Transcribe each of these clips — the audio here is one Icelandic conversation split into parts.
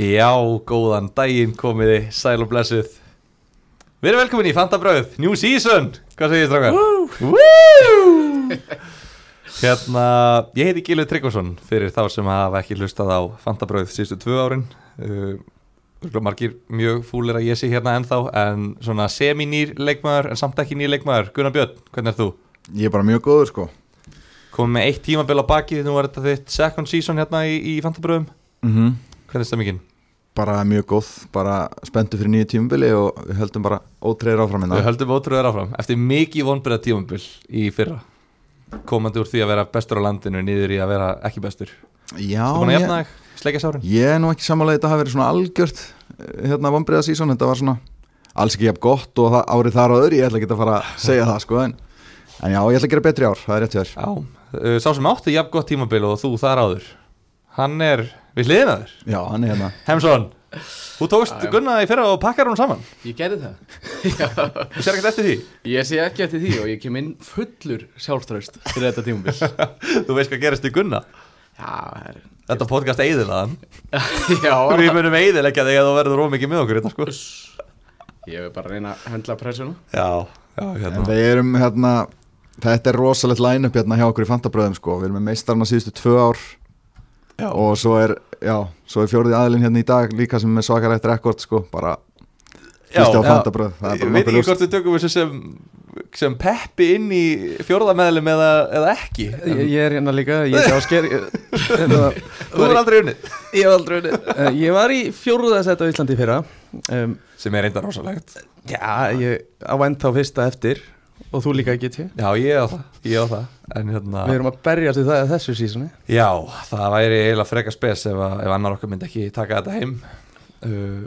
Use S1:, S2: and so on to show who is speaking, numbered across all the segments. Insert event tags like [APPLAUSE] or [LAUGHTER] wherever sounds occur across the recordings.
S1: og góðan daginn komiði, sæl og blessuð Við erum velkomin í Fanta Brauð, New Season, hvað segir ég strákar? Woo! Hérna, ég heiti Gilvi Tryggvason fyrir þá sem hafa ekki hlustað á Fanta Brauð síðustu tvö árin uh, örugglega Margir mjög fúlir að ég sé hérna ennþá en svona semi-nýr leikmaður en samt ekki nýr leikmaður Gunnar Björn, hvernig er þú?
S2: Ég er bara mjög góður sko
S1: Komið með eitt tímabil á bakið, nú er þetta þitt second season hérna í, í Fanta Brauðum Mhm.
S2: -hmm.
S1: Hvernig er stemmingin?
S2: Bara mjög góð, bara spenntu fyrir nýju tímubili og við höldum bara ótreyður áfram
S1: Við
S2: hérna
S1: höldum ótrúðar áfram Eftir mikið vonbyrða tímambil í fyrra Komandi úr því að vera bestur á landinu Niður í að vera ekki bestur Þú
S2: Já,
S1: búin að
S2: ég,
S1: jafna þig, sleikja sárin
S2: ég er nú ekki samanlega þetta hafi verið svona algjört eh, hérna vombriða sísón, þetta var svona alls ekki jafn gott og það, árið þar á öðru ég ætla ekki að fara að segja það sko en, en já, ég ætla að gera betri ár, það er rétt hjá þér
S1: Já, uh, sá sem átti jafn gott tímambil og þú þar áður Hann er, við hliðina þér
S2: Já, hann er hérna
S1: Hemsson, þú tókst
S3: Já, já.
S1: Gunna í fyrra og pakkar hún saman
S3: Ég gerði það Já,
S1: Þú sér ekkert eftir því,
S3: Ég sé ekki eftir því og ég kem inn fullur sjálfströst fyrir þetta tímubil Já,
S1: [LAUGHS] þú veist hvað gerist í Gunna
S3: það er [LAUGHS]
S1: Þetta podcast eiðilaðan Við
S3: Já,
S1: munum eiðilegja þig að þú verður rómikið með okkur þetta, sko.
S3: ég vil bara reyna að höndla pressuna
S1: Já, já,
S2: En
S1: hérna
S2: við erum hérna, þetta er rosalegt line-up hérna hjá okkur í Fantabröðum sko Við erum með meistarna síðustu tvö ár
S1: Já.
S2: og svo er, já, svo er fjórði aðilinn hérna í dag líka sem er svakalegt rekord sko, bara Hlusti á
S1: Já.
S2: fandabröð það er
S1: Ég veit
S2: bara nokkuð
S1: ekki
S2: ljóst.
S1: hvort við tökum þessu sem, sem peppi inn í fjórðameðlum eða, eða ekki en,
S4: Ég, ég er hérna líka, ég er ásker [LAUGHS] hérna,
S1: Þú er aldrei unnið
S4: Ég var aldrei unnið Eh, Ég var í fjórða seti á Íslandi í fyrra um,
S1: Sem er reynda rosalegt
S4: Já, ég á end þá fyrsta eftir Og þú líka get ég
S1: Já, ég á það, ég á það En hérna,
S4: Við erum að berjast við það að þessu sísoni
S1: já, það væri eiginlega freka spes ef, að, ef annar okkar myndi ekki taka þetta heim uh,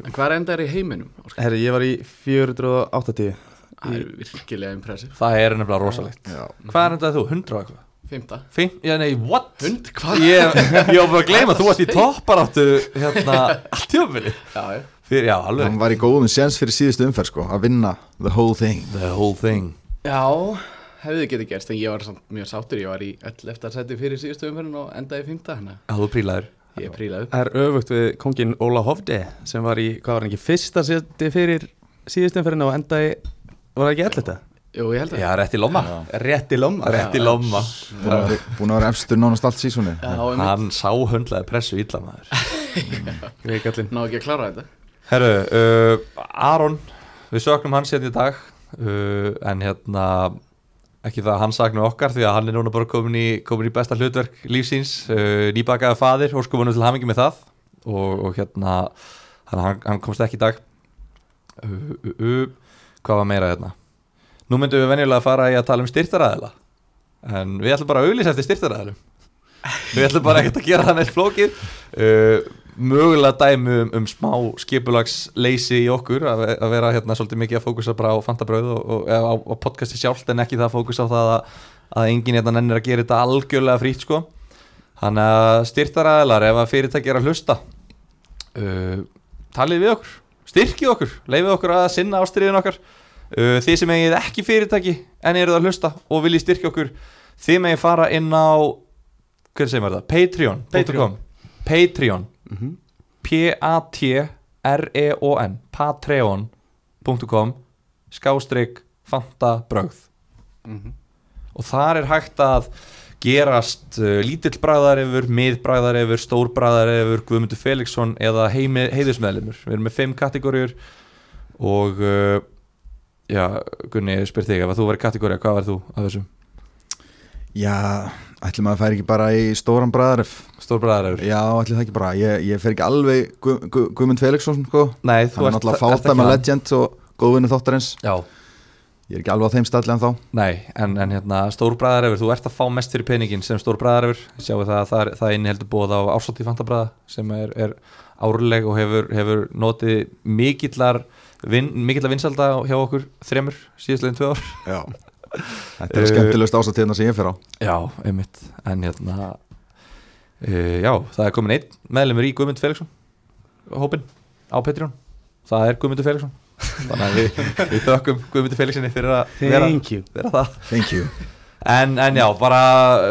S3: En hvað enda er í heiminum? Óskar?
S4: Herri, ég var í 480
S3: Það er virkilega impressiv
S1: Það er nefnilega rosalegt
S2: Já.
S1: Hvað er þetta þú, 100 og eitthvað?
S3: Fymta
S1: Fim, já, nei, what?
S3: Hund, hvað?
S1: Ég, ég var bara að gleyma, þú varst í topparáttu hérna, [LAUGHS] allt tjófili
S3: Já, já.
S1: Fyrir, já, alveg
S2: hann var í góðum séns fyrir síðustu umferð sko, að vinna the whole thing
S1: The whole thing
S3: já hefði getið gerst en ég var samt mjög sáttur Ég var í öll eftir að setja fyrir síðustu umferðin og endaði í fymta hana
S1: Já, þú prílaður
S3: Ég prílaði upp
S4: Það er öfugt við kongin Óla Hofde Sem var í, hvað var hann ekki, fyrsta seti fyrir síðustum fyrir Og endaði, var það ekki ell þetta?
S3: Jú, ég held að
S1: Já, rétt í lomma
S4: Rétt í lomma
S1: Rétt í lomma
S2: búin að vera- búin að vera efstur nánast allt sísunni
S3: Já, einmitt.
S1: Hann sá höndlaði pressu illa maður
S4: Rétt
S3: Ná ekki að klára þetta
S1: Herru, uh, Aron Við söknum hans hérna í dag uh, En hérna Ekki það að hann sakna okkar Því að hann er núna bara komin í, komin í besta hlutverk lífsins uh, Nýbakaði faðir Og skoðum hann til hamingi með það Og, og hérna hann, hann- hann komst ekki í dag uh, uh, uh, Hvað var meira hérna Nú myndum við venjulega að fara í að tala um styrtaræðila En við ætlum bara að auglýsa eftir styrtaræðilum Við ætlum bara ekkert að gera það neitt flókið uh, Mögulega dæmi um, um smá skipulagsleysi í okkur að, ve- að vera hérna svolítið mikið að fókusa bara á fantabröð og, og, eða á, á podcasti sjálft en ekki það að fókusa á það að, að enginn hérna nennir að gera þetta algjörlega frítt sko Þannig að styrtaræðilar ef að fyrirtæki er að hlusta uh, talið við okkur, styrkið okkur leifið okkur að sinna ástriðin okkar uh, þið sem eigið ekki fyrirtæki en eruð að hlusta og viljið styrkja okkur þið megið fara inn á hvernig segir maður það? Patreon Patreon,
S4: Patreon.
S1: Patreon.
S4: Mhm.
S1: E P-A-T-R-E-O-N Patreon.com skástrík fantabrögð Mhm. og þar er hægt að gerast uh, lítill bræðarefur, miðbræðarefur, stórbræðarefur, Guðmundur Felixson eða heimi, heiðismeðlumur. Við erum með fimm kategóriur og uh, já, Gunni, ég spyr þig ef að þú verið kategóri, hvað verð þú að þessum?
S2: já, ætlum að færa ekki bara í stóran bræðaref
S1: Stórbræðarefur?
S2: já, ætlum það ekki bara, ég, ég fer ekki alveg Gu, Gu, Guðmund Felixson sko
S1: Nei,
S2: hann
S1: þú
S2: er
S1: ert,
S2: náttúrulega
S1: ert
S2: fáta
S1: ekki
S2: með
S1: hann.
S2: legend og góðvinni þáttarins
S1: Já,
S2: ég er ekki alveg á þeim stalli en þá
S1: nei, en, en hérna stórbræðarefur, þú ert að fá mest fyrir peningin sem stórbræðarefur, sjáu það að það, er- það inniheldur bóð á ásátti fantabræða sem er, er árleg og hefur, hefur notið mikillar vin, mikillar vinsalda hjá okkur þremur síðastlegin tvö ár
S2: já. Eh, þetta er skemmtilegust ásatíðna sem ég fer á
S1: Já, einmitt En hérna uh, Já, það er komin einn meðlumur í Guðmund Felixson Hópin á Patreon Það er Guðmundur Felixson Þannig að við, við þökkum Guðmundur Felixinni fyrir að vera,
S4: Thank you
S1: vera það
S2: thank you
S1: En, en já, bara,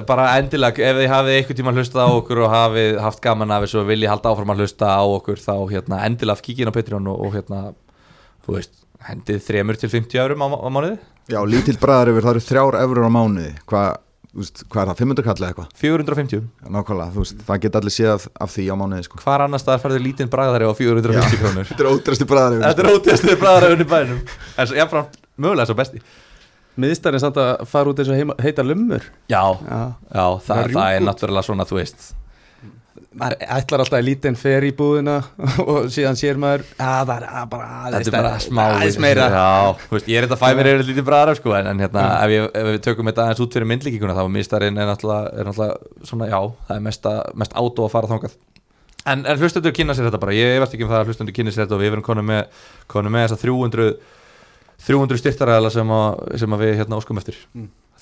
S1: bara endilega ef þið hafið einhvern tíma hlusta á okkur og hafið haft gaman af þessu og viljið halda áfram að hlusta á okkur þá hérna, endilega kíkja inn á Patreon og, og hérna, þú veist, hendið 3 til 50 eurum á, á mánuði
S2: Já, lítill bræðar yfir, það eru þrjár eurur á mánuði Hvað hva er það, 500 kall eða eitthvað?
S1: 450
S2: Nákvæmlega, þú veist, það get allir séð af, af því á mánuði sko.
S1: Hvar annars staðar færðu lítinn bragðari á 450 krónur
S2: Þetta er ótrasti bræðar yfir
S1: Þetta er ótestuði bragðari unni bænum En svo, jáfnframt, mögulega svo besti
S4: Miðstæðin samt að fara út eins og heima, heita lumur
S1: Já,
S4: Já
S1: já það,
S4: Það
S1: það er
S4: rjúkur.
S1: náttúrulega svona, þú veist
S4: maður ætlar alltaf að lítið en fer í búðina [LAUGHS] og síðan sér maður að það er að bara aðeins
S1: Þetta er bara
S4: stærra,
S1: smá
S4: aðeins meira
S1: Já, þú veist, ég er þetta að fæ mér yfir lítið bræðar sko, en, en hérna, ef, ég, ef við tökum þetta aðeins út fyrir myndlíkinguna þá er mistarinn er náttúrulega, er náttúrulega svona, já, það er mest, mest átó að fara þangað En, en hlustendur kynna sér þetta bara, ég veist ekki um það að hlustendur kynna sér þetta og við verum konum með, konum með þessa 300 300 styrtaræðala sem, að- sem að við hérna óskum eftir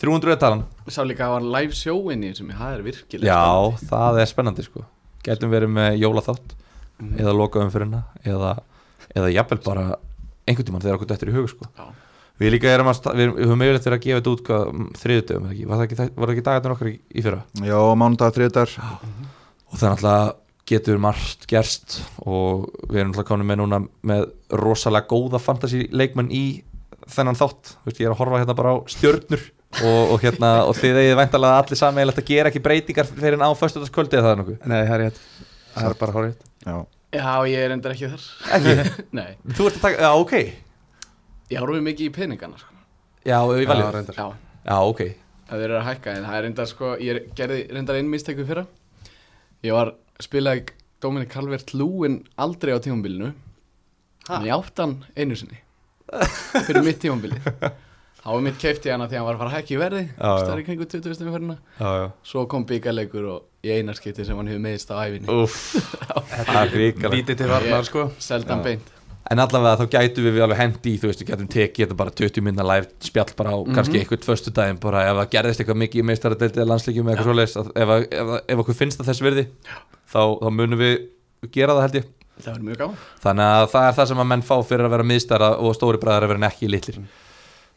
S1: 300 er talan
S3: Ég sá líka að hann live showinni sem ég, það er virkilega
S1: Já, það er spennandi sko Gætum verið með jólaþátt eða lokaðum fyrir hérna eða, eða jafnvel bara einhvern tímann þegar okkur dættir í hug sko.
S3: Já.
S1: Við líka erum að sta- við, við höfum mögulegt verið að gefa þetta út hvað þriðutöfum, var það ekki, þætt- var það ekki dagarnir okkar í, í fyrra?
S2: Já, mánudag, þriðdagar
S1: og það er náttúrulega getur margt gerst og við erum náttúrulega konum með núna með rosalega góða fantasy leikmenn í þennan þátt, Þú veist, ég er að horfa hérna bara á stjörnur og, og hérna og þið eigið væntalega allir sammeilegt að gera ekki breytingar fyrir en á föstudagskvöldi eða það er nokkuð
S4: Nei, það er rétt Það er bara horrið
S2: Já,
S3: Já, ég er endur ekki þar [LAUGHS]
S1: [LAUGHS] Ekki?
S3: Nei,
S1: Þú ert að taka, já ok
S3: ég horfum mikið í peningana sko.
S1: Já, við
S4: Já,
S1: valjum
S4: reyndar.
S3: Já,
S1: Já, ok
S3: það verður að hækka en það er reyndar sko, ég gerði reyndar einn misteku fyrra Ég var spilaði Dominic Calvert Lúin aldrei á tímambilinu en ég átti hann einu sinni fyrir mitt [LAUGHS] tímambili þá var mitt keifti hana því að hann var að fara að hækka í verði
S1: Já, já.
S3: stærri kringu 20. umferðina
S1: Já, já
S3: svo kom byggaleikur og í einarskipti sem hann hefur meðist á æfinni
S1: Úff [LAUGHS] Það er ríkala
S4: Lítið til varnar sko
S3: seldan beint
S1: En allavega þá gætum við alveg hendi í, þú veist, við gætum tekið þetta bara 20 minna live spjall bara á kannski einhvern föstu daginn bara ef það gerðist eitthvað mikið í meistaradeildi eða landsleikjum eða eitthvað svoleiðis að ef, að- ef, að- ef okkur finnst það þess virði þá, þá munum við gera það held ég
S3: það verður mjög gaman
S1: Þannig að það er það sem að menn fá fyrir að vera miðstara og stóri bræðar að vera en ekki litlir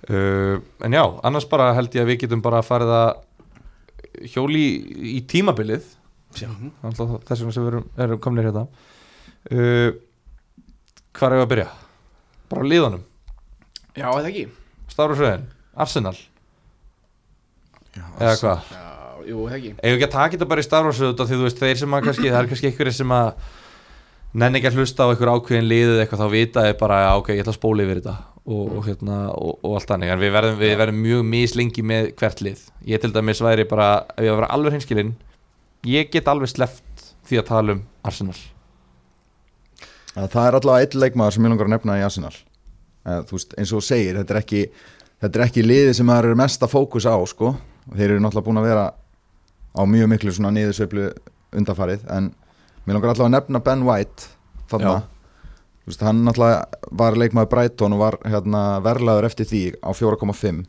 S1: uh, En já, annars bara held ég að við getum bara að fara það hjóli í, í tímabilið
S4: Já.
S1: Alltaf þess vegna sem við erum, erum komnir hérna uh, Hvar er að byrja? Bara á liðanum,
S3: já, eða ekki
S1: Stárufröðin, Arsenal Eða hvað?
S3: já, jú, eða ekki
S1: Eða ekki að taka þetta bara í Star Wars auðvitað því þú veist þeir sem að kannski, það er kannski einhverjir sem að nenni ekki að hlusta á einhver ákveðin liðið eða eitthvað þá vita þið bara að ok, ég ætla að spóla yfir þetta og, og hérna og, og allt þannig en við verðum, við verðum mjög mislengi með hvert lið ég til dæmis væri bara, ef ég var að vera alveg hinskilinn ég get alveg sleft því að tala um Arsenal
S2: Að Það er allavega einn leikmaður sem ég langar að nefna í Arsenal Eða, Þú veist, eins og þú segir, þetta er ekki þetta er ekki liðið sem það eru mesta fókus á sko. og þeir eru náttúrulega búin að vera á mjög miklu svona niðursveiflu undarfarið, en mér langar allavega að nefna Ben White þarna
S1: Já.
S2: Þú veist, hann náttúrulega var leikmaður Brighton og var hérna, verlaður eftir því á 4,5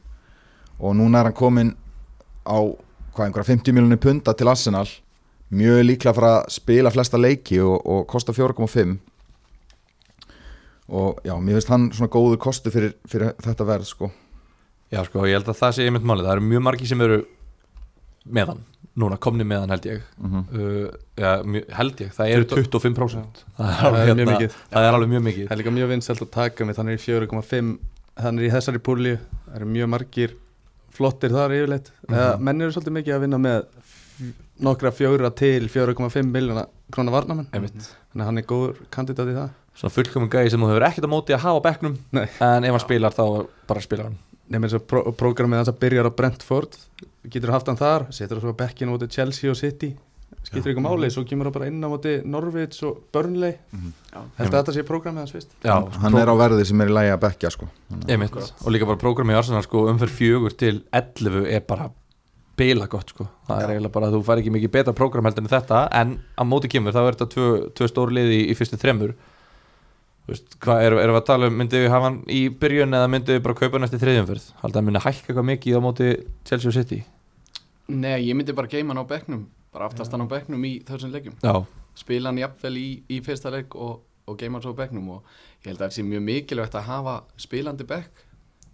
S2: og núna er hann komin á hvað einhverja 50 miljonir punta til Arsenal mjög líklega fyrir að spila flesta leiki og, og kosta 4,5 og já, mér finnst hann svona góður kostu fyrir, fyrir þetta verð sko.
S1: Já sko, ég held að það sé einmitt málið það eru mjög margi sem eru með hann núna, komni með hann held ég
S2: mm -hmm.
S1: uh, já, mjög, held ég, það eru 25% það
S4: Það er
S1: alveg,
S4: mjög
S1: hérna,
S4: mikið.
S1: það er alveg mjög mikið
S4: Það er líka mjög vinsælt að taka mitt Hann er í 4,5 Hann er í þessari púli Það eru mjög margir flottir þar yfirleitt
S1: Mhm.
S4: mm Menn eru svolítið mikið að vinna með f- nokkra fjóra til 4,5 miljona krónar varnamenn
S1: Einmitt.
S4: Þannig að hann er góður kandidat í það
S1: svona fullkomum gæði sem þú hefur ekkert á móti að hafa á bekknum
S4: Nei.
S1: en ef hann spilar þá bara spilar hann
S4: nefnir svo pró prógramið hans að byrjar á Brentford getur haft hann þar, setur það svo bekkin á móti Chelsea og City, skiptir ykkur máli svo kemur það bara inn á móti Norvids og Burnley,
S3: Já.
S4: held að þetta sé prógramið hans fyrst
S1: Já,
S2: hann er á verði sem er í lægi að bekja sko. Þannig að-
S1: einmitt og líka bara prógrami í Arsenal sko umferð fjögur til 11 er bara bila gott sko það er eiginlega bara að þú fær ekki mikið betra prógram heldur en þetta en á móti kemur þá er þetta tvö, tvö stóru liði í, í fyrstu þremur Þú veist, hvað erum er við að tala um myndið við hafa hann í byrjun eða myndið við bara kaupa hann eftir þriðjumferð haldið að myndi hækka eitthvað mikið á móti Chelsea og City
S3: nei, ég myndi bara geima hann á bekknum bara aftast hann á bekknum í þessum leggjum
S1: Já,
S3: spila hann jafnvel í, í fyrsta legg og, og geima hann svo á bekknum og ég held að það sé mjög mikilvægt að hafa spilandi bekk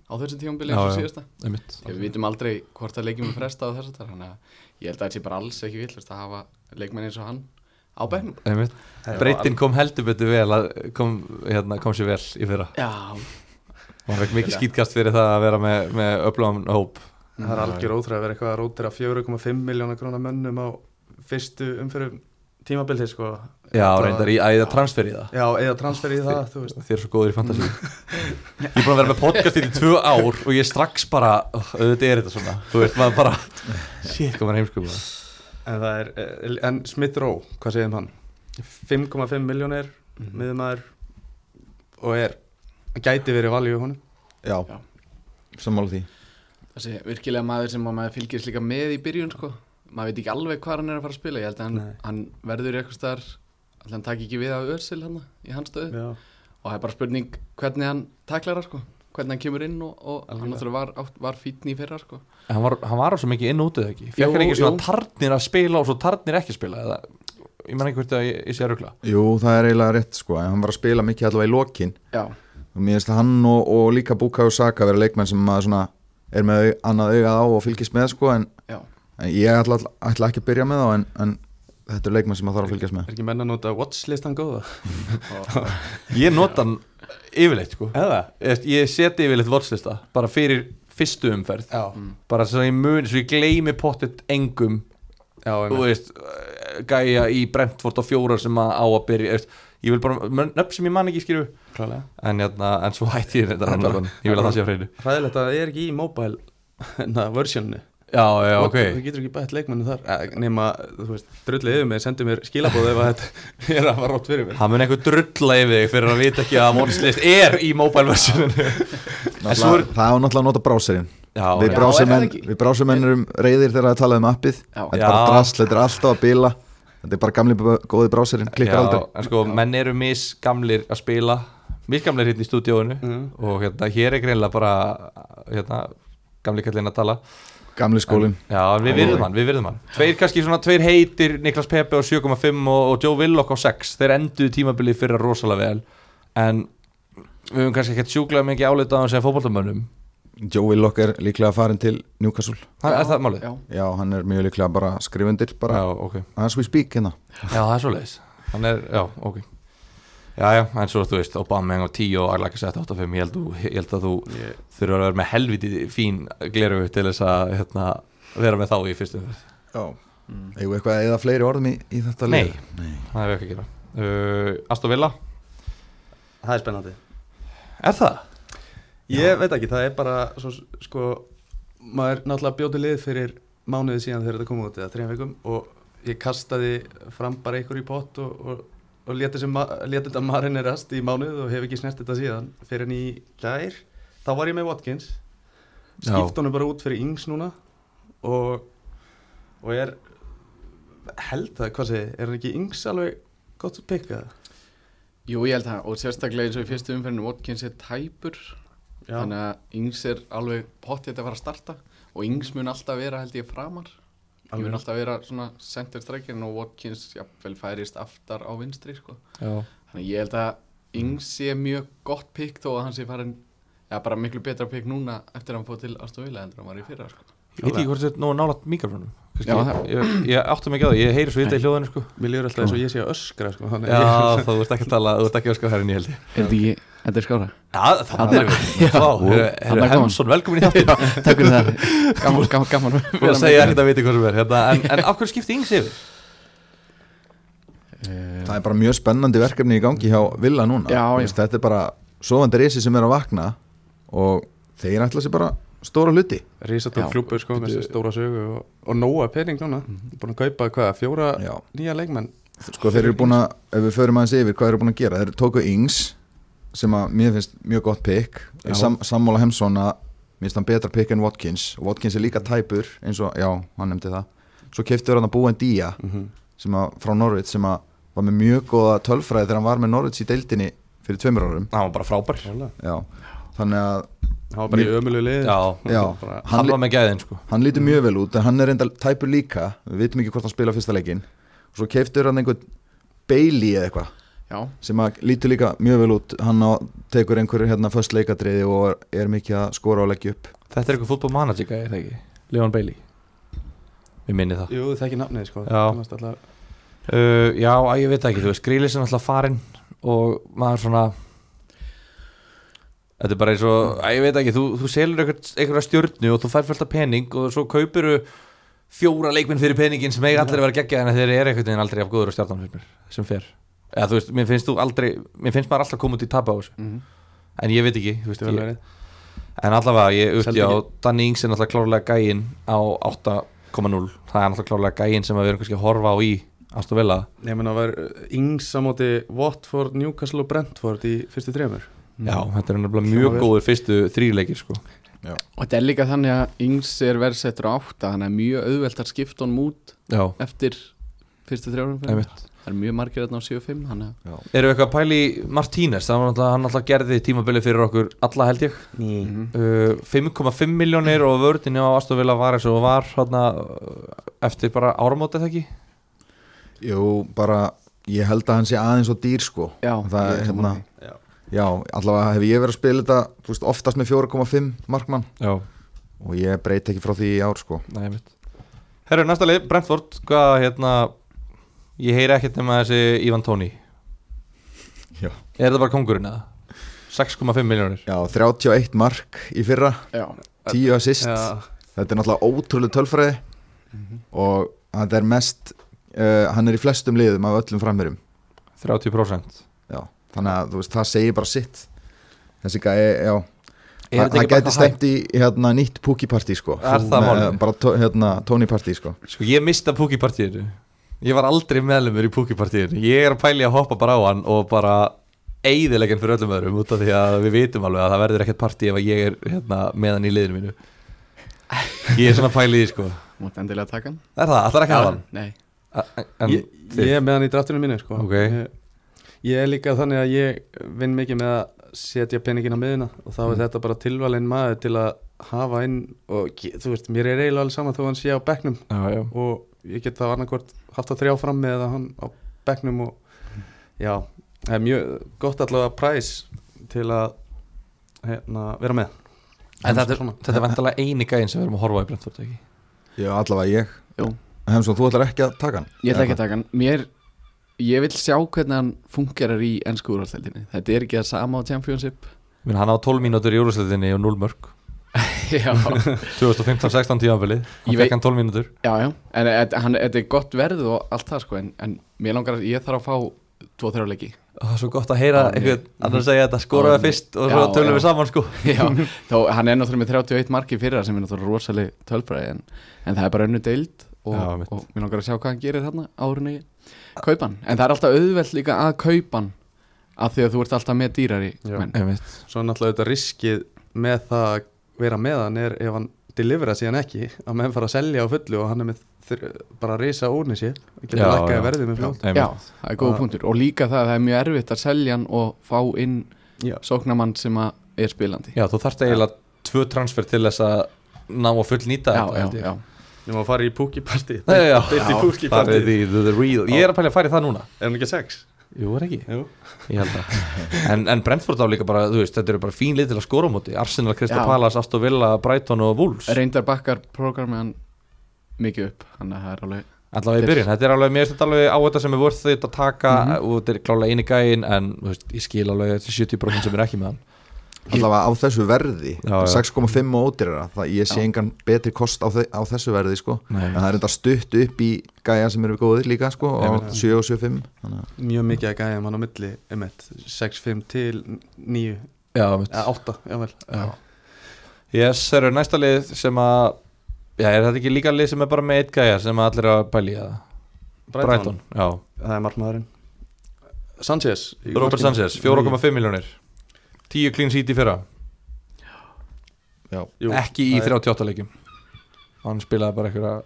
S3: á á þessu tímanbili
S1: Já,
S3: eins og
S1: já.
S3: síðasta
S1: einmitt
S3: Því að við vitum aldrei hvort að leikjum er frestað og þess að það þannig að ég held að þetta sé bara alls ekki villast að hafa leikmenn eins og hann á bæknum
S1: einmitt Breytin kom heldur betur vel að, kom, hérna, kom sér vel í fyrra
S3: Já,
S1: og hann fekk mikið skýtkast fyrir það að vera með, með öflóðan hóp
S4: Það er algjör óþræð að vera eitthvað að rótira 4,5 miljónar krónar mönnum á fyrstu umfyrir tímabilið sko.
S1: Já,
S4: Þetta-
S1: reyndar í að eða transfer í það
S4: Já, eða transfer í það, þú veist.
S1: Þið eru svo góður í fantasy Ég er búin að vera með podcastið í tvö ár og ég er strax bara, oh, auðvitað er þetta svona Þú veist, maður bara, shit, komar heimskupa
S4: En, það er, eh, en Smith Rowe, hvað segir um hann? 5,5 miljónir, mm. miðumæður og er, gæti verið valju honum.
S2: já,
S3: Já.
S2: sammála því
S3: þessi virkilega maður sem að maður fylgist líka með í byrjun sko. maður veit ekki alveg hvað hann er að fara að spila ég held að hann,
S4: Nei.
S3: hann verður í eitthvað staðar alltaf hann takk ekki við af Örsil hann í hans stöðu
S4: Já.
S3: og það er bara spurning hvernig hann tæklar það sko. hvernig hann kemur inn og, og hann
S4: Algjörlega.
S3: náttúrulega var, átt- var fítn í fyrra sko.
S1: Hann var, hann var á svo mikið inn og útið ekki Fekk
S3: Jú,
S1: hann ekki svona
S3: jú.
S1: tarnir að spila og svo tarnir ekki að spila eða, Ég menn ekki hvort að ég, ég sé að rugla
S2: jú, það er eiginlega rétt sko en hann var að spila mikið allavega í lokin
S3: já,
S2: og mér finnst hann og, og líka Bukayo Saka vera leikmenn sem maður svona er með au, annað augað á og fylgist með sko en,
S3: já,
S2: en ég ætla, ætla ekki að byrja með þá en, en þetta er leikmenn sem maður þarf að fylgjast með
S4: Er ekki menn að nota watchlistan góða?
S3: og,
S1: Ég nota hann yfirleitt sko
S4: Eða?
S1: Ég- Ég seti yfirleitt vortslista bara fyrir fyrstu umferð
S4: Já.
S1: bara svo ég mun, svo ég gleymi pottet engum,
S4: Já,
S1: þú
S4: einmitt.
S1: veist eh, gæja í Brentford á fjóra sem að á að byrja, þú veist, ég vil bara nöfn sem ég man ekki skilju,
S4: klálega.
S1: en, jæna, en svo hætti ég þetta hann, hann, ég vil að það sé á hreinu
S4: Ræðilegt að það er ekki í mobile [LAUGHS] na, versjónu.
S1: Já, já, ok
S4: Þú getur ekki bætt leikmennu þar. Eh, Nema, þú veist, drullið yfir mig, sendu mér skilabóð ef að þetta [LAUGHS] er að fara rátt fyrir mér.
S1: Hann mun eitthvað drulla yfir þig fyrir að vita ekki að vortslist er í mobile versioninu En svo er-
S2: Náttúrulega- Það er náttúrulega að nota bráserinn
S1: Já,
S2: Við
S1: já.
S3: brá-
S2: brásermenn,
S3: er það ekki?
S2: við brásermenn erum reyðir þegar það er talað um appið
S3: Já.
S2: Þetta er bara
S1: Já.
S2: drasl, þetta er alltaf að bila Þetta er bara gamli b- góði bráserinn, klikkar
S1: Já,
S2: aldrei
S1: En sko, menn eru misgamlir að spila misgamlir hérna í stúdíóinu og hérna, hér er greinlega bara hérna, gamli kallinn að tala
S2: Gamli skólinn
S1: Já, en við virðum hann, við virðum hann Tveir kannski svona, tveir heitir Niklas Pepe á 7,5 og, og Joe Willock á 6 Þeir enduðu tímabilið fyrra rosalega vel En við höfum kannski ekkert sjúklega mikið álita á hann sem fótboltamönnum
S2: Joey Lock er líklega farin til Newcastle
S1: Það er það málið?
S3: já,
S2: Já, hann er mjög líklega bara skrifundir bara,
S1: ok
S2: as we speak hérna
S1: Já, það er svo leiðis Hann er, já, ok Já, já, en svo þú veist, Obama á 10 og Arlaka sett 8,5 Ég held, þú- ég held að þú
S4: Ég-
S1: þurfur að vera með helviti fín gleru til þess að hérna, vera með þá í fyrstum
S2: Já Eigum við eitthvað að eða fleiri orðum í, í þetta
S1: Nei.
S2: lið? Nei
S1: Það er ekki að gera uh, Aston Villa,
S4: Það er spennandi.
S1: er það?
S4: Ég veit ekki, það er bara svo, sko, maður náttúrulega bjóti lið fyrir mánuði síðan þegar þetta kom út eða þrejum vikum og ég kastaði fram bara einhver í pott og, og, og leti, sem, leti þetta marinerast í mánuð og hef ekki snert þetta síðan fyrir en í gær, þá var ég með Watkins
S1: Já.
S4: skipt honum bara út fyrir Ings núna og, og er held það, hvað segi, er hann ekki Ings alveg gott að pikka það?
S3: jú, ég held það og sérstaklega eins og í fyrstu umferðinu Watkins er tæpur þannig að Ings er alveg pottið að fara að starta og Ings mun alltaf vera held ég framar Ég mun
S4: Alveg.
S3: alltaf vera svona center strikerinn og Watkins jafnvel færist aftar á vinstri sko.
S1: Já
S3: Þannig að ég held að Ings sé mjög gott pick þó að hann sé farin eða bara miklu betra pick núna eftir að hann fóð til Aston Villa heldur en hann var í fyrra sko.
S1: Ég veit ekki hvort þetta er nú nálaðt mikrofónum
S3: Já,
S1: ég, ég, ég átti mikið á það, ég heyri svo þetta í hljóðinu sko
S4: Mér líður alltaf eins og ég sé að öskra sko, þannig að ég-
S1: Já, þú ert ekki að tala, þú ert ekki að skaffa herrin í heldi
S3: Er þetta ekki, þetta er skára?
S1: Já, þannig erum við Vá, herru, herru,
S3: þarna kom hann.
S1: Hemsson, velkomin í [LAUGHS] þáttinn
S3: Takk fyrir það, gaman, gaman, gaman
S1: Þú að segja hérna að viti hvað sem er hérna, En, en af hverju skipti yngs yfir?
S3: Eh,
S2: Það er bara mjög spennandi verkefni í gangi hjá Villa núna Þú
S3: Já, já.
S2: Veist, Þetta er bara sofandi risi sem er að vakna og þeir ætla sér bara stóra hluti
S4: Rísatór
S3: Já.
S4: klubur sko með þessi stóra sögu og, og nóa pening núna
S1: Mhm.
S4: búin að kaupa hvað, fjóra
S2: Já.
S4: nýja leikmenn
S2: Sko þeir eru búin að, ef við förum aðeins yfir hvað þeir eru búin að gera, þeir eru tóku Ings sem að mér finnst mjög gott pick
S1: Já.
S2: Sam, Sammála Hemsson að mér finnst hann betra pick en Watkins og Watkins er líka tæpur eins og, já, hann nefndi það Svo keftur hann að búa en Día sem að, frá Norvits sem að var með mjög góða tölfræði þegar hann var með Norvits í deildinni fyrir tveimur árum
S1: Það var bara frábær
S4: Klálega.
S2: já. Þannig að
S4: það var bara í
S2: Mér-
S4: ömulegu lið
S1: Já,
S2: já,
S4: Bara-
S2: hann,
S1: hann var með gæðin sko
S2: Hann lítur mjög vel út en hann er reynda tæpur líka Við vitum ekki hvort hann spila fyrsta leikinn og svo keiftur hann einhvern Bailey eða eitthvað
S3: Já, já,
S2: sem að lítur líka mjög vel út hann á, tekur einhverju hérna föst leikadriði og er mikið að skora og leggja upp
S1: Þetta er eitthvað fútbol manager gæði, er það ekki? Leon Bailey Við minni það
S4: Jú, það er ekki nafnið sko
S1: Já.
S4: Kannast alla-
S1: uh, Já, æ, ég veit það ekki, þú veist, grílis er alltaf farinn og maður svona Þetta er bara eins og, æ, ég veit ekki, þú, þú selur einhver- einhverja stjörnu og þú fær fullt af pening og svo kaupir fjóra leikminn fyrir peningin sem eiga allir að vera geggja en þeir eru einhvern veginn aldrei af góður og stjarnan fyrir mér sem fer Eða, þú veist, mér finnst þú aldrei, mér finnst maður alltaf koma út í tapa á þessu
S3: mhm.
S1: en ég veit ekki, þú veist,
S4: Þetta er vel
S1: ég,
S4: verið.
S1: En allavega, ég
S4: Seldi
S1: auðvitað á
S4: ekki.
S1: Danny Ings er náttúrulega klárlega gæinn á 8,0 Það er náttúrulega klárlega gæinn sem við erum kannski að horfa á í Aston Villa
S4: Nei, menn að var yngs á móti Watford, Newcastle og Brentford í fyrstu þremur
S1: Já, þetta er náttúrulega
S4: Hljómar
S1: mjög
S4: vel.
S1: góður fyrstu þrýleikir sko.
S3: Og þetta er líka þannig að Ings er verðsettur á átta Þannig að mjög auðvelt að skipta honum út
S1: Já,
S3: Eftir fyrstu þrjárum
S1: einmitt
S3: Það er mjög margir þarna á 7-5 Þannig
S1: Eru eitthvað að pæli Martínez, það var náttúrulega, hann náttúrulega gerði tímabili fyrir okkur alla held ég
S4: Ný
S3: að
S2: Mhm.
S1: uh, 5,5 miljónir og vördinni á Aston Villa var eins og var hana, eftir bara áramóti eða ekki
S2: Jú, bara, ég held að hann sé aðeins og dýr sko
S3: Já,
S2: það er
S3: ég er
S2: hérna
S3: sammála
S4: Já.
S2: Já, allavega hef ég verið að spila þetta þú veist, oftast með 4,5 markmann
S1: Já,
S2: og ég breyt ekki frá því í ár sko
S1: Nei, mitt Herru, næsta leið, Brentford, hvað hérna Ég heyri ekkert nema þessi Ivan Tóni
S2: Já.
S1: Er það bara kongurinn eða? 6,5 miljónir
S2: Já, 31 mark í fyrra,
S3: Já,
S2: 10 assist
S4: Já,
S2: Þetta er náttúrulega ótrúlega tölfræði og þetta er mest uh, hann er í flestum liðum af öllum framverjum
S1: 30%
S2: Já, þannig að þú veist, það segir bara sitt þessi gæði, já
S1: Er
S2: hann
S1: þetta
S2: hann
S1: ekki bara
S2: gæti
S1: það hæ?
S2: stemt í hérna, nýtt púkipartí sko
S1: Er það
S2: Með-
S1: málið?
S2: bara tó- hérna, tónipartí sko
S1: Sko, ég mista púkipartíinu Ég var aldrei meðlumur í púkipartíinu Ég er að pæli að hoppa bara á hann og bara eigðileginn fyrir öllum öðrum út af því að við vitum alveg að það verður ekkert partí ef að ég er hérna, með hann í liðinu mínu Ég er svona pæli í því, sko
S3: mútt endilega taka hann
S1: Er það, allar ekki að hafa hann?
S3: Nei,
S1: A- en-
S4: ég, ég er með hann í draftunum mínu sko.
S1: Ok.
S4: ég, ég er líka þannig að ég vinn mikið með að setja peningin á miðuna og
S1: Mhm.
S4: þá er þetta bara tilvalinn maður til að hafa inn og ge- þú veist, mér er eiginlega alveg sama þó hann sé á bekknum
S1: Já, já
S4: og ég get það annarkvort haft að þrjá fram með hann á bekknum og já, það er mjög gott allavega præs til að hérna, vera með
S1: En þetta er,
S4: Svona.
S1: þetta er vantilega eini gæðin sem við erum að horfa á í Brentford ekki?
S2: Já, allavega ég
S3: Jú.
S2: Hemsson, þú ætlar ekki að taka hann?
S3: ég ætla ekki að taka hann Mér, ég vil sjá hvernig hann fungerar í ennsku úrvalstældinni Þetta er ekki það sama á
S1: [LAUGHS]
S3: Championship
S1: Minn, hann á 12 mínútur í júrúsleitinni og 0 mörg
S3: Já, [LAUGHS]
S1: 2015-16 tíðanbilið, hann
S3: Ég
S1: fekk
S3: veit-
S1: hann 12 mínútur
S3: já, já En e- þetta- hann- þetta er gott verð og allt það sko En, en mér langar að ég þarf að fá 2-3 leiki [LAUGHS]
S1: og það er svo gott að heyra
S3: Já,
S1: einhvern
S3: ég-
S1: annar segja þetta skoraði
S3: Já,
S1: fyrst og svo
S3: já,
S1: tölum við
S3: já.
S1: saman sko
S3: Já, þó hann er náttúrulega með 31 marki fyrra sem er náttúrulega rosaleg tölfræði en, en það er bara önnu deild og,
S1: Já, mitt.
S3: og mér langar að sjá hvað hann gerir þarna árunni kaupan, en það er alltaf auðvelt líka að kaupan af því að þú ert alltaf með dýrari
S4: Já.
S3: menn.
S1: Einmitt.
S4: Svo er náttúrulega þetta riskið með það að vera með hann er ef hann delivera síðan ekki að menn fara að selja á fullu og hann er með þr- bara að reysa óni sér og getur
S1: Já,
S4: lakkaði
S1: já.
S4: verðið með fljótt
S3: Já,
S1: Einmitt.
S3: það er góða
S4: Það-
S3: punktur og líka það að það er mjög erfitt að selja hann og fá inn
S4: Já.
S3: sóknamann sem að er spilandi
S1: já, þú þarft eiginlega tvö transfer til þess að ná að full nýta
S3: já,
S1: þetta,
S3: já,
S1: held ég.
S3: já.
S4: Nú maður fara í púkipartí
S1: Nei, já,
S4: Beint í
S1: já,
S4: púkipartí.
S1: farið í the, the real Ég er að pæla að fara í það núna
S4: Er hann ekki að sex?
S1: Jú, er ekki
S4: Jú.
S1: Ég held að En, en Brentford á líka bara, þú veist, þetta eru bara fín lið til að skora á móti Arsenal, Crystal
S3: Já.
S1: Palace, Aston Villa, Brighton og Wolves
S3: reyndar bakkar programmi hann mikið upp, hann er alveg
S1: Allavega í byrjun, þetta er alveg, mér finnst þetta alveg á þetta sem er vörð þetta að taka og þetta er klálega eini gæin en þú veist, ég skil alveg þessi 70% sem er ekki með hann
S2: Allavega á þessu verði
S1: Já, já.
S2: 6,5 og ódýrara það ég sé
S3: Já.
S2: engan betri kost á, þe á þessu verði sko
S1: Nei,
S2: en það er enda stutt upp í gæja sem eru góðir líka sko á
S1: Einmitt.
S2: 7 og 7,5 þannig að-
S4: Mjög mikið að gæja um hann á milli einmitt, 6-5 til 9
S1: Já, mitt
S4: eða 8, jável
S1: Yes, það eru næsta lið sem að Já, er þetta ekki líka lið sem er bara með eitt gæja sem allir eru að pæli að Brighton, já,
S4: Það er margmaðurinn Sanchez í
S1: Robert
S4: markinu.
S1: Sanchez 4,5 miljónir 10 clean sheet í fyrra,
S2: já.
S4: Jú,
S1: ekki í
S4: það er-
S1: 38 leikjum Hann spilaði bara eitthvað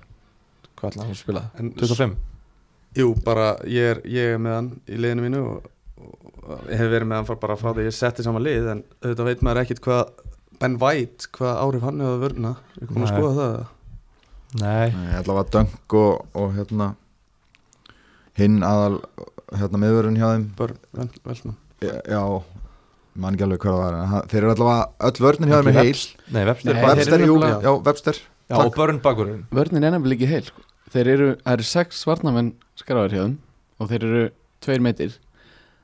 S1: Hvað ætlaði hann að spila?
S4: En-
S1: 25?
S4: Jú, bara ég er, ég er með hann í liðinu mínu og, og ég hef verið með hann frá- bara frá því ég setti saman lið en auðvitað veit maður ekkit hvað Ben White, hvað áhrif hann hefur að vörna ég kom að
S1: Nei.
S4: skoða það
S1: Nei
S2: Nei, allavega Dunk og, og hérna hinn aðal hérna miðvörun hjá þeim
S4: Börn, vel, velman
S2: já, man ekki alveg hvað það var en hann- þeir eru allavega öll vörnin hjá þeim er
S4: Ekki
S2: heil
S1: Nei, Webster
S3: Nei,
S1: bara-
S3: þeir eru
S2: Webster, jú,
S4: nefnilega-
S2: já, Webster
S1: Já,
S2: takk.
S1: og börn bakurinn
S3: Vörnin er nefnilega ekki heil sko. Þeir eru, það eru sex svarnamenn skráður hjá þeim og þeir eru tveir meitir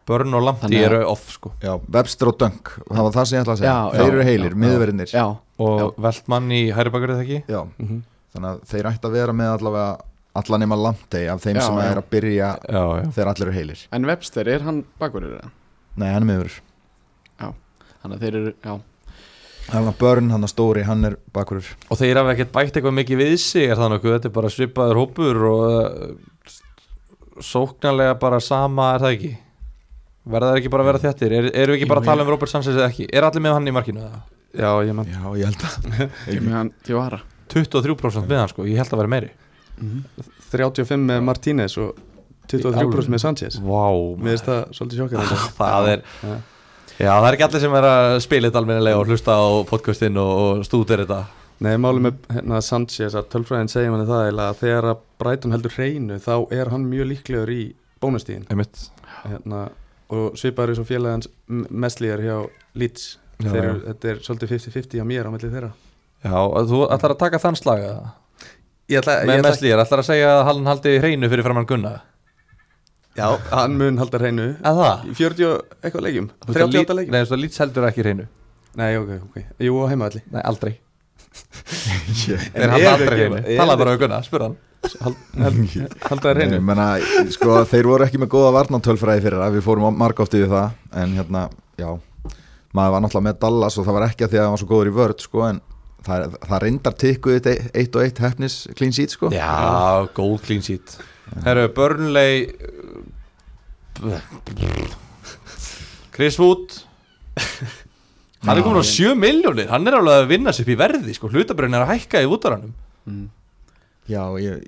S1: Börn og Lamptey
S3: Þannig að-
S1: eru off sko
S2: já, Webster og Dunk, það var það sem ég ætlaði að segja
S3: Já,
S2: þeir
S3: já,
S2: eru heilir,
S3: já,
S2: miðvörunir
S3: Já,
S1: Og Veltmann í hæri bakurinn það ekki
S2: já,
S4: mm
S1: Mhm.
S4: -hmm.
S2: þannig að þeir ætti að vera með allavega alla nema Lamptey af þeim
S3: Já,
S2: sem
S3: já.
S2: er að byrja
S1: Já, já
S2: þegar allir eru heilir
S3: en Webster er hann bakverður
S2: nei, hann er miður,
S3: Þannig að þeir eru, já
S2: hann er börn, hann er stóri, hann er bakurur
S1: Og þeir hafa ekkert bætt eitthvað mikið við sig er það nokkuð, þetta er bara svipaður hópur og uh, sóknarlega bara sama er það ekki Verða það ekki bara að vera þjættir er, Erum við ekki bara að
S3: Jú,
S1: tala um Robert Sanchez eða ekki Er allir með hann í markinu eða?
S4: Já, ég mann
S2: já, [LAUGHS] ég held að
S3: Ég með hann til vara
S1: 23% með hann sko, ég held að vera meiri
S3: Mhm.
S4: 35 með Martínez og 23% með Sanchez
S1: Vá
S4: Mér finnst það svolítið sjokkar
S1: Ah, [LAUGHS] það er
S4: Já.
S1: Já, það er ekki allir sem er að spila þetta almennilega og hlusta á podcastin og, og stútir þetta
S4: Nei, málum með hérna, Sanchez að tölfræðin segja manni það eiginlega að þegar að Brighton heldur hreinu þá er hann mjög líklegur í bónustíðin
S1: Einmitt
S4: hérna, og svipaður eins og félagans mestlýjar hjá Leeds
S1: Já,
S4: þeir,
S1: já.
S4: eru- þetta er svolítið 50-50 á mér á melli þeirra
S1: Já, og þú ætlar að taka þann slag eða?
S4: ég ætla,
S1: Með meslýjar, ætlar að segja að hann haldi hreinu fyrir framann Gunna
S4: Já, [LAUGHS] Ah. hann mun halda hreinu
S1: Að það?
S4: í 40 og eitthvað leikjum
S1: Þú veist að Leeds-
S4: 38 leikjum
S1: Nei, þú veist að Leeds heldur ekki hreinu
S4: Nei, ok, ok Jú, á heimavalli
S1: Nei, aldrei
S2: ég
S1: Þeir
S4: En
S1: halda
S4: eru
S1: aldrei
S4: ekki-
S1: hreinu
S4: eru-
S1: Talaðu bara við Gunna, spurðu hann [LAUGHS]
S4: Halda
S2: Nei,
S4: hreinu
S2: ég menna, sko, þeir voru ekki með góða varnantölfræði fyrir það, við fórum margóft yfir það en hérna, já maður var náttúrulega með Dallas og það var ekki að því að það var svo góður í vörð, sko, en það, það reyndar tikkuð eitt, eitt og eitt hefnis clean sheet, sko
S1: Já, góð clean sheet Herru, Burnley uh, Chris Wood [LAUGHS] Hann er komin á 7 miljónir Hann er alveg að vinna sér upp í verði sko. Hlutabrinn er að hækka í útaranum
S3: mm.
S2: Já, ég,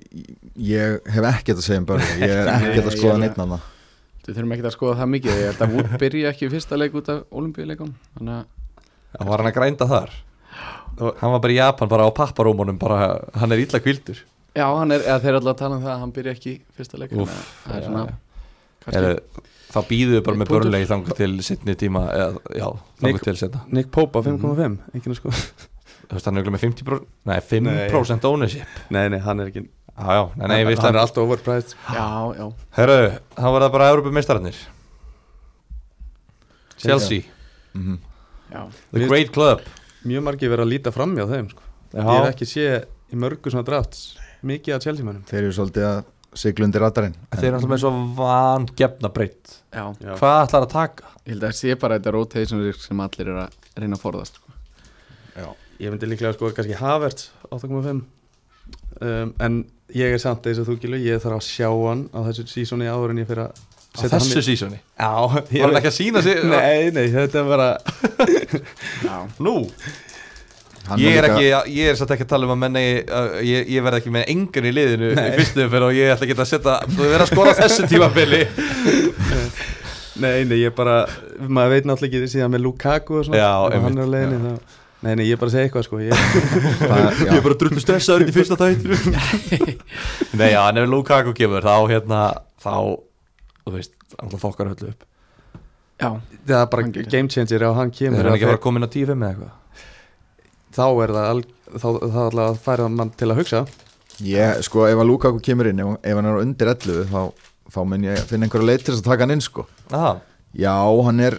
S2: ég hef ekkert að segja um börn
S1: [LAUGHS]
S2: ég er ekkert að
S3: Nei,
S2: skoða
S3: ég-
S2: neitt annað
S3: Við þurfum ekki að skoða það mikið Ég held að Wood byrja ekki í fyrsta leik út af olimpíuleikum Þannig að
S1: Það var hann að grænda þar Hann var bara í Japan, bara á papparómunum bara, Hann er illa kvildur
S3: Já, hann er, eða þeir eru alltaf að tala um það að hann byrja ekki í fyrsta leik
S1: Úff,
S3: þannig að það er
S1: já,
S3: svona
S1: já.
S3: kannski,
S1: Þá býðum við bara með
S3: Punktur.
S1: Burnley Þangu til sittni tíma eða, Já,
S4: Nick-
S1: þangu til setna
S4: Nick Pope á 5,5 mm -hmm. sko.
S1: [LAUGHS] Þú veist, hann er örugglega með 50% Nei,
S4: Nei.
S1: 5% ownership
S4: Nei, nei, hann er ekki
S1: Já, já, nei, nei,
S4: hann,
S1: við
S4: hann er
S1: slæmum
S4: alltaf overpriced
S3: já, já
S1: Herru, þá var það bara Európa-meistararnir Chelsea,
S2: mm
S3: Já,
S1: the
S4: Mér-
S1: great club
S4: Mjög margir verið að líta fram hjá þeim sko. Ég
S1: Já.
S4: hef ekki sé í mörgu svona drafts Mikið að Chelsea mönnum
S2: Þeir eru svolítið að sigla undir radarinn
S1: Þeir eru alltaf með svo van gefna breytt
S3: já
S1: Hvað ætlar að taka?
S3: Ég held að það sé bara þetta rotation risk sem allir eru að reyna að forðast sko.
S4: Ég myndi líklega sko kannski Havertz 8,5 um, En ég er samt eins og þú gilu Ég þarf að sjá hann á þessu sísoni áður en ég fyrir að
S1: Á þessu sísoni
S4: Já, ég
S1: Var hann
S4: veit-
S1: ekki að sína sig?
S4: Nei, nei, þetta er bara
S3: Já,
S1: Nú,
S2: Hann
S1: ég er
S2: líka-
S1: ekki, ég er satt ekki að tala um að menna ég, ég verð ekki með engan í liðinu í fyrstu umferð og ég ætla ekki að setja þú verð að skora á þessu tímabili
S4: Nei, nei, ég bara Maður veit náttúrulega ekki síðan með Lukaku og svona
S1: Já,
S4: ef
S1: einmitt,
S4: Hann er á leiðinni þá Nei, nei, ég er bara að segja eitthvað sko Ég,
S2: það, já,
S1: Ég er [LAUGHS] bara drullu stressaður í fyrsta tættur [LAUGHS] Nei, já, en ef Lukaku kemur þá hérna, þá þú veist, alltaf fokkar öllu upp
S3: já,
S4: það er bara
S3: Hann gerir.
S4: game changer ef hann
S1: Þeir
S4: kemur
S1: eru ekki að
S4: að
S1: fara að koma inn á 10-5 eða eitthvað
S4: Þá er það al, þá, þá er það að færa mann til að hugsa
S2: ég, sko, ef að Lukaku kemur inn ef, ef hann er undir 11 þá, þá mun ég finna einhverja leið til þess að taka hann inn, sko
S1: Aha.
S2: Já, hann er,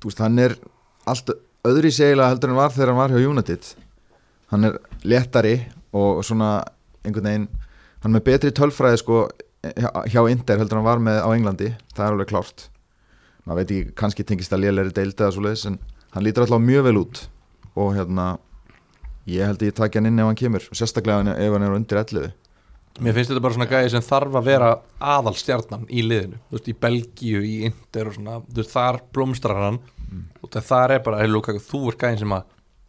S2: þú veist, hann er allt öðri segilega heldur en var þegar hann var hjá United hann er léttari og svona einhvern veginn, hann er með betri tölfræði sko hjá- hjá Inder heldur en hann var með á Englandi, það er alveg klárt maður veit ekki, kannski tengist að lélæri deildi eða svoleiðis, en hann lítur alltaf mjög vel út og hérna ég held að ég taki hann inn ef hann kemur sérstaklega ef hann- ef hann er undir 11
S1: Mér finnst þetta bara svona gæði sem þarf að vera aðalstjarnan í liðinu Þú veist, í Belgíu, í Inder og svona Þú veist, þar blómstrar hann og það þar er bara, hey Lukaku, þú er gæðin sem að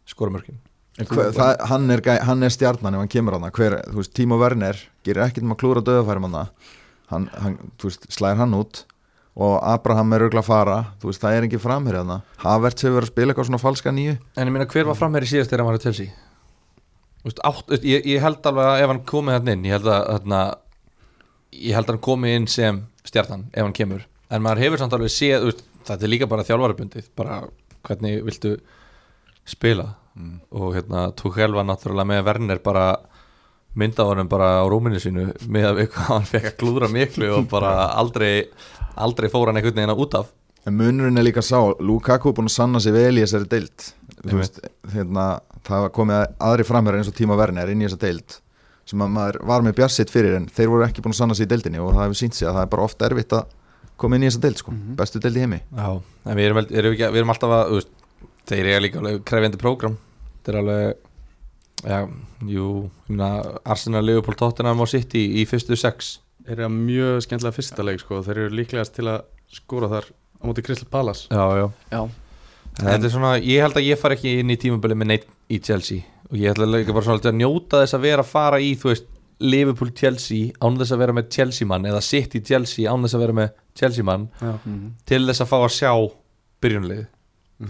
S1: skora mörkin
S2: En hver, það, hann, er, gæ- hann er stjarnan ef hann kemur hann hver, þú veist, Tímo Werner gerir ekkert um að klúra döðafærum hann hann, hann, þú veist, slæðir hann út og Abraham er örgulega að fara þú veist, það er engin framherja hann Havertz hefur verið að spila eitthvað svona falska nýju
S1: En ég meina, hver var framherri síðast þegar hann var að telsi? Þú veist, átt, þú veist, ég, ég held alveg að ef hann komið hann inn, ég held að þarna, ég held að hann komið inn sem stjarnan ef hann kemur en maður hefur samt alveg séð þú veist, þetta er líka bara þjálfarabundið bara hvernig viltu spila og hérna Tuchel var náttúrulega með Werner bara myndað honum bara á rúminu sínu með að við hvað hann fekk að klúðra miklu og bara aldrei aldrei fór hann einhvern veginn út af
S2: En munurinn er líka sá, Lukaku er búin að sanna sig vel í þessari deild Þú veist, hérna, það var komið að- aðri framherjar eins og tíma verðinir inn í þessa deild sem að maður var með bjarsitt fyrir en þeir voru ekki búin að sanna sig í deildinni og það hefur sínt sig að það er bara oft erfitt að koma inn í þessa deild sko, bestu deild í heimi
S1: Já, en við erum, vel- erum, ekki, við erum alltaf að þú veist, þeir eru líka alveg krefjandi prógram þeir eru alveg já, jú, ég meina Arsenal, Liverpool, Tottenham og City í fyrstu sex
S4: Þeir eru mjög skemmtilega fyrsta leik sko. Þeir eru líklegast til að skora þar á móti Crystal Palace
S1: Já, já
S3: Já,
S1: Þetta er svona, ég held að ég far ekki inn í tímabili með neitt í Chelsea og ég ætla líka bara svolítið að njóta þess að vera að fara í, þú veist, Liverpool Chelsea án þess að vera með Chelsea mann eða City Chelsea án þess að vera með Chelsea mann
S4: Já,
S3: Mhm.
S1: til þess að fá að sjá byrjunlið, mm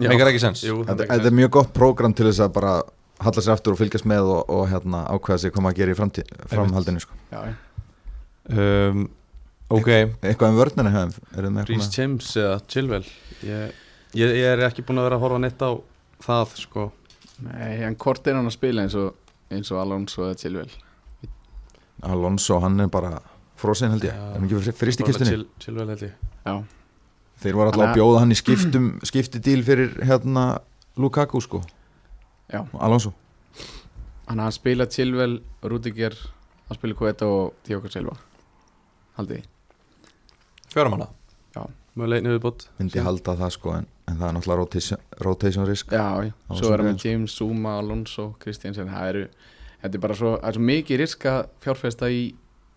S4: Já.
S1: Megar ekki sens
S4: Jú,
S2: Þetta þetta er mjög gott prógram til þess að bara halla sér aftur og fylgjast með og, og hérna, ákveða sig hvað maður gerir í framtí- framhaldinu sko.
S3: já, já.
S1: um, Ok,
S2: Eitthvað um vörnina hefðum, er það með
S4: Rhys
S2: eitthvað?
S4: James eða Chilwell ég, ég, ég er ekki búin að vera að horfa neitt á það sko.
S3: Nei, en hvort er hann að spila eins og, eins og Alonso eða Chilwell
S2: Alonso, hann er bara frosin held ég,
S4: Já.
S2: er hann ekki frist í
S4: Bara
S2: kistunni?
S4: Chil- Chilwell held ég
S3: Já,
S2: Þeir voru alltaf að
S3: Þannig að-
S2: bjóða hann í skiptum, [CLEARS THROAT] skiptidíl fyrir hérna Lukaku sko
S3: Já.
S2: Og Alonso
S3: hann hann spila Chilwell, Rudiger hann spila Kueta og Diogo Silva Haldið þið?
S1: fjórum hana
S4: Möguleg niðurbót
S2: myndi halda það sko en, en það er náttúrulega rotation, rotation risk
S3: Já, já,
S2: Það var
S3: svo
S2: svo
S3: er hann
S2: gæðin,
S3: með James, Zuma, Alonso, Kristiansen það eru, þetta er bara svo, það er svo mikið riska fjárfesta í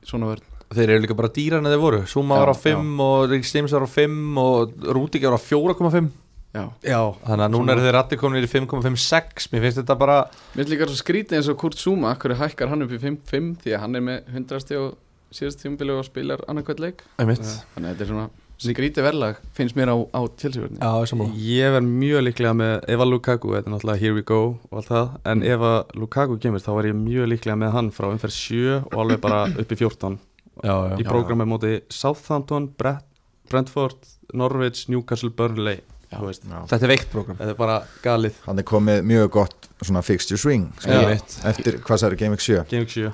S3: svona vörn
S1: Þeir eru líka bara dýrar en þeir voru Suma
S3: Já,
S1: var á 5 og Rick James var á 5 og Rúdík var á 4,5
S3: Já,
S4: Já,
S1: Þannig að núna eru þeir allir komin í 5,56 Mér finnst þetta bara
S3: mér finnst líka svo skrítið eins og Kurt Zuma hverju hækkar hann upp í 5-5 því að hann er með 100 stig og síðast tímabili og spilar annarkvæmt leik
S1: Einmitt.
S3: þannig að þetta er svona skrítið verðlag finnst mér á, á Chelsea-vörni
S1: Já, ég er sammála.
S4: Ég verð mjög líklega með Ef að Lukaku, þetta er náttúrulega here we go og allt það En ef að Lukaku kemur þá er ég mjög líklega með hann frá umferð 7 og alveg bara upp í 14
S1: já,
S4: Í
S1: já.
S4: prógramið móti Southampton, Brett, Brentford, Norwich, Newcastle, Burnley Þú veist,
S1: Þetta er veikt program
S4: þetta er bara galið
S2: Hann er komið mjög gott svona fixture swing sko,
S4: Já.
S1: Einmitt.
S2: Eftir, hvað særi, Game Week 7
S4: Game Week 7,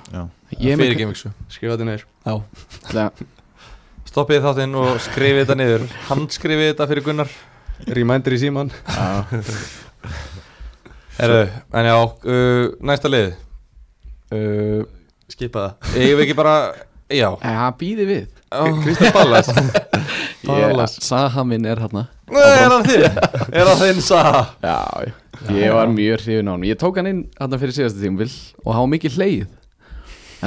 S3: Ég
S1: Fyrir
S3: er með
S1: geimvíksu
S4: skrifa þetta neyr
S1: Já
S3: Ætla-
S1: Stoppið þáttinn og skrifið þetta niður Handskrifið þetta fyrir Gunnar
S4: Reminder í síman
S1: Herðu, en já, uh, næsta lið uh,
S4: Skipa það
S1: Ég við ekki bara, já
S3: Eh, það býði við
S1: Kristján [LAUGHS] Ballas
S4: Palace.
S3: Ég- Saha minn er hann
S1: Er það þinn? Er það þinn Saha?
S3: Já, já. ég var mjög hrifin á hann Ég tók hann inn hann fyrir síðasta tímabil og hann var mikið hleið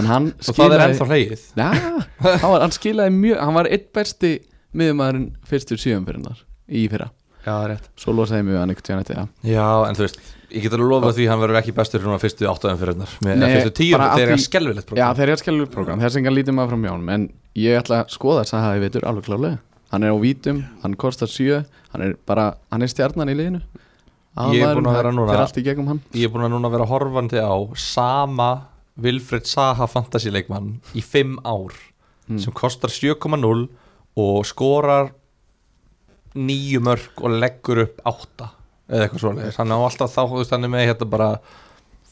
S3: En hann
S1: Og það er
S3: skilaði
S1: ennþá hlegið
S3: Já, hann, var, hann skilaði mjög Hann var eitt besti miðumæðurinn fyrstur sjöumfyrinnar í fyrra
S4: Já, rétt
S3: Svo losaði mjög hann eitthvað tjána til
S1: Já, en þú veist, ég get alveg lofað því hann verður ekki bestur svona fyrstu áttuðan fyrir hennar með
S3: Nei,
S1: fyrstu tíu,
S3: bara af
S1: þeir eru
S3: því-
S1: skelvilegt
S3: Já,
S1: program
S3: þeir eru skjálfur program, þess engan lítið maður frá mjánum En ég ætla að skoða Saha í veitur alveg klálega Hann er á vítum, hann kostar sjö Hann er bara, hann er stjarnan í liðinu
S1: Ég er búinn að
S3: Aðalmaðurinn,
S1: vera
S3: það
S1: núna-
S3: Fer allt í gegnum hann
S1: Ég er búin að núna vera horfandi á sama Vilfred Saha fantasy leikmann í fimm ár
S3: Hmm.
S1: sem kostar 7,0 og skorar nýju mörg og leggur upp átta eða eitthvað svoleiðis hann á alltaf þá, þú veist, hann er með hérna bara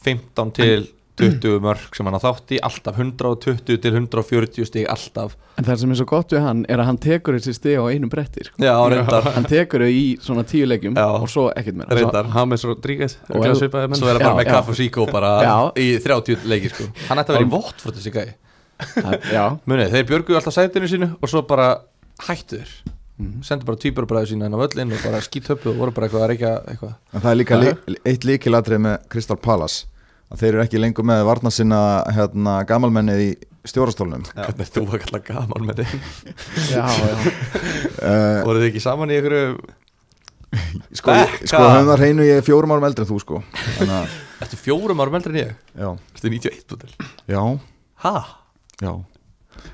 S1: 15
S3: [CLEARS THROAT]
S1: til 20 mörg sem hann á þátt í, alltaf 120 til 140 stig alltaf
S3: En það sem er svo gott við hann er að hann tekur þessi stið á einu bretti sko.
S1: Já, reyndar
S3: Hann tekur þau í svona tíu leikjum
S1: Já.
S3: og svo ekkert meira
S1: Reyndar.
S4: Hames Rodríguez
S3: Og
S4: Og
S3: ef-
S4: svipaði menn
S1: Svo er það bara
S3: Já,
S1: með
S3: já.
S1: kaff og síkó bara
S3: Já.
S1: í 30 leiki sko Hann ætti að vera í vott fyrir þessi gæi
S3: Það- Já,
S1: Munið, þeir björguðu alltaf sætinu sínu og svo bara hættu þeir
S2: Mhm.
S1: Sendu bara týpurbræðu sína inn á völlinn og bara skítöpuðu og voru bara eitthvað að reykja eitthvað
S2: En það er líka li, eitt líkilatrið með Crystal Palace að þeir eru ekki lengur með varna sinna hérna, gamalmennið í stjórastólnum
S1: Hvernig þú var kallar gaman með þig
S3: já, já
S2: uh,
S1: Voruð þið ekki saman í ykkur
S2: Sko,
S1: Bekka!
S2: sko höfum það hreinu ég er fjórum árum eldri en þú sko Þannig að,
S1: Þetta er fjórum árum eldri en ég
S2: já,
S1: Þetta er 91 bútil
S2: já,
S1: Ha?
S2: já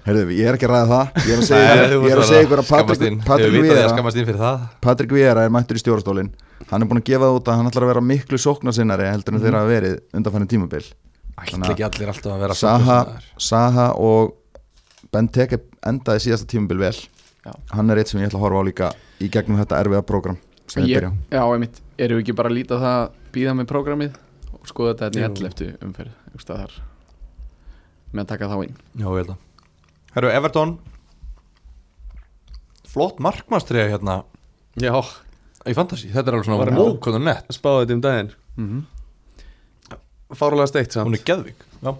S2: Herðu, ég er ekki að ræða það Ég er að segja
S1: Nei,
S2: ykkur-
S1: þú
S2: ég
S1: mátt
S2: er að
S1: vera
S2: segja ykkur að
S1: skammast
S2: Patrik,
S1: þín. Hefur
S2: Patrik
S1: vitað því að
S2: Viera
S1: skammast þín fyrir það
S2: Patrik Viera er mættur í stjórastólinn hann er búin að gefa það út að hann ætlar að vera miklu sóknarsinnari heldur en
S1: Mhm.
S2: þeirra að verið undanfærin tímabil
S1: Ætla ekki allir alltaf að vera
S2: Saha,
S1: sóknarsinnaðir.
S2: Saha og Benteke endaði síðasta tímubil vel
S3: Já.
S2: hann er eitt sem ég ætla að horfa á líka í gegnum þetta erfiða program sem við
S3: Ég-
S2: byrja á.
S3: Já, einmitt, erum við ekki bara að líta á það býða með prógramið og skoða þetta hérna í
S4: Jú.
S3: all eftir umferð einhvers staðar þar. með að taka þá inn
S1: Já, ég held að Herru, Everton Flott markmannstriða hérna
S4: Já,
S1: Í fantasy, þetta er alveg
S4: Var
S1: svona
S4: hún-
S1: Ókvæðan nett,
S4: spáði þetta um daginn
S3: mm -hmm.
S4: Fárlega steikt samt
S1: Mhm. hún er geðvik Já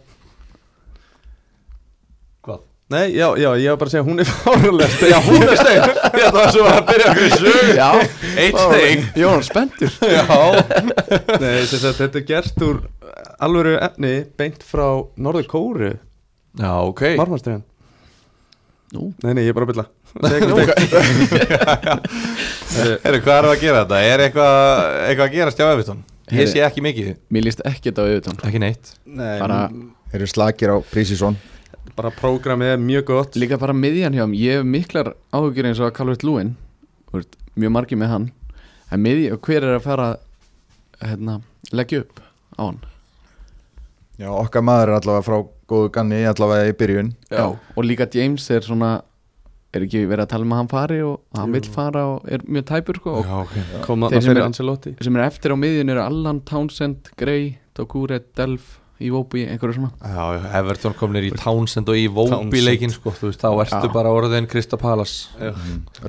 S1: Hvað?
S4: Nei, já, já, ég var bara að segja hún er [LAUGHS] fárlega
S1: [LAUGHS]
S4: steikt
S1: Já, hún er stein Þetta var svo að byrja okkur í sög
S3: Já,
S1: Eitt stein
S3: Jón, spenntur
S1: Já
S4: [LAUGHS] Nei, sem sagt, þetta er gert úr alvöru efni beint frá Norður Kóru
S1: Já, ok
S4: Marmarstriðan
S3: Nú.
S4: Nei, nei, ég er bara
S1: [LAUGHS]
S4: að bylla Nei,
S1: Herru, hvað erum við að gera þetta? Er eitthvað eitthvað að gerast hjá Everton? Ég sé ekki mikið
S3: Mér líst ekkert á auðvitað
S1: Ekki neitt
S3: bara,
S2: Þeir eru slakir á Prísísson
S4: bara prógramið er mjög gott
S3: Líka bara miðjan hjá mér, ég hef miklar áhugjur eins og að Calvert Lúin mjög margir með hann en miðjan, hver er að fara hérna, leggja upp á hann
S2: Já, okkar maður er allavega frá góðu ganni allavega í byrjun
S3: Já. og líka James er svona er ekki verið að tala um að hann fari og og hann
S4: Jú.
S3: vill fara og er mjög tæpur sko, og
S1: Já, ok
S4: koma
S3: Þeir
S4: þarna
S3: sem
S4: fyrir
S3: eru-
S4: Ancelotti
S3: sem er eftir á miðjun eru Allan, Townsend, Gray Tokure, Delf, Iwobi, einhverju svona
S1: Já, já, Everton komnir í Townsend og í Vóbi
S4: Townsend.
S1: leikin sko, þú veist, þá ertu
S3: Já.
S1: bara orðin Krista Palas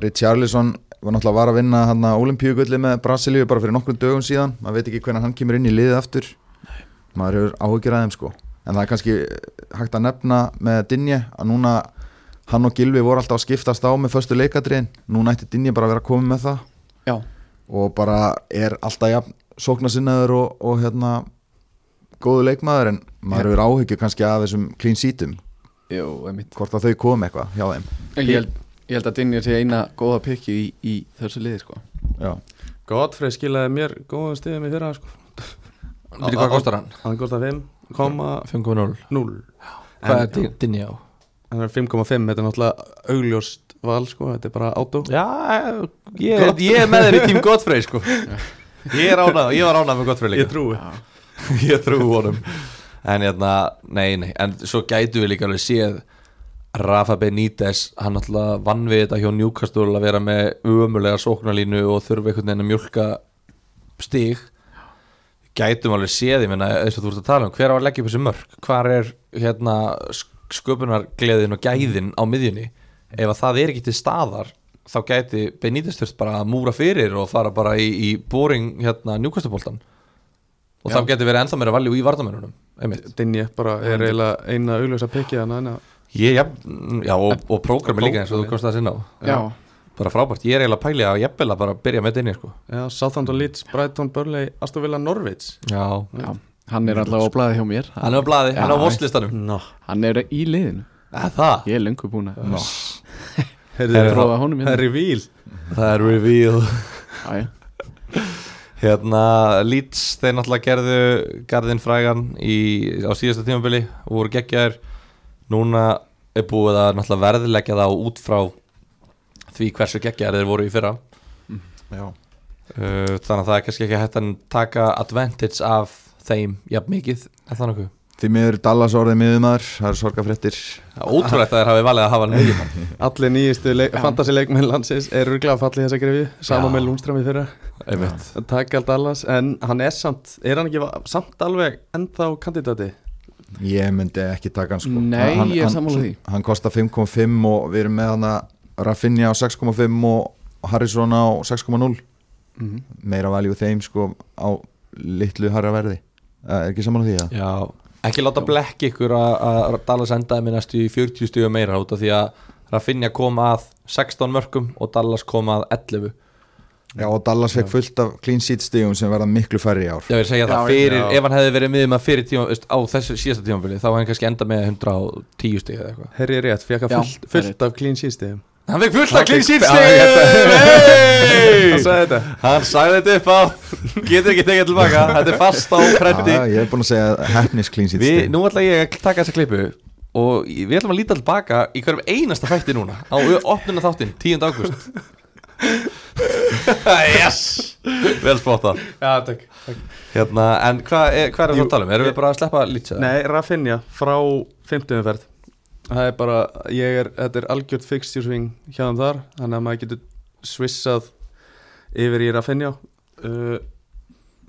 S2: Richarlison Mm. var náttúrulega var að vinna hann að olimpíugulli með Brasilíu bara fyrir nokkrum dögum síðan maður veit ekki hvernig hann kemur inn í liðið aftur maður hefur áhyggjur að þeim sko en það er kannski eh, hægt að nefna með Dinje að núna hann og Gilvi voru alltaf að skiptast á með föstu leikadriðin núna ætti Dinje bara að vera að koma með það
S3: Já,
S2: og bara er alltaf jafn sóknasinnaður og, og hérna góðu leikmaður en maður hefur áhyggjur kannski að þessum clean seatum
S3: Jó, einmitt
S2: hvort að þau kom eitthvað hjá þeim
S3: Ég held, ég held að Dinja sé eina góða pikki í, í þessu liði sko
S2: Já.
S4: Godfrey skilaði mér góðan stigum í fyrra sko.
S1: Veitir hvað kostar hann?
S4: hann kostar 5,0
S1: 5.0 Hvað er
S4: En-
S1: dinni á?
S4: hann er 5,5 þetta er náttúrulega augljóst val sko. þetta er bara átó
S1: Já, ég, ég er með þér í tím [LAUGHS] Godfrey sko Ég er ánað, ég var ánað með Godfrey
S4: ég
S1: líka
S4: trúi
S3: Já,
S1: [LAUGHS] Ég trú honum En hérna, nei, nei, en svo gætu við líka alveg séð Rafa Benítez, hann alltaf vann við þetta hjá Newcastle að vera með umulega sóknarlínu og þurfa einhvern veginn að mjölka stig gætum alveg séð, ég meina eins og þú ert að tala um, hver á að leggja upp þessi mörg hvar er hérna sk- sköpunargleðin og gæðin á miðjunni ef að það er ekki til staðar þá gæti Benítez þurft bara að múra fyrir og fara bara í, í boring hérna njúkastuboltan og
S3: Já.
S1: þá gæti verið ennþá meira valjú í vardamennunum einmitt.
S4: Dinje bara er eiginlega eina augljósa hérna. pekið hann hann
S1: Ég, já, já og, og prógrami líka eins og þú komst að sinna á
S3: já,
S1: bara frábært, ég er eiginlega pælið að jafnvel að bara byrja með dinni sko.
S4: já, Southampton Leeds, Brighton, Burnley Aston Villa, Norwich
S1: Já,
S3: já. Hann er allavega á blaði hjá mér
S1: hann er á blaði, hann er á vorslistanum
S4: no.
S3: Hann er í liðinu,
S1: Það,
S3: ég er lengur búin að
S4: Heyrðu,
S1: Heyrðu,
S4: það
S3: prófa honum
S4: það er
S3: hérna
S4: reveal
S1: það er reveal
S3: Já, já,
S1: Hérna, Leeds, þeir náttúrulega gerðu Garðin Frægan í, á síðasta tímabili og voru geggjaðir Núna er búið að náttúrulega verðleggja það út frá því hversu geggjaðir þeir voru í fyrra
S2: Já.
S1: Uh, Þannig að það er kannski ekki hægt að taka advantage af þeim jafn mikið Er það nokkuð?
S2: Því miður Dallas orðið miðumar, það eru sorgafréttir
S1: Það er Ótrúlegt að þeir hafi valið að hafa hann mikið
S4: allir nýjistu leik,
S3: Já.
S4: fantasy leikmenn landsins eru glæð fallið þessa grefi saman
S1: Já.
S4: með Lundströmi fyrra
S1: Einmitt.
S4: takk allt allas en hann er samt er hann ekki va- samt alveg ennþá kandidati
S2: Ég myndi ekki taka hann sko
S3: Nei,
S2: hann,
S3: ég er
S2: hann-
S3: sammála því.
S2: Hann kostar 5,5 og við erum með hann að Raffinja á 6,5 og Harrison á 6,0
S3: mhm.
S2: Meira valjú þeim sko á litlu harra verði Eh, Er ekki saman á því að?
S1: Já, ekki láta blekk ykkur að, að Dallas endaði með næstu í 40 stíu meira út af því að Rafinha kom að 16 mörgum og Dallas kom að 11
S2: Já, og Dallas fekk fullt af clean sheet stigum sem verða miklu færri í ár
S1: Já, ég vil segja
S3: Já,
S1: það, fyrir,
S4: já.
S1: ef hann hefði verið miðum að fyrir tíma, veist, á þessu síðasta tímabili þá hefði hann kannski endað með 110 stíu eða eitthvað
S4: herri rétt, fekk hann
S3: Já,
S4: fullt, fullt af clean sheet stigum
S1: Hann fekk fullt af clean sheet [LAUGHS]
S4: hann
S1: stíu
S4: sagði þetta
S1: Hann sagði þetta upp á getur ekki tekið tilbaka, þetta er fast á krendi
S2: Já, ég er búin að segja hefnis clean sheet
S1: Við,
S2: stigum
S1: nú ætla ég að taka þessa klippu og við ætlum að líta tilbaka í hverjum einasta fætti núna á opnuna þáttinn, 10. águst Yes Vel spotta
S4: já, takk, takk.
S1: hérna, En hvað er, hva er það
S4: Jú,
S1: að tala um? Erum við
S4: ég-
S1: bara að sleppa lítið?
S4: nei, Rafinha frá 50 umferð það er bara, ég er, þetta er algjört fixture swing hjá þeim þar þannig að maður getur svissað yfir í Rafinha uh,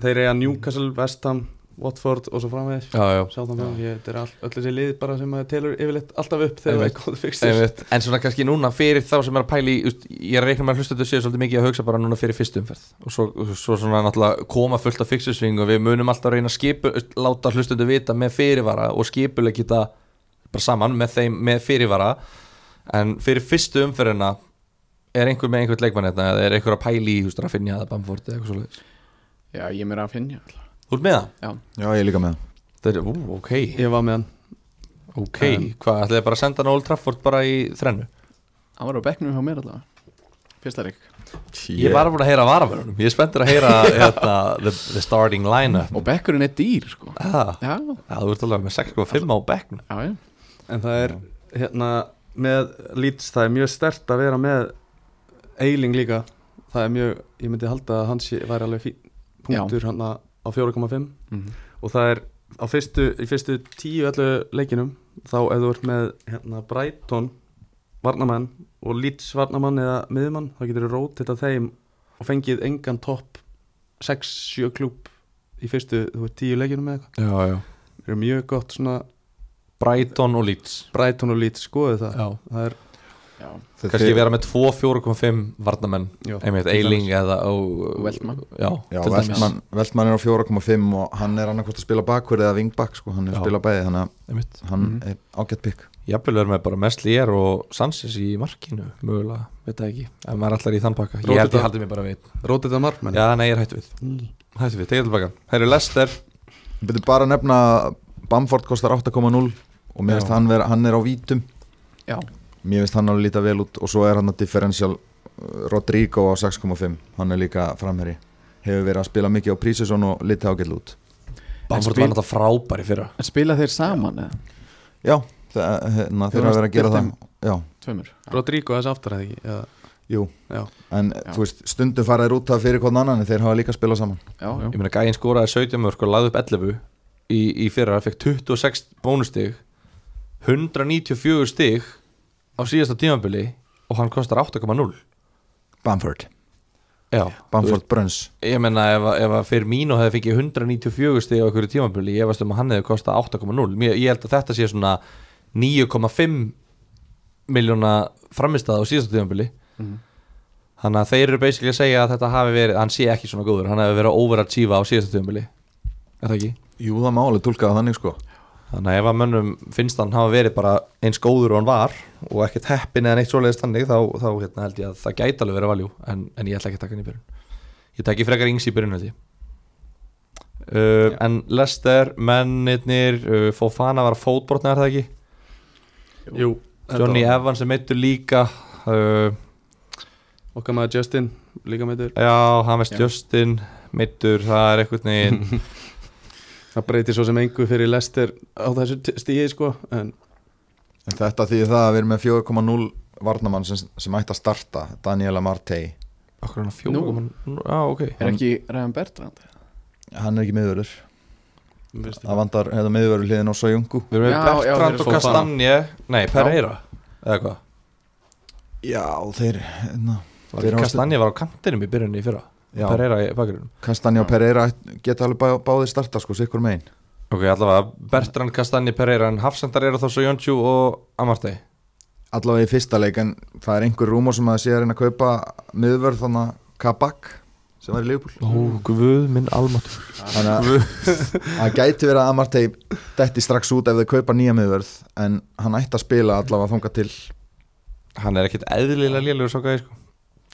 S4: þeir eiga Newcastle, West Ham Watford og svo framvegis
S1: já, já.
S4: Southampton, ég- þetta er all, öll þessi lið bara sem maður telur yfirleitt alltaf upp þegar það
S1: Einmitt.
S4: er góð fixture
S1: Einmitt. En svona kannski núna fyrir þá sem er að pæli ég reikna með að hlusta þetta séu svolítið mikið að hugsa bara núna fyrir fyrstu umferð og svo, svo svona náttúrulega koma fullt af fixusving og við munum alltaf reyna að skipu, láta hlusta þetta vita með fyrirvara og skipuleg geta bara saman með þeim með fyrirvara en fyrir fyrstu umferðina er einhver með einhvern leikmann hérna eða er einhver að pæli í hústur að finja eða Bamford eða eitthvað svolítið
S3: Já, ég er meira að finna alltaf.
S1: Þú ert með það?
S2: Já, ég er líka með það.
S1: Það er, ú, ok,
S4: ég var með hann
S1: ok, hvað, ætlaði bara að senda hann á Old Trafford bara í þrennu?
S3: Hann var á bekknum hjá mér alltaf Fyrsta leik
S1: Ég er bara búin að heyra varamörunum Ég er spenntur að [LAUGHS] heyra hérna, the, the starting line-up
S3: Og bekkurinn er dýr sko
S1: ah,
S3: Já,
S1: ja, Þú ert alveg með 6.5 á bekkn
S3: já, já
S4: en það er hérna með Leeds, það er mjög stert að vera með Eiling líka það er mjög, ég myndi halda að hans væri alveg fín punktur hann á 4,5
S3: Mhm.
S4: og það er á fyrstu, í fyrstu 10-11 leikinum þá ef þú ert með hérna, Brighton varnamann og Leeds varnamann eða miðumann þá getur þú rót þetta þeim og fengið engan topp 6-7 klúb í fyrstu þú veist 10 leikinum eða eitthvað
S1: Já, já
S4: það er mjög gott svona
S1: Brighton og Leeds
S4: Brighton og Leeds skoðu það
S1: Já
S4: það er
S3: Já,
S2: Þeir-
S1: Kannski
S2: þeir-
S1: vera með 2 4.5 varnamenn
S4: já,
S1: Einmitt, Eiling eða og,
S3: Veltmann.
S1: Já,
S2: Já,
S1: til dæmis.
S2: Veltmann, Veltmann er á 4,5 og hann er annarkvort að spila bakverð eða vingbak sko, hann er
S1: Já.
S2: að spila bæði þannig að
S1: Einmitt
S2: hann
S3: Mhm.
S2: er ágætt pikk
S1: Jafnvel verður með bara Messlier og Sanchez í markinu Mögulega, veit það ekki Ef maður er allar í þann pakka Ég held
S4: Rótita.
S1: ég haldi mig bara við
S4: rót þetta markmann
S1: Já, nei, ég er hættu við Hættu við, tegja tilbaka Herru Lester
S2: Við byrjum bara að nefna að Bamford kostar 8,0 og mér
S1: Já.
S2: finnst hann, vera- hann er á vítum
S3: já,
S2: mér finnst hann alveg líta vel út og svo er hann að differential uh, Rodrigo á 6,5 hann er líka framherri hefur verið að spila mikið á prísesson og liti ágætt út
S1: Bamford
S3: spil-
S1: var náttúrulega frábæri fyrra
S3: en spila þeir saman eða?
S2: Já, það, hérna, þeir
S3: Þeir
S2: hafa verið að gera
S3: varst
S2: það
S3: deilt
S2: Já,
S3: Tveimur
S4: Rodrigo þess aftur eða ekki eða,
S2: jú
S4: já,
S2: En
S3: Já.
S2: þú veist, stundum fara þeir út af fyrir hvern annan en þeir hafa líka spilað saman
S3: Já, já,
S1: ég meina gæinn skoraði 17 mörg og lagði upp 11 í, í fyrra, fekk 26 bónustig 194 stig á síðasta tímabili og hann kostar 8,0
S2: Bamford,
S1: já,
S2: Bamford Bruns
S1: ég meina ef, að- ef að fyrir mínu hefði fengið 194 stig á einhverju tímabili, ég veist um að hann hefði kostað 8,0, Mér- ég held að þetta sé svona 9,5 miljóna framistæða á síðasta tímabili
S3: Mhm.
S1: þannig að þeir eru basically að segja að þetta hafi verið, hann sé ekki svona góður hann hefði verið að overachieva á síðasta tímabili er það ekki?
S2: Jú, það má alveg tólka það þannig sko
S1: Þannig að ef að mönnum finnst hann hafa verið bara eins góður og hann var og ekkert heppin eða neitt svoleiðist þannig þá, þá hérna, held ég að það gæti alveg verið valjú en, en ég ætla ekki að taka hann í byrjun Ég tek í frekar yngs í byrjun held ég uh, En Lester, mennirnir, uh, Fofana var fótbrotna er það ekki?
S4: jú
S1: Johnny
S4: þetta var-
S1: Evans er meittur líka uh,
S4: okkar maður Justin líka meitur
S1: Já, Hamest
S3: Já.
S1: Justin meittur, það er einhvern
S3: [LAUGHS]
S1: veginn
S4: það breytir svo sem engu fyrir Lester á þessu t- stíi sko en
S2: En þetta því það að við erum með 4,0 varnamann sem, sem ætti að starta Daniela Martey
S1: Akkur hann að fjóðum Já, ok
S3: er ekki Ræðan Bertrand
S2: Hann er ekki miðvörður
S4: það
S2: Það vandar hefða miðvörður hliðin á Sojungu
S1: Við erum
S3: Já,
S1: með
S3: já,
S1: Bertrand
S3: þeir
S1: og
S3: eru
S4: Fofana.
S1: Kastanje Nei, Pereira Eða hvað?
S2: Já, þeir hérna. na,
S1: Var
S2: Þeir
S1: ekki
S2: hafa
S1: Kastanje var á kantinum í byrjunni í fyrra
S2: Já.
S1: Pereira í bakgrunum
S2: Kastanja og Pereira geta alveg bá, báðir starta sko, sikkur megin
S1: Ok, allavega Bertrand Kastanje Pereira en hafsendar eru þá svo Jónsjú og Amartey
S2: Allavega í fyrsta leik en það er einhver rúmur sem að sé að reyna að kaupa miðvörð þannig að Kabak sem var í Leifbúl
S1: Ó, guð minn almatur
S2: [LAUGHS] Þannig að það gæti verið að Amartey detti strax út ef þau kaupa nýja miðvörð en hann ætti að spila allavega þanga til
S1: Hann er ekkit eðlilega lélugur svo gæði sko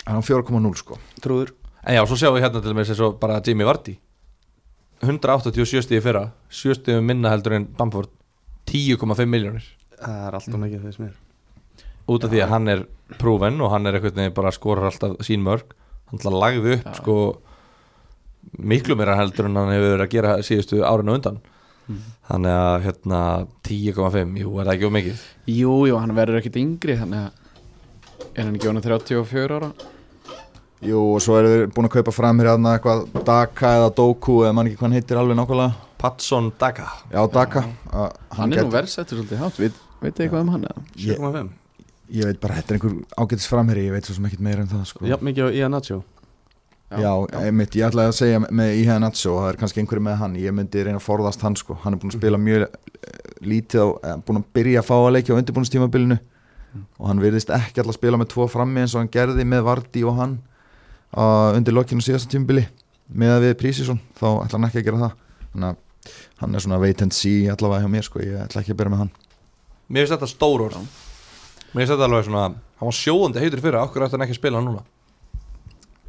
S2: hann á 4,0 sko
S4: trúður
S1: En já, svo sjáum við hérna til mér sér svo bara Jimmy Vardy 187 stíði fyrra 7 stíði minna heldur en Bamford 10,5 miljónir
S4: það er alltaf mikið þess mér
S1: Út af því að hann er prúven og hann er einhvern veginn bara skorar alltaf sín mörg Hann ætla lagði upp
S3: Já.
S1: sko miklu meira heldur en hann hefur verið að gera síðustu árin og undan Þannig að hérna 10,5, jú, er það ekki of mikið
S3: Jú, jú, hann verður ekkit yngri Þannig að Er hann ekki honum 34 ára?
S2: Jú og svo eru þeir búin að kaupa fram hér aðna eitthvað Daka eða Doku eða mann ekki hvað hann heitir alveg nákvæmlega
S1: Patson Daga
S2: Já Daka að
S3: Hann, er nú
S2: gæti-
S3: verðsettur svolítið hátt Við veit þið eitthvað um hann eða?
S2: ég,
S4: 7,5
S2: ég veit bara, þetta er einhver ágætis framherri ég veit svo sem ekkert meira en það sko.
S4: Jafn mikið á Ian Nacho
S2: já, einmitt, ég ætlaði að segja með Íhæða Natsjó það er kannski einhverju með hann, ég myndi reyna að forðast hann sko. hann er búin að spila mjög eh, lítið og búin að byrja að fá að leikja á undirbúinnstímabilinu og hann virðist ekki alltaf að spila með tvo frammi eins og hann gerði með Vardí og hann uh, undir lokinu síðasta tímabili með að við Prísísson, þá ætla hann ekki að gera það þannig að hann er svona wait and see allavega hjá mér sko, ég ætla ekki að byrja með hann
S1: Mér finnst þetta stór orð Mér finnst þetta alveg svona Hann var sjóðandi heitur fyrir, okkur ætti hann ekki að spila núna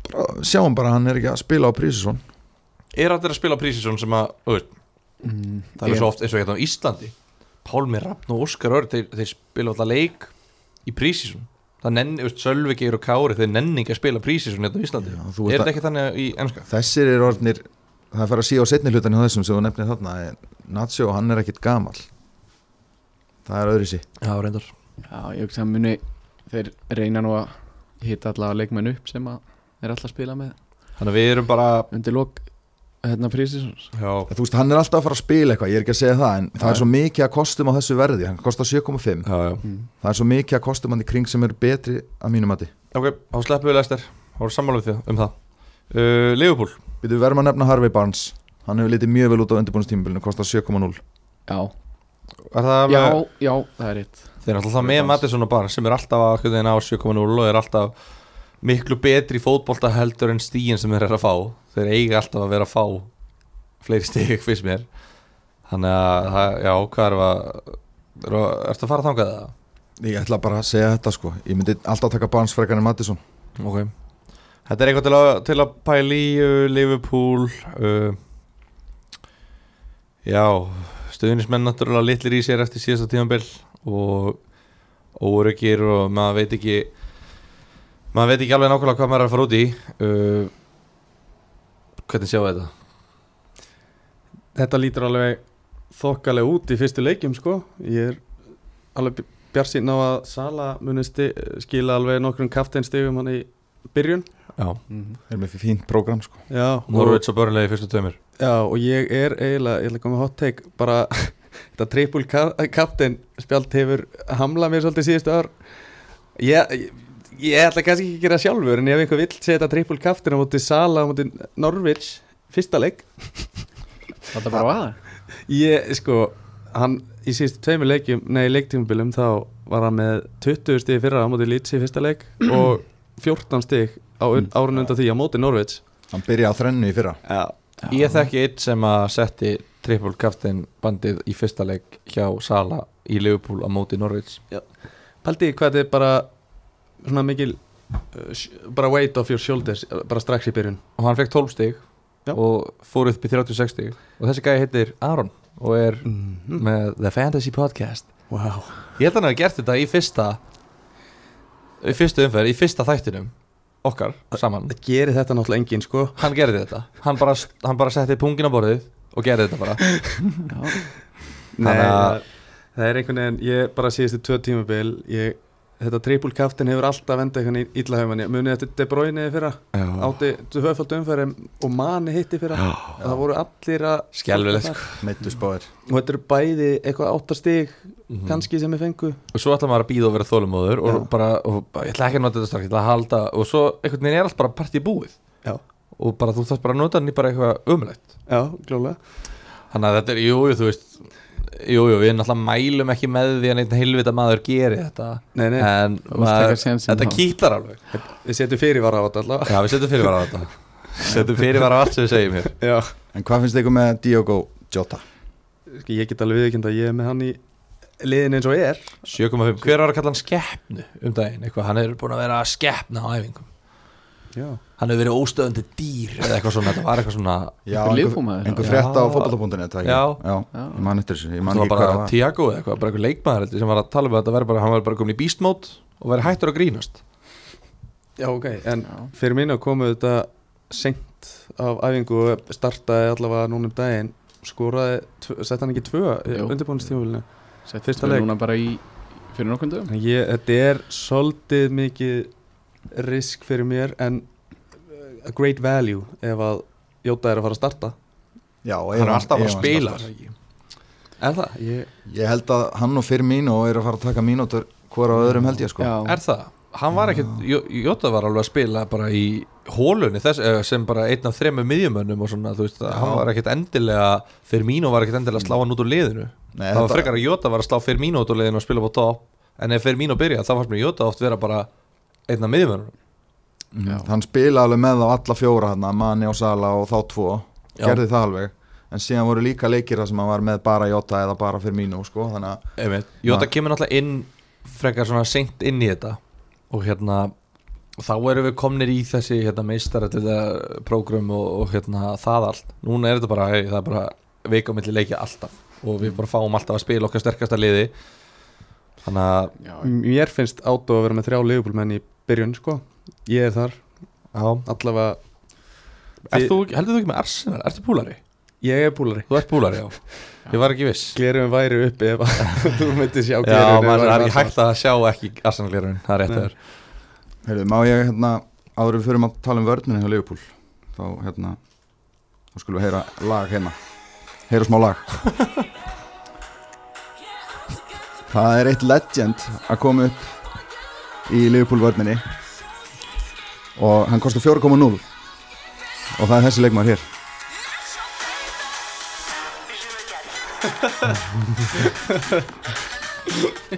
S2: bara, sjáum bara að hann er ekki að spila á Prísísson
S1: Er allir að spila prísísson sem að þú veist,
S3: Mm,
S1: Það er svo oft eins og hérna á Íslandi Pálmi Rappn og Óskar Örn Þeir, þeir spila alltaf leik í prísísson Það nenni, þú veist, Sölvi Geir og Kári Þeir nenni ekki að spila prísísson hérna á Íslandi
S2: Já, þú
S1: Er
S2: ert
S1: þetta
S2: að-
S1: ekki þannig í ennska?
S2: þessir eru orðnir það er farið að síða á setni hlutan hjá þessum sem þú nefnir þarna en Nacho, hann er ekkit gamal það er öðru sí
S1: Já, reyndar
S3: Já, ég hugsa að muni þeir reyna nú að hitta allavega leikmenn upp sem að er alltaf að spila með
S1: Þannig að við erum bara
S3: undir lok hérna prísins
S1: Já,
S2: þú veist, hann er alltaf að fara að spila eitthvað, ég er ekki að segja það en það
S3: Já.
S2: er svo mikið að kostum á þessu verði hann kostar 7,5,
S1: já, já
S3: mm.
S2: það er svo mikið að kostum hann í kring sem eru betri að mínum mati
S1: Ok, þá sleppum við Lester Þá erum sammála við þig um það uh, Leifupúl
S2: við verðum að nefna Harvey Barnes hann hefur litið mjög vel út á undirbúinstímabilinu, kostar 7,0
S3: Já,
S1: Er það alveg
S3: já, já, það er rétt
S1: Þeir eru alltaf með Mattisson og Barnes sem er alltaf að hvernig þeirna á 7.0 og er alltaf miklu betri í fótbolta heldur en stíin sem þeir eru að fá þeir eiga alltaf að vera að fá fleiri stík fyrst mér þannig að, það- já, hvað er að eru að- ertu að fara þangað það?
S2: ég ætla bara að segja þetta sko ég myndi alltaf taka Barnes frekar en Mattisson
S1: Ok Þetta er eitthvað til að, til að pæla í uh, Liverpool uh, Já Stöðunismenn náttúrulega litlir í sér eftir síðasta tímanbill og óryggir og maður veit ekki maður veit ekki alveg nákvæmlega hvað maður er að fara út í uh, Hvernig sjáu þetta?
S4: Þetta lítur alveg þokkalega út í fyrstu leikjum sko Ég er alveg bjarsýn á að Sala muni sti- skila alveg nokkrum kafteinstegum hann í byrjun
S1: Já,
S3: mm.
S2: er með fínt prógram sko
S4: Já, og,
S1: Norvits og Börnlegi fyrstu tveimur
S4: já, og ég er eiginlega, ég ætla að koma með hot take bara [LAUGHS] þetta triple ka- captain spjald hefur hamlað mér svolítið síðustu ár ég, ég, ég ætla kannski ekki að gera það sjálfur en ef einhver vill setja triple captain á móti Sala á móti Norwich fyrsta leik
S3: Það er bara aða
S4: Ég, sko, hann í síðustu tveimur leikjum, nei, leiktímabilum þá var hann með 20 stig í fyrra á móti Leeds í fyrsta leik og 14 stig á un- árun undan því á móti Norwich
S2: hann byrja á þrennu í fyrra
S4: Já,
S1: Ég þekki eitt sem að setti triple captain bandið í fyrsta leik hjá Sala í Liverpool á móti Norvits
S4: Paldi, hvað þetta er bara svona mikil uh, sh- bara weight off your shoulders uh, bara strax í byrjun
S1: og hann fekk 12 stig
S4: Já.
S1: og fór upp í 36 stig og þessi gæði heitir Aron og er með The Fantasy Podcast
S4: Wow
S1: Mm. ég held að hann hafi gert þetta í fyrsta í fyrstu umferð, í fyrsta þættinum okkar saman
S4: Það gerir þetta náttúrulega enginn sko
S1: hann gerði þetta, hann bara, hann bara setti pungin á borðið og gerði þetta bara
S3: Já,
S1: Nei,
S4: það- það er einhvern veginn, ég bara síðustu tvö tímabil ég, þetta triple captain hefur alltaf vendað einhvern veginn illa hefur manni munið eftir De Bruyne í fyrra átti höfald umfæri og mani hitti í fyrra það voru allir að
S1: Skelfilegt, sko.
S2: meittu spáðir
S4: og þetta eru bæði eitthvað áttastig
S1: Mhm.
S4: kannski sem við fengu
S1: og svo ætla maður að býða og vera þólumóður og
S4: Já.
S1: bara, og, bara, ég ætla ekki að nota þetta strax, ég ætla að halda og svo einhvern veginn er allt bara partí búið
S4: Já.
S1: og bara þú þarfst bara að nota hann í bara eitthvað umlægt
S4: já, glóðlega
S1: Þannig að þetta er, jú, jú, þú veist Jú, jú, við náttúrulega mælum ekki með því að einn hilvita maður geri þetta
S4: Nei, nei.
S1: En
S3: Þú mást taka
S1: maður,
S3: sénsinn
S1: þetta
S3: þá.
S1: kýtlar alveg
S4: við setjum fyrirvara á þetta allavega
S1: Já, við setjum fyrirvara á þetta Setjum fyrirvara á allt sem við segjum hér
S4: já.
S2: en hvað finnst ykkur með Diogo Jota?
S4: Sko, ég get alveg viðkynnt að ég er með hann í liðin eins og ég er
S1: 7,5, hver var að kalla hann skeppnu um daginn eitthvað, hann er búin að vera að skeppna á æfingum
S4: já.
S1: Hann hefur verið óstöðandi dýr eða eitthvað svona, þetta var eitthvað svona
S2: Já,
S3: Einhver
S2: einhver,
S3: Liverpool-maður?
S2: einhver
S1: Já.
S2: frétt á fótbolta.net það ekki?
S1: Já.
S2: já,
S3: Já.
S2: ég man eftir þessu ég man
S1: Það var
S2: ekki hvað
S1: bara
S2: það var
S1: Tiago eða eitthvað, bara eitthvað leikmaður heldur sem var að tala um að þetta verið bara, hann var bara komin í beast mode og verið hættur að grínast
S4: já, ok, en
S3: Já.
S4: fyrir mín að komu þetta seint af æfingu og startaði allavega núna um daginn skoraði, tvö- setti hann ekki tvö
S3: Jú.
S4: undirbúinnstímulina
S3: Sett
S4: Fyrsta
S3: við
S4: leik.
S3: Núna bara í fyrir nokkrum dögum
S4: ég, þetta er svolítið mikið risk fyrir mér en a great value ef að Jóta er að fara að starta
S2: já,
S1: Hann er alltaf bara að spila Er það?
S4: ég,
S2: Ég held að hann og fyrir mínu eru að fara að taka mínútur hvora á öðrum held ég sko
S3: Já.
S1: Er það? Hann var ekkert, Jó- Jóta var alveg að spila bara í hólunni þess, eh, sem bara einn af þremur miðjumönnum og svona, þú veist, að hann var ekkert endilega fyrir mínu var ekkert endilega að slá hann út úr liðinu
S2: Nei,
S1: það var
S2: þetta-
S1: frekar að Jóta var að slá fyrir mínu út úr liðinu og spila upp á topp, en ef fyrir mínu byrja þá fannst mér Jóta oft vera bara einn af miðjumönnum
S2: Mhm. Hann spila alveg með á alla fjóra hann Mani og Sala og þá tvo
S1: Já.
S2: gerði það alveg en síðan voru líka leikir þar sem hann var með bara Jota eða bara fyrir mínu sko þannig að
S1: Jóta
S2: Já.
S1: kemur náttúrulega inn frekar svona seint inn í þetta og hérna þá erum við komnir í þessi hérna, meistar þetta prógram og, og hérna, það allt núna er þetta bara, hey, það er bara veikamilli leikja alltaf og við bara fáum alltaf að spila okkar sterkasta liði þannig að
S3: Já,
S4: mér finnst átó að vera með þrjá leifbólmenn í byrjun sko ég er þar,
S1: já,
S4: allavega
S1: er
S4: Þi-
S1: þú, ekki- heldur þú ekki með Arsenal, ertu búlari?
S4: ég er búlari
S1: Þú ert búlari, já, ég var ekki viss
S4: Glerum væri uppi ef að [LAUGHS] þú myndir sjá
S1: Já,
S4: gleraugun ef
S1: maður
S4: væri
S1: er ekki
S4: Arsenal.
S1: hægt að sjá ekki Arsenal lirun, það er rétt
S4: Nei.
S1: að þér
S2: heyrðu, má ég hérna áður en við förum að tala um vörninu hjá Leifupúl þá hérna þá skulum við heyra lag hérna heyra smá lag Það er eitt legend að koma upp í Leifupúl vörninni og hann kostar 4,0 og það er þessi leikmaður hér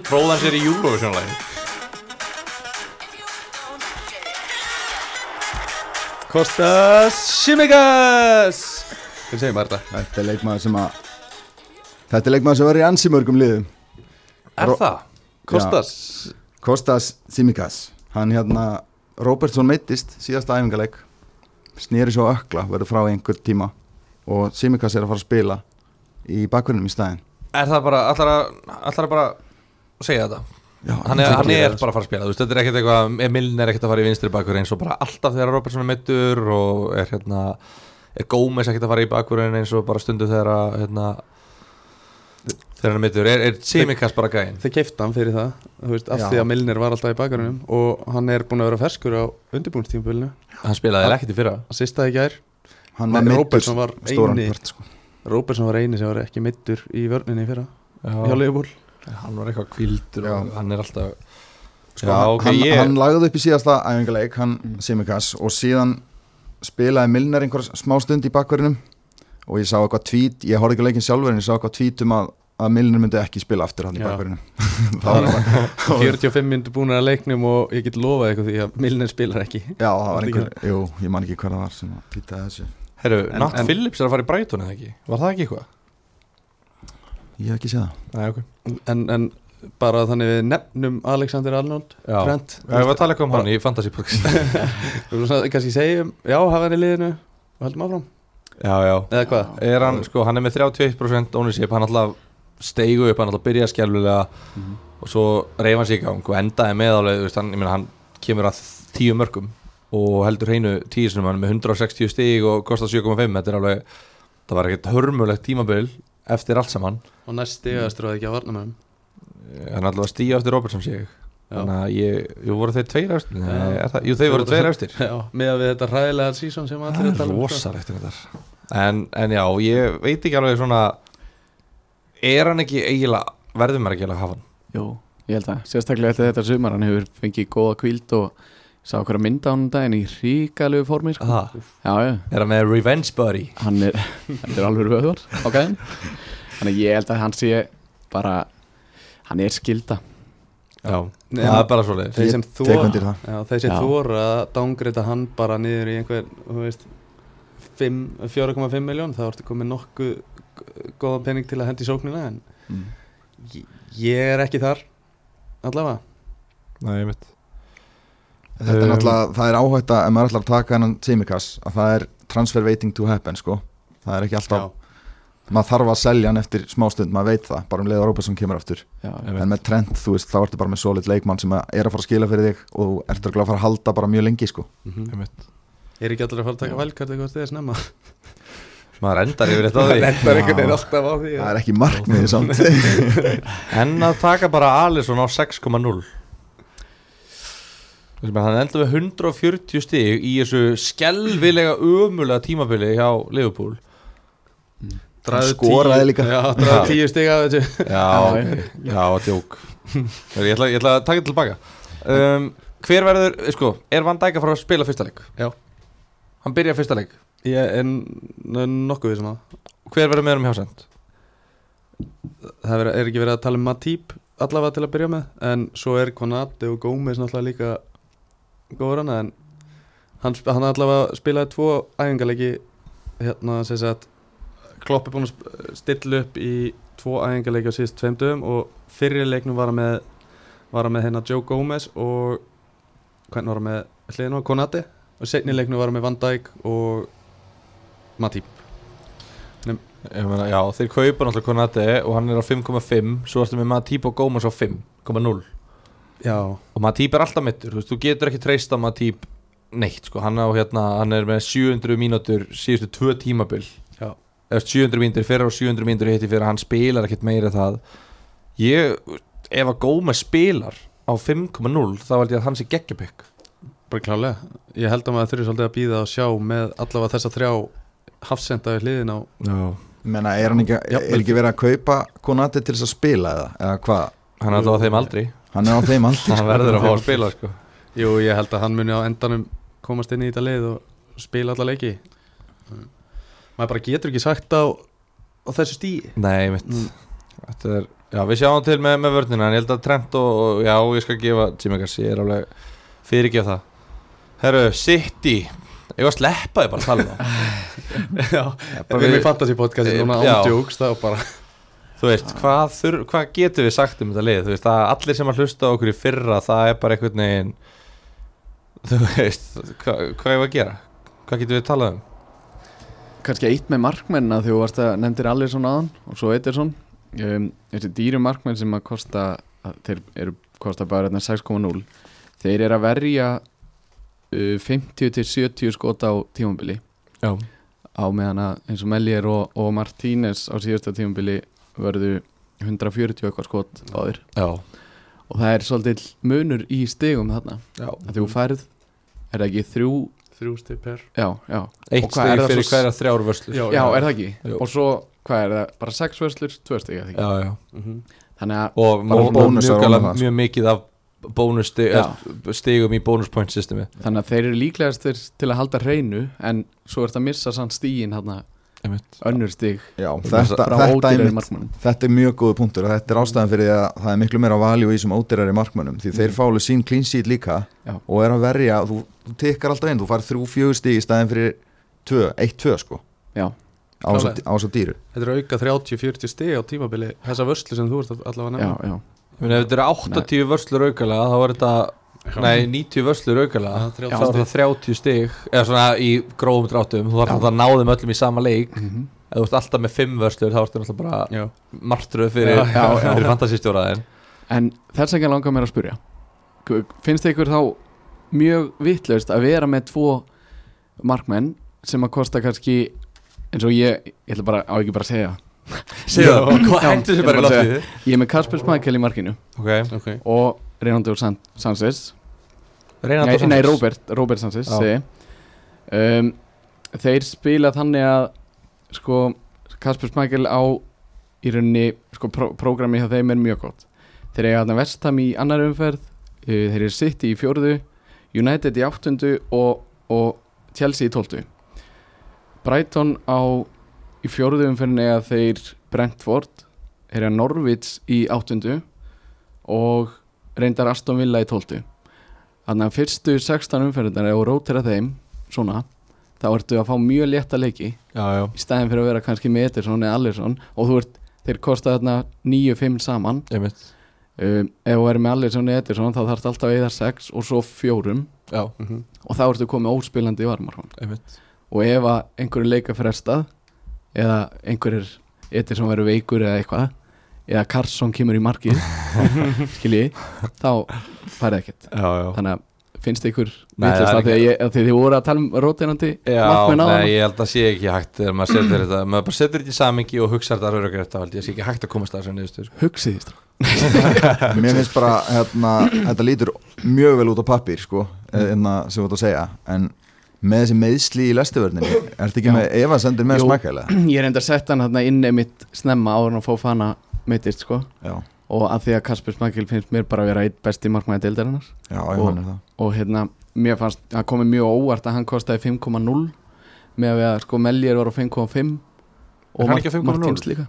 S1: Tróðan sér í Eurovision-lægin
S4: Kostas Simikas Hvernig segir maður þetta?
S2: Þetta er leikmaður sem að Þetta er leikmaður sem var í ansi mörgum liðum
S1: Er
S2: Ró-
S1: það?
S4: Kostas
S2: Kostas Simikas Hann hérna, Robertson meittist síðasta æfingaleik Snýri svo ökla, verður frá í einhver tíma Og Simikas er að fara að spila Í bakverðinum í staðinn
S1: Er það bara, allar að, allar að bara segja þetta?
S2: Já,
S1: hann er, hann er
S2: gerir það.
S1: bara að fara að spila þú veist, þetta er ekkert eitthvað, Emilin er ekkert að fara í vinstri bakur eins og bara alltaf þegar Robertson er meittur og er hérna er Gómez ekkert að fara í bakurinn eins og bara stundu þegar að hérna, þegar hann er meittur, er, er Simikas bara gæinn
S4: Þeir keifta hann fyrir það Þú veist, af
S2: Já.
S4: því að Milner var alltaf í bakarunum Og hann er búin að vera ferskur á undirbúinstímabilinu
S1: hann spilaði eiginlega ekkert í fyrra
S4: Að sista í gær
S2: Hann var
S4: Nei,
S2: meittur
S4: Robertson var
S2: stóran
S4: eini-
S2: part sko.
S4: Róbertson var eini sem var ekki middur í vörninni fyrir Hjá
S1: já,
S2: [LAUGHS]
S4: Leifbúl
S1: hann var eitthvað kvildur og
S2: Já.
S1: hann er alltaf
S2: Sko,
S1: já, ok,
S2: hann,
S1: ég
S2: hann lagði upp í síðasta æfingaleik Hann Simikas og síðan Spilaði Milner einhver smá stund í bakverðinum Og ég sá eitthvað tvít Ég horfði ekki á leikinn sjálfur en ég sá eitthvað tvít um að Að Milner myndi ekki spila aftur hann í
S4: Já.
S2: bakverðinum Það var bara
S4: 45 minnur búin að leiknum og ég get lofað eitthvað því að Milner spilar ekki
S2: Já, það var
S4: Líka.
S2: einhver, jú, ég man ekki hver það var sem að pýtaði þessu
S1: herru,
S4: En-
S1: Nat
S4: en-
S1: Phillips er að fara í Brighton eða ekki var það ekki eitthvað?
S2: Ég hef ekki séð það
S1: Nei, ok
S4: En, en bara þannig við nefnum Alexander Arnold
S1: já,
S4: Trent
S1: Já, ég var að tala eitthvað um hann í Fantasy Podcast
S4: Þú veist, kannski segjum Já, hafa hann í liðinu og heldum áfram
S1: já, já
S4: Eða hvað?
S1: er hann, sko, hann er með 31% ownership, hann alltaf steigu upp hann alltaf byrjaði skjálfilega og svo reyf hann sig í gang og endaði með alveg, þú veist, hann, ég meina, hann kemur að tíu mörgum og heldur hreinu tíu sinum, hann er með 160 stig og kostar 7,5, þetta er alveg það var ekkert hörmulegt tímabil eftir allt saman, Eh,
S4: Og næst stigastur að ekki að varna með hann
S1: hann er alltaf að stíja eftir Robertson sig,
S4: Já.
S1: þannig að ég, jú, voru þeir tveir eftir, nei,
S4: Já.
S1: er það, jú, þeir voru tveir eftir
S4: Já, með að við þetta ræðilega sísón sem
S1: Það
S4: allir eru
S1: er
S4: um, sko.
S1: rosalegt um þetta en, en já, ég veit ekki alveg svona Er hann ekki eiginlega Verður maður ekki alveg að hafa hann
S3: Jú, ég held að sérstaklega eftir þetta sumar hann hefur fengið góða kvíld og sá okkur að mynda á hann um daginn í ríkalegu formi sko.
S1: Aha.
S3: Já, já,
S1: Er hann með Revenge Buddy
S3: hann er, hann er alveg vöðvar á gæðin Þannig að ég held að hann sé bara, hann er skilda
S1: Já,
S4: Nei,
S1: það
S4: en-
S1: er bara svo
S4: Þeir
S2: Ég
S4: sem
S2: tek undir
S4: þóra
S2: það.
S4: Já, þeir sem
S3: Já.
S4: þóra að dángrita hann bara niður í einhver, þú veist fimm- 4,5 miljón, þá ertu komið nokkuð góða pening til að hendi sóknina en
S2: Mm.
S4: ég- ég er ekki þar allavega
S1: Nei, ég mitt
S2: Þetta er
S1: Um,
S2: náttúrulega, það er áhætt að ef maður ætlar að taka hennan Simikas að það er transfer waiting to happen sko það er ekki alltaf, maður þarf að selja hann eftir smá stund, maður veit það, bara um leiður Róbesson kemur aftur,
S3: Já, já.
S1: Einmitt.
S2: en með trend þú veist, þá ertu bara með solid leikmann sem að er að fara að skila fyrir þig og þú ertu örugglega að fara að halda bara mjög lengi sko
S4: Mhm.
S1: Ég mitt
S4: Er ekki allir að fara að taka
S3: Já.
S4: valkart eitthvað stiga snemma
S1: Maður endar yfir þetta á
S4: [LAUGHS] Það
S1: því
S4: endar einhvern veginn alltaf á því
S2: það er ekki markmiðið samt
S1: En að taka bara Alisson á 6,0 Þú veist, Hann endur með 140 stig í þessu skelvilega ömulega tímabili hjá Liverpool
S4: Dragðu
S2: skoraði
S4: tíu-
S2: líka.
S4: Já, draðu tíu stig af þessu
S1: Já,
S3: Já, já.
S1: já, djók ég ætla, ég ætla að taka þetta tilbaka um, Hver verður, sko, er Van Dijk að fara að spila fyrsta leik?
S4: Já.
S1: Hann byrja fyrsta leik
S4: Ég er n- nokkuð við sem að
S1: Hver verður með um hjásend?
S4: Það vera- er ekki verið að tala um Matip allavega til að byrja með En svo er Konati og Gómez náttúrulega líka góður hana En hann, sp- hann allavega spilaði tvo æfingarleiki Hérna sem sagt Klopp er búin að sp- stilla upp í tvo æfingarleiki á síðust tveim dögum Og fyrir leiknum var hann með, var hann með hérna Joe Gómez og Hvernig var hann með hliðin á Konati Og setni leiknum var hann með Van Dijk og Matip
S1: Meina, já, þeir kaupa náttúrulega Konate og hann er á 5,5 Svo ertu með Matip og Gómez á 5,0
S4: Já,
S1: Og Matip er alltaf mittur, þú veist, þú getur ekki treysta Matip neitt, sko Hann, á, hérna, hann er með 700 mínútur síðustu tvö tímabil
S4: Já.
S1: Eftir 700 mínútur fyrir og 700 mínútur hitti fyrir Hann spilar ekkit meira en það Ég, ef að Gómez spilar á 5,0 þá held ég að hann sé geggjabygg
S4: Bara klálega, ég held að maður þurfi svolítið að býða að sjá með allavega þessa þrjá hafsenda við hliðin á
S1: Já
S2: Menna, er, hann ekki, er
S4: Jafnvel.
S2: ekki verið að kaupa Konati til þess að spila eða, eða hvað?
S1: Hann er alltaf á þeim aldrei
S2: Hann er á
S1: [LAUGHS]
S2: þeim aldrei
S1: Hann
S2: sko.
S1: verður að fá að spila sko.
S4: Jú, ég held að hann muni á endanum komast inn í þetta lið og spila alla leiki Mm. Maður bara getur ekki sagt á, á þessu stí
S1: Nei, mitt
S4: Mm.
S1: Þetta er, já, við sjáum til með, með vörnina En ég held að Trent og, og já, ég skal gefa Jimmy Garcia, ég er alveg fyrirgef það Herru, City Ég var að sleppa þið bara að tala um það
S4: [LAUGHS] Já,
S1: bara
S4: við erum
S1: við-
S4: í fantasy podcasti núna
S1: Já.
S4: ándjóks Það var bara,
S1: Þú veist, hvað, þur, hvað getum við sagt um þetta lið Þú veist, að allir sem að hlusta á okkur í fyrra Það er bara einhvern veginn Þú veist, hva, hvað ég var að gera Hvað getum við talað um
S3: kannski eitt með markmennina þegar þú varst að nefndir Alisson aðan og svo Ederson um, þessi dýru markmenn sem að kosta að þeir eru kosta bara hérna 6,0 þeir eru að verja uh, 50-70 skota á tímabili
S1: Já,
S3: á meðan að eins og Mellier og, og Martínez á síðasta tímabili verðu 140 eitthvað skot báðir
S1: já,
S3: og það er svolítið munur í stigum þarna
S1: já.
S3: að þú færð er það ekki þrjú
S4: þrjú stið per
S3: já, já,
S1: Eitt
S3: Og hvað er
S1: stegi
S3: það
S1: fyrir
S3: svo-
S1: hverja þrjár vörslur
S4: Já,
S3: já, er það ekki
S1: Jú.
S3: og svo, hvað er það, bara 6 vörslur 2 stig, að því
S1: já, já.
S3: þannig að
S1: og
S2: Bara
S1: og- mjög,
S2: bónusar ofan á
S1: mjög,
S2: það,
S1: mjög mikið af bónusstig-
S3: Já.
S1: eh, stigum í bonus point systemi
S3: Þannig að þeir eru líklegastir til að halda hreinu en svo ert að missa sann stígin hérna
S1: Einmitt.
S3: önnur stíg
S2: Já, þetta,
S3: frá
S2: þetta,
S3: ódýrari
S2: einmitt,
S3: markmannum
S2: þetta er mjög góð punktur og þetta er ástæðan fyrir því að það er miklu meira valjú í þessum ódýrari markmönnum því þeir fálu sín clean sheet líka
S3: Mm. Já.
S2: og er að verja, þú, þú tekkar alltaf inn þú fær þrjú fjögur stíg í staðin fyrir tvö, eitt tvö sko
S3: Já,
S2: á þessa-
S4: Klálega.
S2: á þessa
S3: [LAUGHS]
S2: dýru
S4: Þetta er auka 30-40 stið á tímabili Þessa vörslu sem þú ert allavega
S3: já,
S4: að nefna
S3: já
S1: Ég meina, ef þetta eru 80 vörslur aukalega þá er þetta, nei 90 vörslur aukalega
S4: Já,
S1: þá
S4: 30
S1: er þetta 30 stig eða svona í grófum dráttum þú þarf
S3: Já.
S1: alltaf að náðum öllum í sama leik
S3: mm -hmm.
S1: ef þú ert alltaf með 5 vörslur þá ertu náttúrulega bara
S4: Já.
S1: martröð fyrir,
S4: Já, já, já.
S1: fyrir fantasístjóraðin
S3: En þess ekki langar mér að spurja K- Finnst ykkur þá mjög vitlaust að vera með tvo markmenn sem að kosta kannski eins og ég, ég ætla bara, á ekki bara að segja
S1: síðan, hvað
S3: Já.
S1: hendur
S3: Ég
S1: sér bara í
S3: bara
S1: loftið
S3: Ég er með Kasper Smækjál í markinu
S1: ok,
S4: Ok,
S3: og Reynaldur San Sanchez
S1: reynandi
S3: Nei, nei, Robert, Robert Sanchez
S1: Já.
S3: segi. um, Þeir spila þannig að sko, Kasper Smækjel á í rauninni, sko, pró prógrami hjá þeim er mjög gott. Þeir eiga þarna vestam í annar umferð, uh, þeir eru City í fjórðu, United í áttundu og, og Chelsea í tóltu Brighton á í fjórðu umferðin eiga þeir Brentford, þeir eiga Norwich í áttundu og reyndar Aston Villa í tóltu Þannig að fyrstu 16 umferðunar ef þú rótir að þeim svona þá ertu að fá mjög létta leiki
S1: já, já,
S3: í staðin fyrir að vera kannski með Ederson eða Allison og þú ert, þeir kosta þarna 9-5 saman
S1: einmitt
S3: um, ef þú verður með Allison eða Ederson þá þarfst alltaf eða 6 og svo 4
S1: já,
S4: mhm.
S3: og þá ertu komið óspilandi í varmarkon
S1: einmitt
S3: og ef að einhverju leika frestað eða einhverjir Ederson verður veikur eða eitthvað eða Karlsson kemur í markið skilji, þá færði ekkert
S1: já, já.
S3: þannig að finnst ykkur
S1: Nei, það
S3: vitlaust
S1: er
S3: af því að ég- af því að þið voru að tala um rótinandi
S1: Já,
S3: markmenn á
S1: nei,
S3: hana
S1: ég held að sé ekki hægt þegar maður setur þetta, maður bara setur þetta í samingi og hugsa þetta raugur eftir held ég sé ekki hægt að komast að þessu niðurstöðu sko.
S3: hugsið þið strákar.
S2: Mér finnst bara,
S3: Mm.
S2: hérna, þetta lítur mjög vel út á pappir sko, hérna, sem þú ert að segja en með þessi meðsli í lestivörninu ertu ekki
S3: Já.
S2: með Eva sendir með
S3: Jú.
S2: smakælega
S3: Ég er enda að setja hann þarna inn einmitt snemma áður en að fá fana meitist sko
S2: já,
S3: og að því að Kasper Smagil finnst mér bara að vera eitt besti markmæði deildarinnar
S2: já, ég
S3: Og-
S2: hann er það
S3: og hérna, mér fannst, það komið mjög á óvart að hann kostaði 5,0 með að við að sko Mellier var á 5,5
S1: Er
S3: og
S1: hann ekki á 5,0?
S3: Martins líka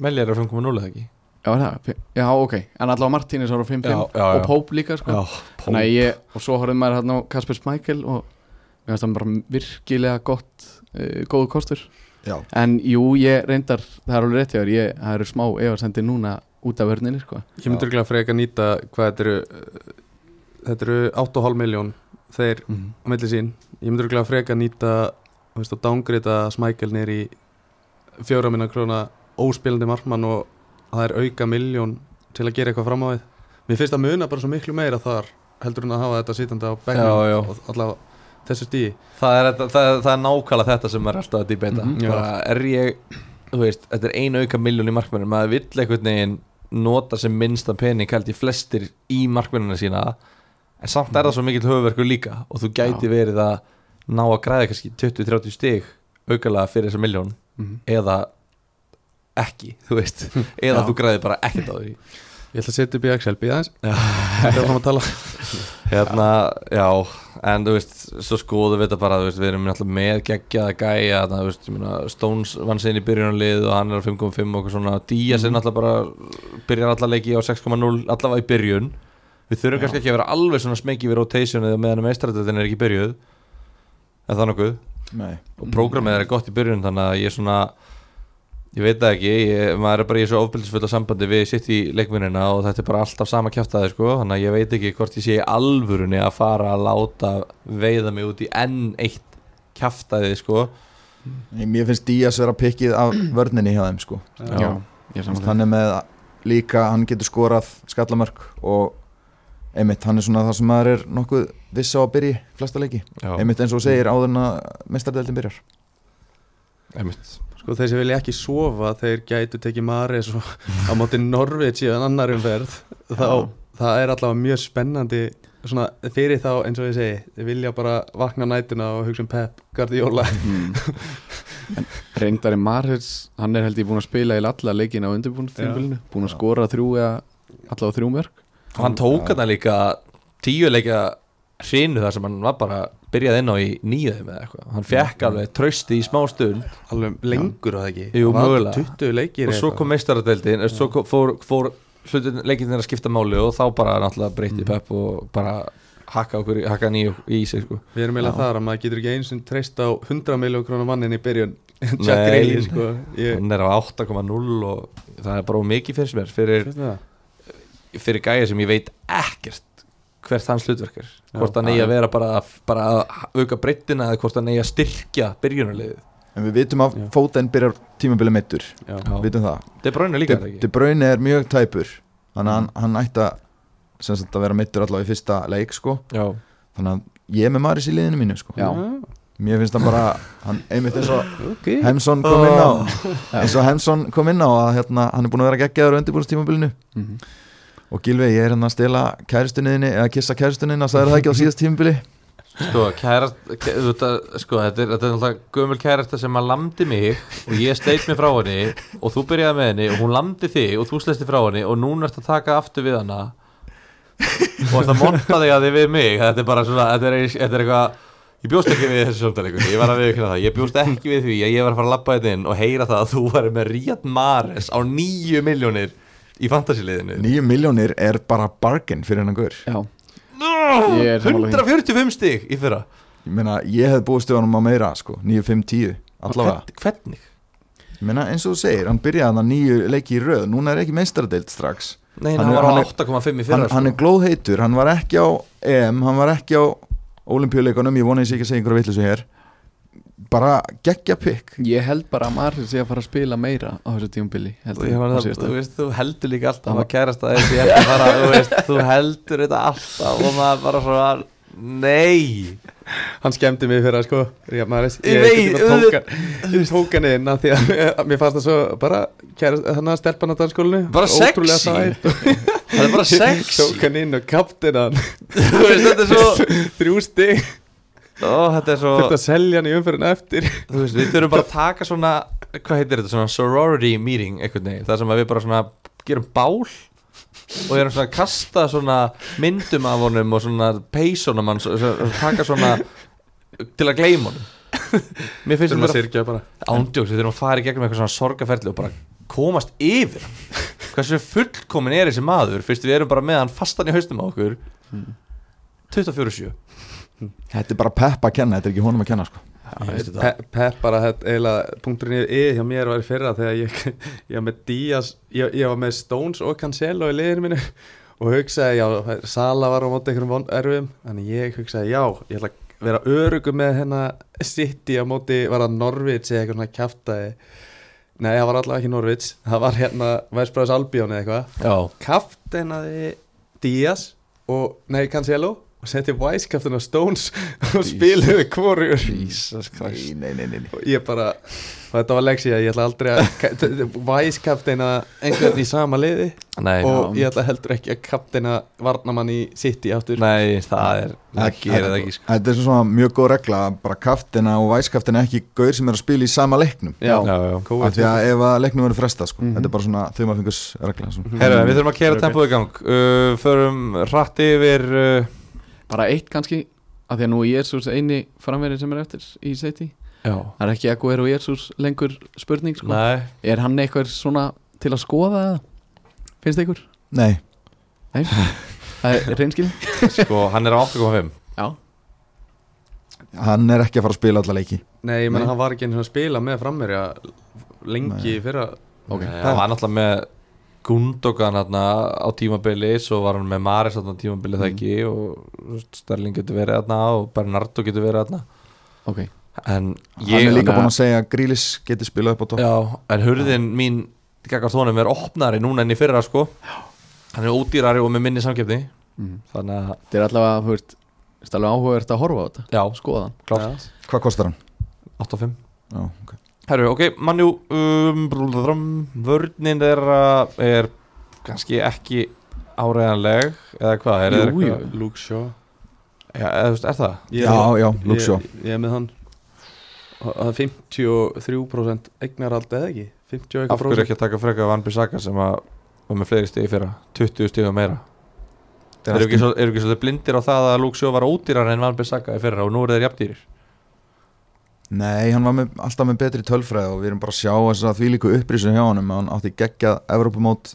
S1: Melli er á 5.0 eða ekki
S3: Já, er það, já, ok, en allavega Martins var á 5,5
S1: Já, já, já.
S3: og Pope líka sko.
S1: Pól.
S3: Þannig að ég, og svo horfði maður hérna á Kasper Smækel og mér finnst hann bara virkilega gott, uh, góðu kostur
S2: já,
S3: en jú, ég reyndar, það er alveg rétt hjá þér, ég, það eru smá efarsendi núna út af vörninni, sko
S4: Ég myndi ekki freka nýta hvað þetta eru uh, þetta eru 8,5 miljón þeir
S1: Mhm.
S3: mm.
S4: á milli sín ég myndi ekki freka nýta þú veist, að dángrita smækjel nýr í fjóra minna króna óspilandi markmann og það er auka miljón til að gera eitthvað fram á við mér finnst að muna bara svo miklu meira þar heldur en að hafa þetta sitandi á bekknum
S1: Já, já.
S4: og allavega þessu stíi
S1: það, er, þetta- það, það er nákvæmlega þetta sem maður er alltaf að debata
S3: Mhm.
S1: bara er ég, þú veist, þetta er einu auka miljón í markmennum, maður vill einhvern veginn nota sem minnsta pening held í flestir í markmennina sína en samt er það svo mikill höfverku líka og þú gæti verið að ná að græða kannski 20-30 stig aukalega fyrir þessa miljón eða ekki, þú veist
S3: [LAUGHS]
S1: eða
S3: Já.
S1: þú græði bara ekkert á því
S4: ég ætla að setja upp í Excel, býða aðeins þetta er áfram að tala
S1: hérna, já. en þú veist, svo skoðum við þetta bara þú veist, við erum náttúrulega með geggjaða gæja þannig að þú veist, ég meina, Stones vann sinni í byrjunarlið og hann er á 5.5 og eitthvað svona Díaz
S4: Mhm.
S1: er náttúrulega bara, byrjar alla leiki á 6.0 allavega í byrjun við þurfum kannski ekki að vera alveg svona smekið við rotation eða meðan meistrættin er ekki byrjuð eða það nokkuð
S2: nei,
S1: og prógramið er gott í byrjun þannig að ég svona ég veit það ekki, ég, maður er bara í þessu ofbildisfulla sambandi við sitt í leikmunina og þetta er bara alltaf sama kjæftaði sko þannig að ég veit ekki hvort ég sé í alvörunni að fara að láta veiða mig út í enn eitt kjæftaði sko
S2: mér finnst Díaz vera pikkið af vörninni hjá þeim sko
S3: Já,
S2: Þannig
S3: ég samanlega
S2: hann er með líka, hann getur skorað skallamörk og einmitt, hann er svona það sem maður er nokkuð viss á að byrja í flesta leiki
S1: Já,
S2: einmitt eins og þú segir áður en að mestardeldin byrjar
S1: einmitt
S4: Sko þeir sem vilja ekki sofa þeir gætu tekið Maris og á móti Norvits í en annar umferð þá, það er allavega mjög spennandi svona fyrir þá eins og ég segi þeir vilja bara vakna á nætuna og hugsa um Pep Guardiola
S3: mm. Reyndari Marhers hann er held ég búin að spila í alla leikin á undirbúinastíðinbílinu, búin að skora þrjú eða allavega þrjú mörg
S1: og hann tók hann líka tíu leika hrinu þar sem hann var bara byrjað inn á í nýðum eða eitthvað hann fekk alveg trösti í smá stund
S4: alveg lengur á það ekki
S1: Jú,
S4: Það var
S1: mögulega.
S4: 20 leikir
S1: og svo kom meistaradeildin og svo kom, fór, fór hlutin leikin þeirra að skipta máli og þá bara náttúrulega
S4: Mm.
S1: breytti Pep og bara hakka okkur, í- hakka hann í, í sig sko.
S4: við erum eiginlega þar að maður getur ekki eins og treyst á 100 miljón krónar mannin í byrjun [LAUGHS] Jack
S1: Nei.
S4: Grealish sko ég,
S1: hann er á 8,0 og það er bara of mikið fyrir mér fyrir,
S4: Veistu það?
S1: fyrir gæja sem ég veit ekkert hvert hans hlutverk er
S4: Já.
S1: hvort hann eigi
S4: Já,
S1: að vera bara, bara að auka breyttina eða hvort hann eigi að styrkja byrjunarliðið
S2: en við vitum að
S4: Já.
S2: fóten byrjar tímabili meittur
S4: Já.
S1: Já.
S2: við vitum það,
S1: þetta er bráinu líka er það
S2: De,
S1: ekki Mm.
S2: De Bruyne er mjög tæpur þannig að hann, hann ætti að sem sagt að vera meittur allavega í fyrsta leik sko.
S1: Já.
S2: þannig að ég er með Maris í liðinu mínu sko.
S3: Já.
S2: mér finnst hann bara, hann einmitt eins og
S4: ok
S2: Hemsson kom inn á eins og Hemsson kom inn á að hérna, hann er búin að vera geggjaður á undirbúinstímabilinu
S1: Mhm.
S2: og Gilvi, ég er hérna að stela kæristunniðinni eða kissa kæristunniðinna, sagði það ekki á síðast tímabili
S1: Sko, kærast, kæ, þetta, sko þetta, er, þetta er alltaf gömul kærasta sem að landi mig og ég steit mig frá henni og þú byrjaði með henni og hún landi þig og þú slesti frá henni og núna ert að taka aftur við hana og ert að monta þig að þig við mig þetta er bara svona, þetta er, þetta er eitthvað ég bjóst ekki við þessu samtalegur ég var að viðkynna það, ég bjóst ekki við því að ég var að fara að labba þetta inn og heyra það að þú væri með Ríad Mares á nýju miljónir í fantasiliðinu
S2: nýju miljónir er bara bargain fyrir hennan gaur
S3: Já, Ég er sammála því.
S1: 145 stig í fyrra
S2: ég meina, ég hef búið stöðanum á meira sko, 9-5-10, allavega
S1: Hvern- hvernig?
S2: ég meina, eins og þú segir, hann byrjaði hann að nýju leiki í röð, núna er ekki meistaradeild strax
S1: Nei,
S2: Hann
S1: hann,
S2: er-
S1: var á
S2: hann er-
S1: 8,5 í
S2: hann,
S1: fyrra sko.
S2: hann er glóðheitur, hann var ekki á EM, hann var ekki á olimpíuleikunum, ég vona ég sé ekki að segja einhverja vitleysu hér bara geggja pikk
S3: ég held bara að Marhers sé að fara að spila meira á þessu tíumbili
S1: Þú, ég meina það, þú,
S3: Þannig
S1: veist, þú heldur líka alltaf að kærast að þessi eftir bara, þú, veist, þú heldur þetta alltaf og maður bara svona nei
S4: hann skemmdi mig fyrir að sko Ríða Maris
S1: Ég
S4: ég,
S1: veit,
S4: ég, tók, hann, ég tók hann inn af því að að [LAUGHS] mér fannst það svo bara kæra, þannig að stelpa hann á dansskólinu
S1: Bara
S4: ótrúlega
S1: sexy.
S4: sæt og
S1: það er bara sexy
S2: [LAUGHS]
S4: [LAUGHS] tók hann [LAUGHS] inn og kaptinn hann
S1: Þú veist, þetta er svo
S4: þrjú stig
S1: Ó, þetta er svo
S4: Þurfti að selja hann í umferðin eftir
S1: þú veist, Við þurfum bara að taka svona Hvað heitir þetta? Svona sorority meeting einhvern veginn Það sem að við bara svona gerum bál Og erum svona að kasta svona myndum af honum Og svona peysunum hans Og svona- og taka svona Til að gleyma honum Mér finnst
S4: Þurfum að
S1: þetta
S4: sirkja bara
S1: ándjóks Við þurfum að fara í gegnum eitthvað svona sorgaferli Og bara komast yfir [LAUGHS] hann. Hversu fullkomin er þessi maður Fyrst við erum bara með hann fastan í haustum á okkur Hmm. 24-7
S2: Þetta er bara Peppa að kenna, þetta er ekki honum að kenna sko.
S4: Pe Pep bara þetta eiginlega punkturinn yfir yfir hjá mér var í fyrra þegar ég, ég var með Díaz, ég, ég var með Stones og Cancelo í liðinu mínu og hugsaði, já, Sala var á móti einhverjum von- erfiðum, þannig ég hugsaði já, ég ætla að vera örugu með hennar City á móti, var það Norvits eða eitthvað svona kjaftaði Nei, það var allavega ekki Norvits, það var hérna Væsbræðs Albjón eða eitthvað
S1: Já
S4: kaftenaði Díaz og, nei, Cancelo og setti Væskaftin á Stones [LAUGHS] og spiluði hvorur
S2: Jesus Christ Nei, nei, nei, nei.
S4: og ég bara, og þetta var leksi að ég ætla aldrei að Væskaftina einhvern í sama liði
S1: Nei,
S4: og ég ætla heldur ekki að kaptina varnamann í City aftur
S1: Nei, það er Það gerir það ekki sko.
S2: Þetta er svona mjög góð regla að bara kaftina og væskaftina ekki gaur sem er að spila í sama leiknum
S4: Já.
S1: Já, já.
S2: Af því að ef að leiknum verður frestað sko.
S4: Mhm.
S2: Þetta er bara svona sko. þumafingurs regla svona.
S1: Mhm. Herra, við þurfum að kera
S4: Ok.
S1: okay. í gang uh, Förum hratt yfir uh,
S3: Bara eitt kannski af því að nú er Jésús eini framverðin sem er eftir í seti
S1: Já
S3: Það er ekki Aguero Jésús lengur spurning sko.
S1: Nei,
S3: Er hann eitthvað svona til að skoða eða? Finnst ykkur?
S2: Nei,
S3: Nei Það er reynskilin
S1: sko, hann er á 8.5
S3: Já
S2: hann er ekki að fara að spila alla leiki
S4: Nei, ég menna
S2: Nei.
S4: hann var ekki einu sinni að spila með frammerja lengi
S2: Nei.
S4: fyrir að
S3: Ok.
S1: Nei, Hann var náttúrulega með Gundogan hérna á tímabili Svo var hann með Maris hérna á tímabili það ekki Og þú veist, Sterling getur verið hérna Og Bernardo getur verið hérna
S3: Ok
S1: En
S2: Hann
S1: ég
S2: er líka
S3: Þannig að-
S2: búin að segja að Grílis geti spilað upp á topp
S1: Já, en hurðin mín Gagart honum er opnari núna enn í fyrra sko Hann er ódýrari og með minni samkeppni
S3: Mhm.
S1: Þannig að,
S3: Þetta er allavega, þú veist Það er alveg áhugavert að horfa á þetta
S1: já, sko,
S3: Skoða hann
S1: klárt
S2: Hvað kostar hann?
S1: 8.5
S2: Já, okay.
S1: Herru, ok, mannjú um, brúlðrum, vörnin þeirra er kannski ekki áreðanleg eða hvað, er
S3: Jú,
S1: er,
S3: jú.
S4: Luke Shaw
S1: Já, eða, þú veist, er það?
S4: Ég-
S2: Já, já, Luke
S4: ég-
S2: Shaw.
S4: Ég er með hann Og Það er 53% eignarald eða ekki
S1: Af
S4: 50 og eitthvað
S1: hverju
S4: prósent
S1: ekki að taka frekar Van Bissaka sem að var með fleiri stíði fyrra, 20 stíði og meira
S2: er
S1: Eru
S2: allt
S1: ekki, svo, eru ekki svolítið blindir á það að Luke Sjó var ódýrar en Van Bissaka í fyrra og nú eru þeir jafndýrir
S2: Nei, hann var með, alltaf með betri tölfræði og við erum bara að sjá þess að því líku upprísun hjá honum að hann átti geggjað Evrópumót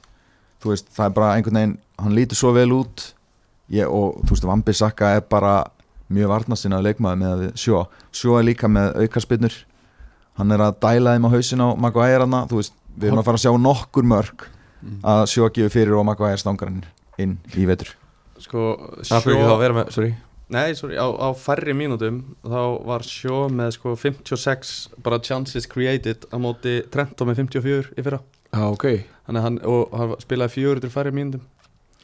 S2: þú veist, það er bara einhvern veginn hann lítur svo vel út ég, og þú veist, Vambi Sakka er bara mjög varnastinn að leikmaði með að við sjó sjó er líka með aukarspinnur hann er að dæla þeim á hausin á Maguire hana, þú veist, við erum að fara að sjá nokkur mörg
S3: Mm.
S2: að sjó að gefa fyrir og Maguire stangar hann inn í vetur
S4: Sko
S1: Það fyrir ekki þá að
S4: Shaw
S1: vera með, sorry
S4: Nei, sorry, á, á færri mínútum Þá var Shaw með sko 56 Bara chances created Á móti Trento með 54 í fyrra
S1: Já,
S3: Ah,
S1: ok
S4: Þannig að hann, og hann spilaði 400 færri mínútum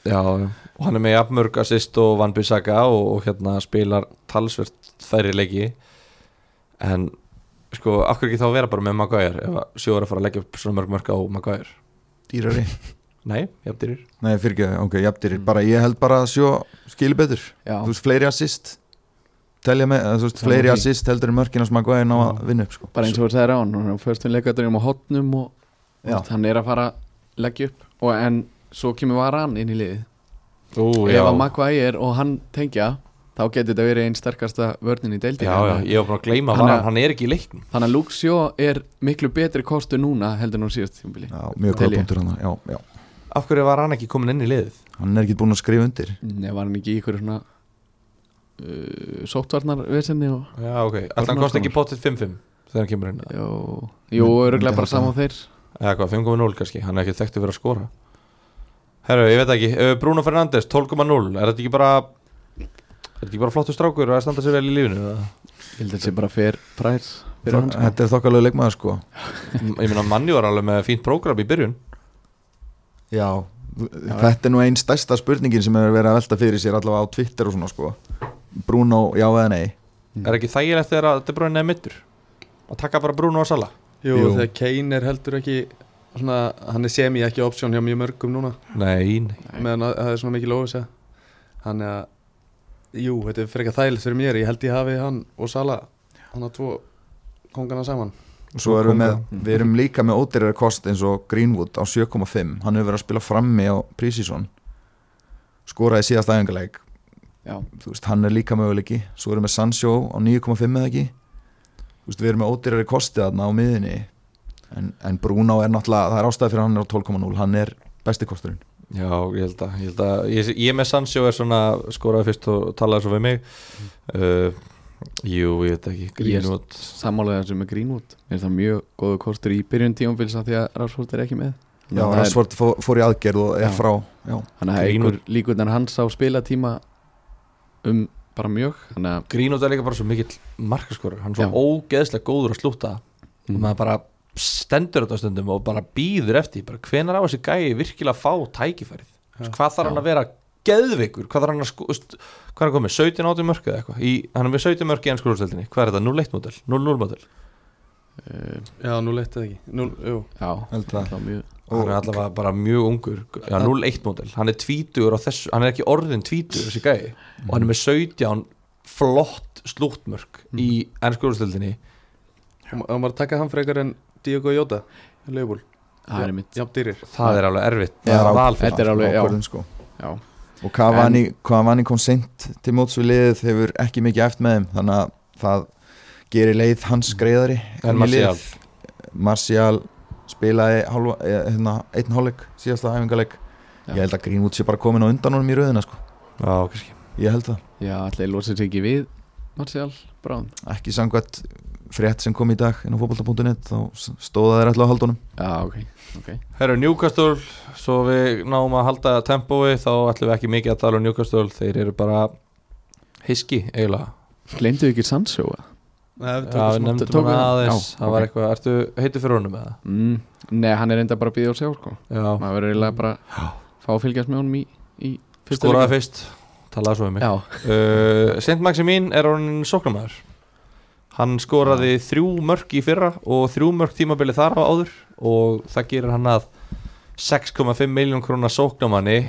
S1: Já, og hann er með jafnmörg assist og Van Bissaka og, og hérna spilar talsvert færri leiki en sko, af hverju ekki þá að vera bara með Maguire ef að sjóður að fara að leggja upp svona mörg mörg á Maguire
S2: Dýrari?
S1: Nei, jafndýrir
S2: Nei, fyrir ok, jafndýri, bara ég held bara að sjó skilir betur
S3: Já
S2: þú veist, fleiri assist telja með, eða, þú veist,
S3: Saman
S2: fleiri
S3: því.
S2: assist heldur en mörkin að smaka en á að vinna upp sko.
S3: Bara eins og þú sagðir á hann Hún er fyrstum leikadurinn á hotnum og
S2: Já.
S3: veist, Hann er að fara að leggja upp og, En svo kemur Varan inn í liðið
S1: Ú,
S3: Ef að Maguire og hann tengja Þá getur þetta verið einn sterkasta vörnin í deildinni
S1: Já, já, ég var bara að gleyma
S3: Hann
S1: hann,
S3: er-
S1: hann, hann er ekki í leiknum
S3: Þannig að Luke Shaw er miklu betri kostu núna heldur en hún síðast tímbili
S2: já, mjög
S3: Tel
S2: góð
S3: ég.
S2: punktur hann já, já.
S1: Af hverju var hann ekki komin inn í liðið?
S2: hann er ekki búin að skrifa undir
S3: Nei, Mm, var hann ekki í ykkur svona uh, sóttvarnarvesinni og
S1: Já, ok, alltaf hann kosti ekki potið 5-5 þegar hann kemur inn
S3: Jó, jú,
S2: myndi
S3: öruglega bara
S2: halda
S3: saman þeir
S1: Eða hvað, 5.0 kannski, hann er ekki þekktu fyrir að skora Herru, ég veit ekki, uh, Bruno Fernandes 12.0, er þetta ekki bara er þetta ekki bara flottu strákur að standa sér vel í lífinu? [LAUGHS] eða?
S3: Ég held að þetta sé bara fair price fyrir hann sko.
S2: þetta er þokkalegu leikmaður sko
S1: M- ég meina manni var alveg með fínt prógram í byrjun
S2: já, þetta er nú einn stærsta spurningin sem hefur verið að velta fyrir sér allavega á Twitter og svona sko Bruno, já eða nei
S1: er ekki þægilegt þegar að De Bruyne er mittur að taka bara Bruno og Sala
S4: Jú,
S2: Jú.
S4: þegar Kane er heldur ekki Svona, hann er semi ekki option hjá mjög mörgum núna
S1: nei, nei.
S3: Nei.
S4: meðan að- að það er svona mikið lóðis að hann er að Jú, þetta er frekar þægilegt fyrir mér Ég held ég hafi hann og Sala Hann að tvo kongana saman
S2: Svo erum við, með, við erum líka með ódýrara kost eins og Greenwood á 7,5 Hann hefur verið að spila frammi á prísísson Skoraði síðast æfingarleik
S3: Já,
S2: Þú veist, Hann er líka möguleiki Svo erum við Sancho á 9,5 eða ekki Þú veist, Við erum með ódýrari kosti þarna á miðinni en, en Bruno er náttúrulega Það er ástæði fyrir að hann er á 12,0 Hann er besti kosturinn
S1: Já, ég held að, ég held að ég, ég með Sancho er svona skoraði fyrst og talaði svo við mig uh, Jú, ég veit ekki Greenwood,
S3: sammálaðið þessu með Greenwood Mér finnst það mjög góðu kostur í byrjun tíumfils af því að Rashford er ekki með
S2: Já,
S3: Þannig að það er-
S2: Rashford fór, fór í aðgerð og er
S3: Já.
S2: frá Já,
S3: Þannig að
S1: Greenwood-
S3: einhver líkurnar hans á spilatíma um bara mjög Þannig að
S1: Greenwood er líka bara svo mikill markaskorur hann er svo
S3: Já.
S1: ógeðslega góður að slúta og
S3: Mm.
S1: maður bara stendur þetta stundum og bara býður eftir bara hvenar á þessi gæi virkilega að fá tækifærið
S4: Já.
S1: hvað þarf hann að vera geðveikur hvað þarf hann að sko, st- hvað er hann komið 17 áttum mörk eða eitthvað Í- hann er með 17 mörk í ennskólustöldinni hvað er þetta 0-1 mótel 0-0 mótel
S3: uh,
S4: Já, nú leitt eða ekki Nú, jú
S3: Já,
S2: held það.
S3: það er mjög
S1: hann er allavega bara mjög ungur já, 0-1 mótel, hann er tvítugur á þessu hann er ekki orðin tvítugur þessi gæi
S2: Mm.
S1: og hann er með 17 flott slúttmörk í ennskólustöldinni
S4: Og og maður taka hann frekar en Diogo Jota Leifbúl
S3: Það er mitt
S4: Jafn dýrir
S1: það er alveg erfitt
S2: Já,
S1: það er val fyrir
S3: Þetta er alveg, já,
S2: ákvörðun, sko.
S3: já.
S2: og Cavani, Cavani kom seint til móts við liðið hefur ekki mikið eft með þeim þannig að það gerir leið hans greiðari
S1: En
S2: inn í
S1: Martial?
S2: liðið. Martial spilaði hálfa, eh, hérna, einn hálfleik síðasta æfingarleik ég
S3: Já.
S2: held að Greenwood sé bara komin á undan honum í rauðina sko.
S1: já, kannski
S2: ég held það,
S3: Já, allir losið sér ekki við Martial Brown
S2: ekki samkvæmt frétt sem kom í dag inn á fótbolta.net þá s- stóða þeir alltaf að halda honum
S3: Já, ok
S1: Herru Newcastle, svo við náum að halda tempói þá ætlum við ekki mikið að tala um Newcastle þeir eru bara hiski eiginlega
S3: Gleimdu ekki Sancho að?
S4: Nei,
S1: Já, við
S4: við
S1: nefndum
S3: tökum-
S1: hana aðeins
S3: já,
S1: það var
S3: ok.
S1: eitthvað, ertu heitu fyrir honum eða?
S3: Mm, nei, hann er enda bara að býða og sjá sko
S1: Já,
S3: Maður verður eiginlega bara
S1: Já.
S3: fá að fylgjast með honum í, í fyrsta
S1: skoraði
S3: leik.
S1: fyrst talaði svo um mig
S3: Já,
S1: uh, Saint Maximin er honum sóknumæður hann skoraði þrjú mörk í fyrra og þrjú mörk tímabili þar á áður og það gerir hann að 6,5 miljón krónar sóknumanni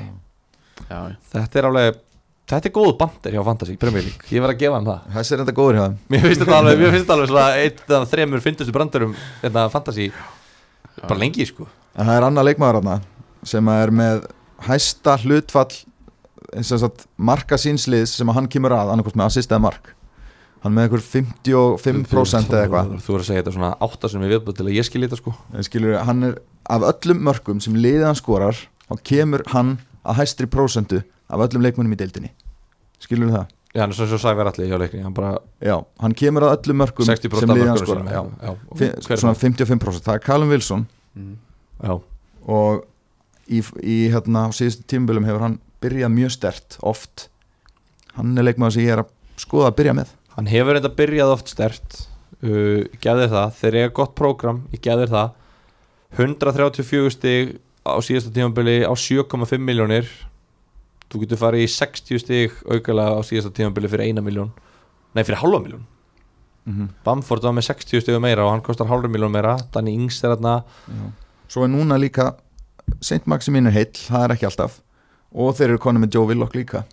S3: já, já.
S1: Þetta er alveg Þetta er góð bandir hjá Fantasy Premier League Ég verð að gefa hann það
S2: þessi er enda góður hjá þeim
S1: Mér finnst þetta alveg, mér finnst þetta alveg svona Eitt af þremur fyndustu brandurum Þetta Fantasy Bara lengi sko
S2: En það er annað leikmaður þarna sem að er með hæsta hlutfall sem sagt, marka sínsliðs sem að hann kemur að annarkvist með assist eða mark hann er með einhver 55% eða eitthvað
S1: Þú er að segja þetta svona átta sem ég viðbúið til að ég skil þetta sko
S2: En skilur, hann er af öllum mörkum sem liðið hann skorar þá kemur hann að hæstri prósentu af öllum leikmönnum í deildinni skilur það?
S1: Já, hann er svona svo sæver allir hjá leikni Hann bara
S2: Já, hann kemur að öllum mörkum
S1: 60
S2: sem liðið hann
S1: mörgur
S2: skorar já,
S1: já,
S2: Fi-
S1: Hver er
S2: svona
S1: það?
S2: 55% það er Callum Wilson
S3: Mm.
S1: Já,
S2: og í, í hérna á síðustu tímabölum hefur hann byrjað mjög stert oft hann er leikmaður sem ég er að skoða að byrja með
S1: Hann hefur þetta byrjað oft stert uh, Gæðir það, þeir eiga gott prógram Ég gæðir það 134 stig á síðasta tímabili á 7,5 miljónir Þú getur farið í 60 stig aukala á síðasta tímabili fyrir 1 miljón Nei, fyrir halva miljón Mhm, Bamford var með 60 stig meira og hann kostar halva miljón meira Danny Ings er þarna
S2: svo er núna líka Saint Maximin er heill, það er ekki alltaf og þeir eru konum með Joe Willock líka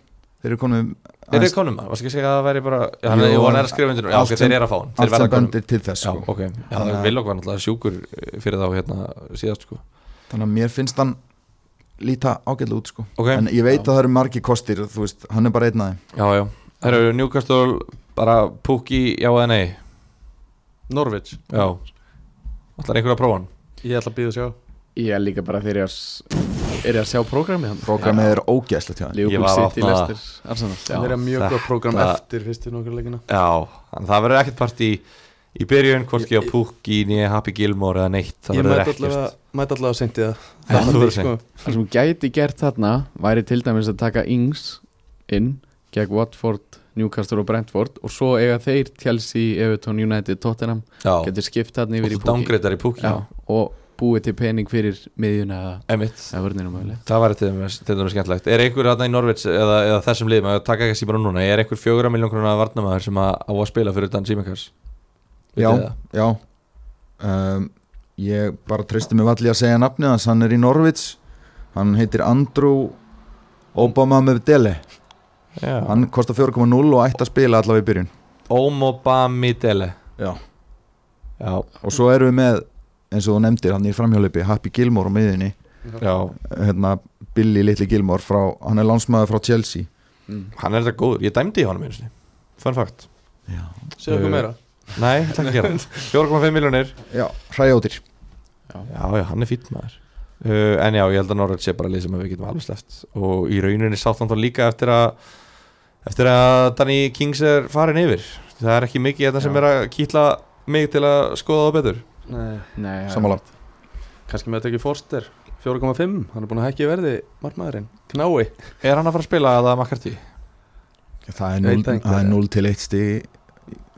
S2: þeir eru konum
S1: Er þið konum? Varst ekki að segja að það væri bara Já, hann,
S2: Jú,
S1: Jú, hann er
S2: en
S1: að skrifa undir Já,
S2: allt
S1: ok,
S2: sem-
S1: þeir eru að fá hann Þeir
S2: allt
S1: verða
S2: sem
S1: konum
S2: bendir til þess
S1: Já,
S2: sko.
S1: ok Já,
S2: Þannig að-
S1: Villok var náttúrulega sjúkur eh, fyrir þá hérna síðast sko
S2: þannig að mér finnst hann líta ágætlega út sko.
S1: Ok,
S2: en ég veit
S3: Já.
S2: að það eru margi kostir þú veist, hann er bara einn af þeim
S1: já, já Herru, Newcastle bara púki já eða nei
S4: Norvich
S1: Já Ætlar einhver að prófa hann?
S4: Ég ætla að býða að sjá
S3: Ég er líka bara þegar ég að s- er ég að sjá prógramið hann
S2: programmið er ógæslegt hjá hann
S1: Ég
S3: Liverpool
S1: var að
S3: City,
S1: opna það.
S3: Leicester, Arsenal
S4: Það er
S3: Já,
S4: mjög góð prógram
S1: þetta-
S4: eftir fyrstu nokkar leikina
S1: Já, en það verður ekkert part í í byrjun, hvorki á púki né Happy Gilmore eða neitt Það
S4: Ég
S1: verður
S4: mæti
S1: ekkert
S4: allavega, mæti allavega seint í það
S1: Já, þú verður
S4: sko.
S1: seint.
S3: það sem hún gæti gert þarna væri til dæmis að taka Ings inn gegn Watford, Newcastle og Brentford og svo eiga þeir Chelsea, Everton, United, Tottenham
S1: Já,
S3: getur skipt þarna
S1: og
S3: yfir í
S1: þú
S3: púki
S1: dangreitar í púki
S3: Já, og búið til pening fyrir miðjuna eða,
S1: Emitt
S3: eða vörnina mögulega
S1: Það væri til dæmis til dæmis skemmtilegt Er einhver hérna í Norvits eða, eða þessum liðum að taka ekki síma núna, er einhver fjögurra miljón krona varnamæður sem að, á að spila fyrir Dan Simikas
S2: Já, já um, Ég bara treysti mig valli að segja nafnið hans Hann er í Norvits Hann heitir Andrew Obama með Dele
S1: Já.
S2: hann kostar 4.0 og ætti að spila allavega í byrjun
S1: Omobamidele
S2: já.
S1: Já,
S2: og svo erum við með eins og þú nefndir, hann er framhjólipi Happy Gilmore á miðinni,
S1: já,
S2: hérna Billy Little Gilmore, frá, hann er lánsmaður frá Chelsea
S1: hann er þetta góður Ég dæmdi í honum einu sinni, fun fact
S2: já,
S4: Segðu
S1: Uh,
S4: okkur meira
S1: Nei, ætla ekki að [LAUGHS] gera það. 4,5 miljonir
S2: já hræjótir
S1: Já, já, hann er fýtt maður uh, En já, ég held að Norröld sé bara lið sem að við getum alveg sleft Og í rauninni sátt hann þá líka eftir að Eftir að Danny Kings er farin yfir Það er ekki mikið þetta sem
S4: Já.
S1: er að kýtla mig til að skoða það betur
S4: Nei,
S3: Nei, það-
S2: samanlagt
S4: kannski með að tekja Forster 4,5, hann er búin að hekki í verði margmaðurinn, knái
S1: Er hann að fara að spila að það makkartí?
S2: Það er 0,
S4: Veit það einhver,
S2: það er
S4: eða?
S2: 0 til 1 stig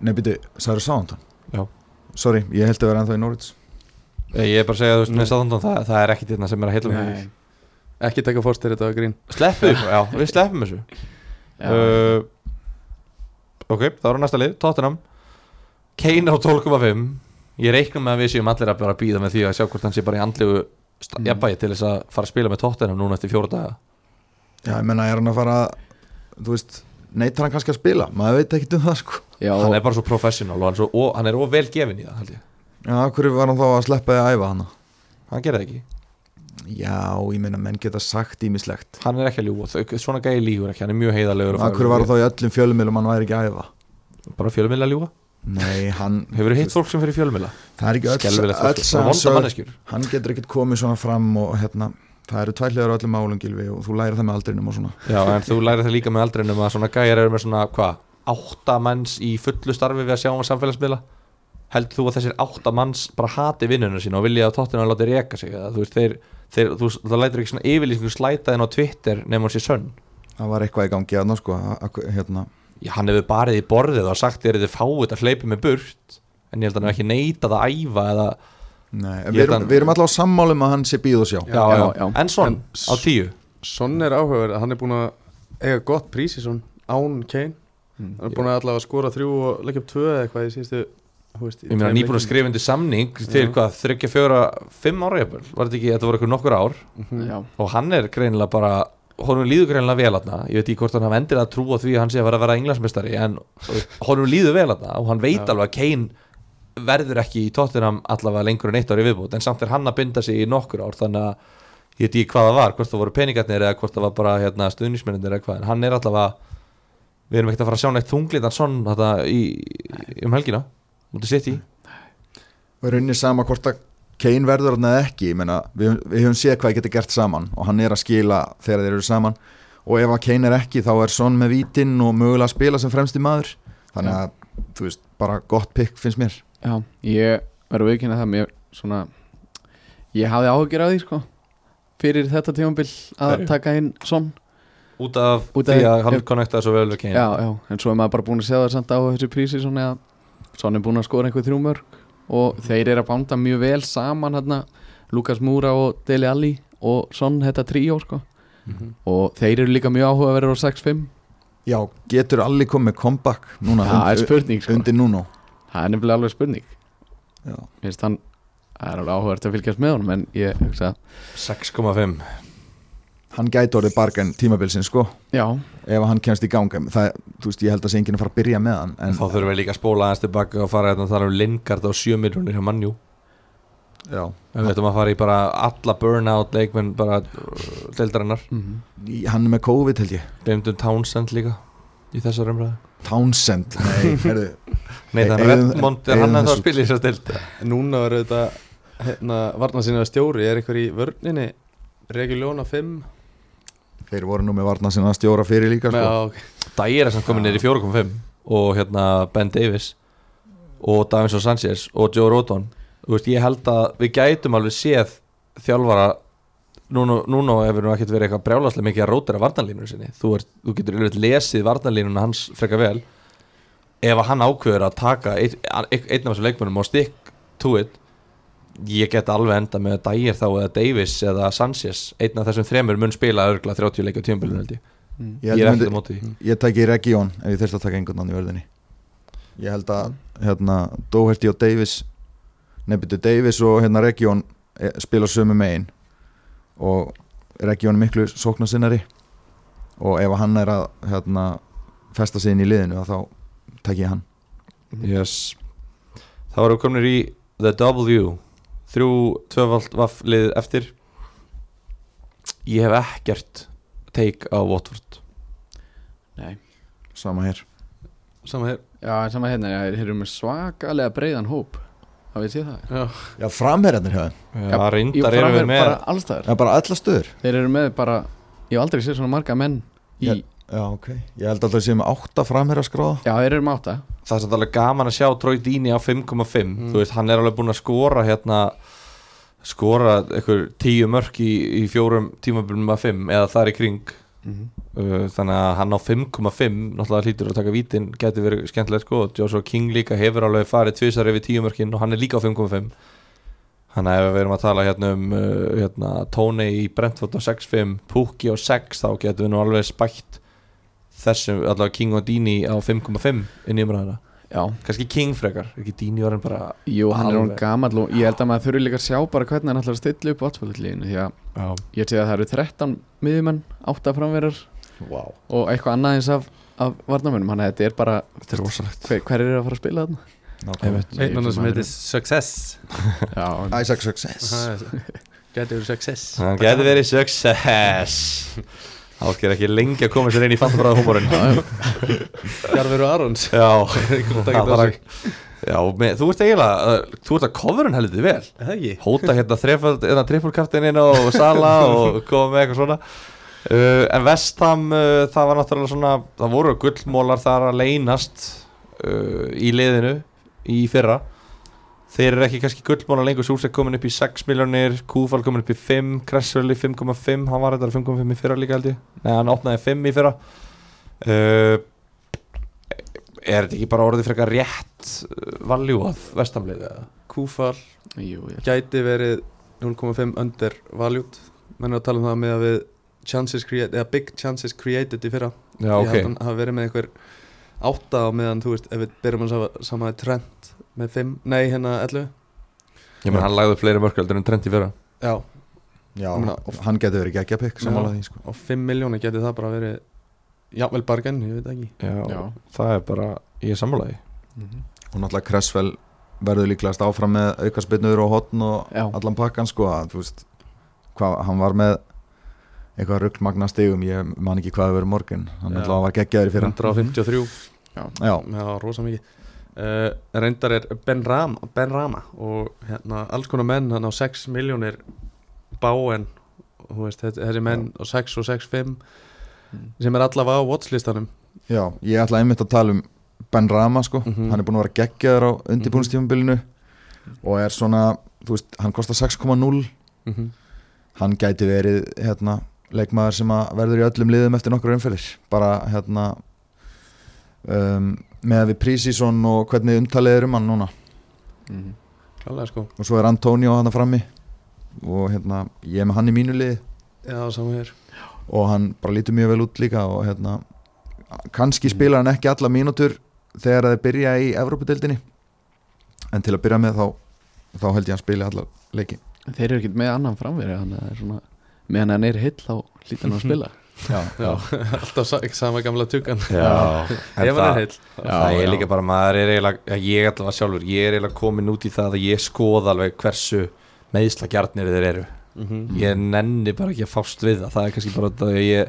S2: Nei, byrju, sagður Sándon
S1: Já.
S2: Sorry, ég held að vera ennþá í Norwich
S1: Eh, Ég er bara að segja, þú veist,
S4: Nei.
S1: með sáttandum það, það er ekki þetta sem er að heilla mig
S3: Nei.
S4: ekki tekja Forster þetta var grín
S1: Sleppu, já, við sleppum þessu
S3: Já.
S1: uh, Ok, þá eru næsta lið, Tottenham Kane á 12,5 Ég reiknum með að við séum allir að bara býða með því að sjá hvort hann sé bara í andlegu
S3: Mm.
S1: mm. jafnbæði til þess að fara að spila með Tottenham núna eftir fjóra daga
S2: Já, ég menna, er hann að fara Þú veist, neitar hann kannski að spila Maður veit ekki um það, sko
S3: Já,
S1: Hann er bara svo professional og hann, svo, og hann er of vel gefin í það held ég.
S2: Já, af hverju var hann þá að sleppa því að æfa hana?
S1: Hann gerði það ekki,
S2: Já, ég meina, menn geta sagt ímislegt
S1: hann er ekki að ljúga Þau- Svona gæði lígur ekki, hann er mjög heiðalegur
S2: Af hverju var hann þá í öllum fjölumilum hann væri ekki að æfa?
S1: Bara fjölumilla að ljúga
S2: Nei, [LAUGHS] hann
S1: Hefur hitt fólk sem fyrir fjölumilla?
S2: Það er ekki öll,
S1: Skelfilegt fólk,
S2: öll
S1: bara
S2: sagan
S1: vonda
S2: sögð
S1: manneskjur
S2: Hann getur ekkert komið svona fram og hérna Það eru tværlegar á öllum álum, Gilvi Og þú lærir það með aldrinum og svona
S1: Já, en þú lærið það líka með aldrinum að svona gæjar eru með svona, hvað, átta manns í fullu starfi við að sjá um samfélagsmiðla heldur þú að þessir átta manns bara hati vinnunum sína og vilja að tóttina láti reka sig eða þú veist, þeir, þeir þú, veist, það lætur ekki svona yfirlýsingu slæta þenn á Twitter nema hún sé sönn
S2: Það var eitthvað í gangi að sko að- að- Hérna,
S1: Já, hann hefur barið í borðið og sagt þér þið fáið að hleypa mig burt en ég held að hann hef ekki neitað að æfa eða,
S2: Nei,
S1: Ég
S2: við erum,
S1: held að-
S2: við erum alltaf á sammálum að hann sé býð og sjá
S1: já, já,
S3: já, já.
S1: en svon
S4: En-
S1: á tíu
S4: Son er áhugaverð, hann er búin að eiga gott prís í son, án Kane
S3: Mm.
S4: hann er búin að allavega skora þrjú og leggja upp tvö eða eitthvað í síðustu þú veist, í
S1: ég meina
S4: tveim
S1: nýbúin að
S4: leikjum.
S1: skrifa undir samning til
S4: Já.
S1: hvað, þryggja, fjóra, fimm ára jafnvel? var þetta ekki, þetta voru eitthvað nokkur ár
S4: Mhm.
S3: já,
S1: og hann er greinilega bara honum líður greinilega vel aðna ég veit ekki hvort hann hafa endilega trú á því að hann sé að vera að vera englansmestari en þú veist, honum líður vel aðna og hann veit
S4: Já.
S1: alveg að Kane verður ekki í tóttunum allavega lengur en eitt ári viðbútt en samt er hann að binda sig í nokkur ár þannig að ég veit ekki hvað það var hvort það voru peningarnir eða hvort það var bara hérna, stuðnismennir eða hvað en hann er allavega við erum ekkert að fara að sjá neitt þunglitan sonn þetta í, í- um helgina mútið sitt í
S2: og er unni sama hvort að Kane verður hann eða ekki, ég meina við, við höfum séð hvað þeir geta gert saman og hann er að skila þegar þeir eru saman og ef að Kane er ekki þá er Son með vítinn og mögulega að spila sem fremsti maður þannig að, þú veist, bara gott pikk finnst mér
S3: já Ég verður viðkynna það mér svona Ég hafði áhugir á því sko Fyrir þetta tímabil að
S1: Hverju?
S3: taka inn Son
S1: út af
S3: Út af-
S1: því að hann
S3: ef-
S1: konnektaði svo vel við Kane
S3: Já, já, en svo er maður bara búin að segja það samt á þessu prísi svona að Son er búin að skora einhver þrjúmörk og þeir eru að banda mjög vel saman hérna Lukas Múra og Deli Alli og Son þetta tríó sko
S1: Mhm.
S3: og þeir eru líka mjög áhugaverður á 6-5
S2: Já, getur allir komið comeback núna
S3: það er spurning sko
S2: undir núna
S3: það er nefnilega alveg spurning
S2: Já.
S3: Mér finnst hann það er alveg áhugavert að fylgjast með honum en ég hugsa
S1: 6,5
S2: hann gæti orðið bargan tímabilsin sko
S3: já,
S2: ef hann kemst í ganga það, þú veist, ég held að sé enginn að fara að byrja með hann en
S1: þá þurfum við líka að spóla aðeins tilbaka og fara hérna að tala um Lingard á 7 miljónir hjá Manjú
S2: já,
S1: við ætlum að fara í bara alla burnout leikmenn bara uh, deildarinnar
S3: Mhm.
S2: í- hann er með COVID held ég
S1: Bimdun Townsend líka í þessar umræðu
S2: Townsend, nei, herðu
S1: Nei,
S2: Eigum-
S1: þannig Redmond er
S2: eigum
S1: hann að það
S2: þessu-
S1: spila í þessar deild
S4: núna er þetta hérna, varna sinna stjóri, er einhver í vörninni Reguljóna 5
S2: Þeir voru nú með varna sinna stjóra fyrir líka
S4: Já,
S2: sko.
S4: ok.
S1: Dæir er samt komin niður í 4.5 og hérna Ben Davis og Davinson Sanchez og Joe Rodon Þú veist, ég held að við gætum alveg séð þjálfara núna, núna hefur nú ekkert verið eitthvað brjálaslega mikið að rótera varnanlínunum sinni þú, ert, þú getur yfirleitt lesið varnanlínuna hans frekar vel ef að hann ákveður að taka einn ein, ein af þessum leikmönnum og stick to it ég get alveg enda með Dyer þá eða Davis eða Sanchez einn af þessum þremur mun spila örgla 30 leikja tjömbilinu held ég
S4: Mm.
S2: Ég,
S1: ég er
S2: held ég,
S1: ekkert á
S2: myndi,
S1: móti því
S2: ég tæki Region ef ég þurfti að taka einhvern annan í verðinni Ég held að hérna, Doherty og Davis nefndu Davis og hérna, Region e, spila sömu megin og Region er miklu sóknarsinnari og ef hann er að hérna, festa sig inn í liðinu að þá tek ég hann Mhm.
S1: yes. þá erum við komin í The W þrjú tvöfald vafflið eftir ég hef ekkert take á Watford
S3: Nei
S2: sama hér
S1: sama hér
S3: Já, en sama hérna, já, þeir eru með svakalega breiðan hóp Það veit ég það
S2: Já, framherjarnir hefði,
S1: já, reyndar
S3: Jú,
S1: erum
S3: framherjar
S1: við með
S3: bara allstaðar
S2: það er bara alla stöður
S3: Þeir eru með bara, ég hef aldrei séð svona marga menn í,
S2: Ég- Já, ok, ég held alltaf að séum átta framherjarskráða
S3: Já, þeir eru með átta
S1: það er samt alveg gaman að sjá Troy Deeney á 5,5 þú veist, hann er alveg búinn að skora hérna skora einhver tíu mörk í, í fjórum tímabilum að 5 eða þar í kring uh, þannig að hann á 5,5 náttúrulega hlýtur að taka vítin geti verið skemmtilegt sko og Joshua King líka hefur alveg farið tvisar yfir tíu mörkin og hann er líka á 5,5 þannig að ef við erum að tala hérna um uh, hérna, Tony í Brentford á 6,5 Pukki á 6 þá getum við nú alveg spætt þessum allavega King og Dini á 5,5 inn í umræðina
S3: Já,
S1: kannski King frekar, ekki Dini var hann bara
S3: jú, hann er hún
S1: Alveg.
S3: gamall og ég held að maður þurfi líka að sjá bara hvernig hann ætlar að stilla upp vatnsfjöldliðinu því að
S1: já,
S3: ég sé að það eru 13 miðjumenn, átta framverjar
S2: Vá wow.
S3: og eitthvað annað eins af, af varnamönnum, hann þetta er bara
S1: þetta er rosalegt
S3: hver, hver er að fara að spila þarna?
S2: Nákvæmlega.
S4: einn annar sem heitir Success
S3: Já,
S2: Isaac Success
S4: Gæti verið Success
S1: hann geti verið success Álger ekki lengi að koma sér inn í fattabræða húmorinn
S4: Jarveru Arons
S1: Já,
S4: takk
S1: Það
S4: fyrir
S1: var að- Já, með, þú ert eiginlega uh, Þú ert að coverun heldur vel
S4: Er Það ekki
S1: Hóta hérna þrefald, hérna trippulkaftininn og Sala og koma með eitthvað svona uh, En Vestham uh, Það var náttúrulega svona, það voru gullmólar Þar að leynast uh, Í liðinu í fyrra Þeir eru ekki kannski gullmólar lengur Súsek komin upp í 6 miljónir Kúfal komin upp í 5, Kressvöli 5,5 Hann var þetta 5,5 í fyrra líka held ég Nei, hann opnaði 5 í fyrra uh, Er þetta ekki bara orðið frekar rétt uh, valjúað vestamlið?
S4: Kúfar
S3: jú, ég
S4: Gæti verið 0,5 under valjút Menn er að tala um það með að við Chances created Eða big chances created í fyrra
S1: Já,
S4: Ég held hann hafa verið með einhver Átta á meðan þú veist Ef við byrjum að sama trend Með 5 Nei hérna 11
S1: Ég menn hann lagði upp fleiri mörköldur en Trent í fyrra
S4: Já
S2: Já,
S4: Ég meina-
S2: hann getur verið geggja pikk samanlega því sko.
S4: Og 5 miljónir gæti það bara verið Jafnvel bargain Ég veit ekki
S3: Já.
S1: það er bara, ég er sammálaði
S3: Mhm.
S2: og náttúrulega Kressvel verður líklegast áfram með aukarsbyrnur og hotn og
S3: Já.
S2: allan pakkan sko að, þú veist, hvað, hann var með eitthvað rugg magna stigum ég man ekki hvað það verið morgun hann
S4: Já.
S2: ætlaði að var geggjaður í fyrra
S4: 153
S2: Já,
S4: Já, rosa mikið uh, Reyndar er Ben Rama, ben Rama og hérna, alls konar menn hann á 6 miljónir báen þú veist, þessi, þessi menn á 6 og 6, 5
S3: Mm.
S4: sem er allavega á watchlistanum
S2: já, ég ætlaði einmitt að tala um Ben Rama sko,
S4: Mhm.
S2: hann er búin að vera geggjaður á undirbúinstífumbilinu og er svona, þú veist, hann kostar 6,0
S4: mm -hmm.
S2: hann gæti verið hérna, leikmaður sem að verður í öllum liðum eftir nokkur umfyrir bara hérna um, með að við prísíson og hvernig umtalið er um hann núna
S3: Mhm.
S4: Klálega sko
S2: og svo er Antonio hann frammi og hérna ég er með hann í mínu liði
S4: Já, saman hér
S2: og hann bara lítur mjög vel út líka og hérna kannski
S1: Mm.
S2: spilar hann ekki alla mínútur þegar þeir byrja í Evrópudeildinni en til að byrja með þá þá held ég að hann spili alla leiki
S3: Þeir eru ekkert með annan framverið þannig að það er svona meðan hann er hill á lítan að
S2: [LAUGHS]
S3: spila
S2: Já,
S4: Já, alltaf sa sama gamla tugan
S1: Já,
S4: Ef hann er heill
S1: Það
S3: Já,
S1: er
S3: já.
S1: líka bara, maður er eiginlega að ég allavega sjálfur, ég er eiginlega komin út í það að ég skoða alveg hversu meðslagjarnir þeir eru
S4: mm -hmm.
S1: ég nenni bara ekki að fást við það það er kannski bara þetta að ég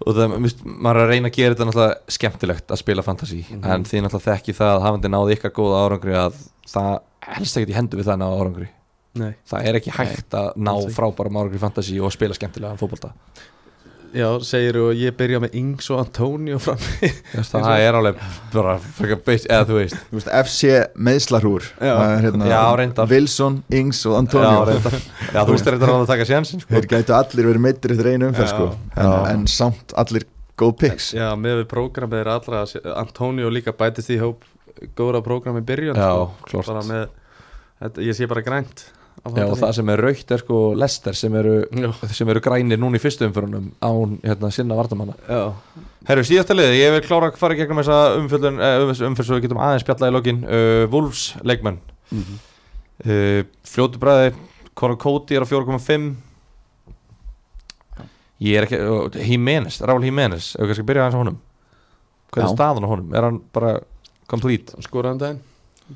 S1: og það, þú veist, maður er að reyna að gera þetta náttúrulega skemmtilegt að spila fantasy
S4: Mhm.
S1: en þið náttúrulega þekki það að hafandi náði ykkar góða árangri að það helst ekki í hendu við það að ná árangri
S4: Nei,
S1: það er ekki hægt að ná
S4: alls ekki.
S1: frábærum árangri í fantasy og spila skemmtilegan fótbolta
S4: já, segir og ég byrja með Ings og Antonio fram
S1: það er alveg bara frekar beist, eða þú veist
S2: Þú veist, FC meðslarhúr
S4: Já.
S2: Það er hérna,
S1: Já, reyndar.
S2: Wilson, Ings og
S1: já,
S2: Antonio
S1: reyndar. já, þú veist er þetta að taka sjansin sko.
S2: Þeir gætu allir verið meittir eftir einu umferð
S4: Já.
S2: sko. en,
S1: Já.
S2: en samt allir góð picks
S4: Já, með við prógramið er allra Antonio líka bætist í hóp góðra prógramið byrjun
S1: já,
S4: sko.
S1: klart
S4: bara með, þetta, ég sé bara grænt á
S1: já, og það
S4: fantasy.
S1: sem er raukt er sko lester sem eru,
S4: já,
S1: sem eru grænir núna í fyrstu umförunum án hérna, sinna vartamanna
S4: já,
S1: Herru, síðasta liðið, ég vil klára að fara í gegnum þessa umfjöldun, eh, um, umfjörð svo við getum aðeins spjalla í lokin uh, Wolves leikmenn
S3: Mhm.
S1: Eh, uh, Fljótu bræði Conor Cody er á 4,5 Ég er ekki, og Jimenez, Raúl Jimenez Ef við kannski byrja aðeins á honum Hvað er
S2: Já.
S1: staðan á honum? Er hann bara complete?
S4: skoraðan daginn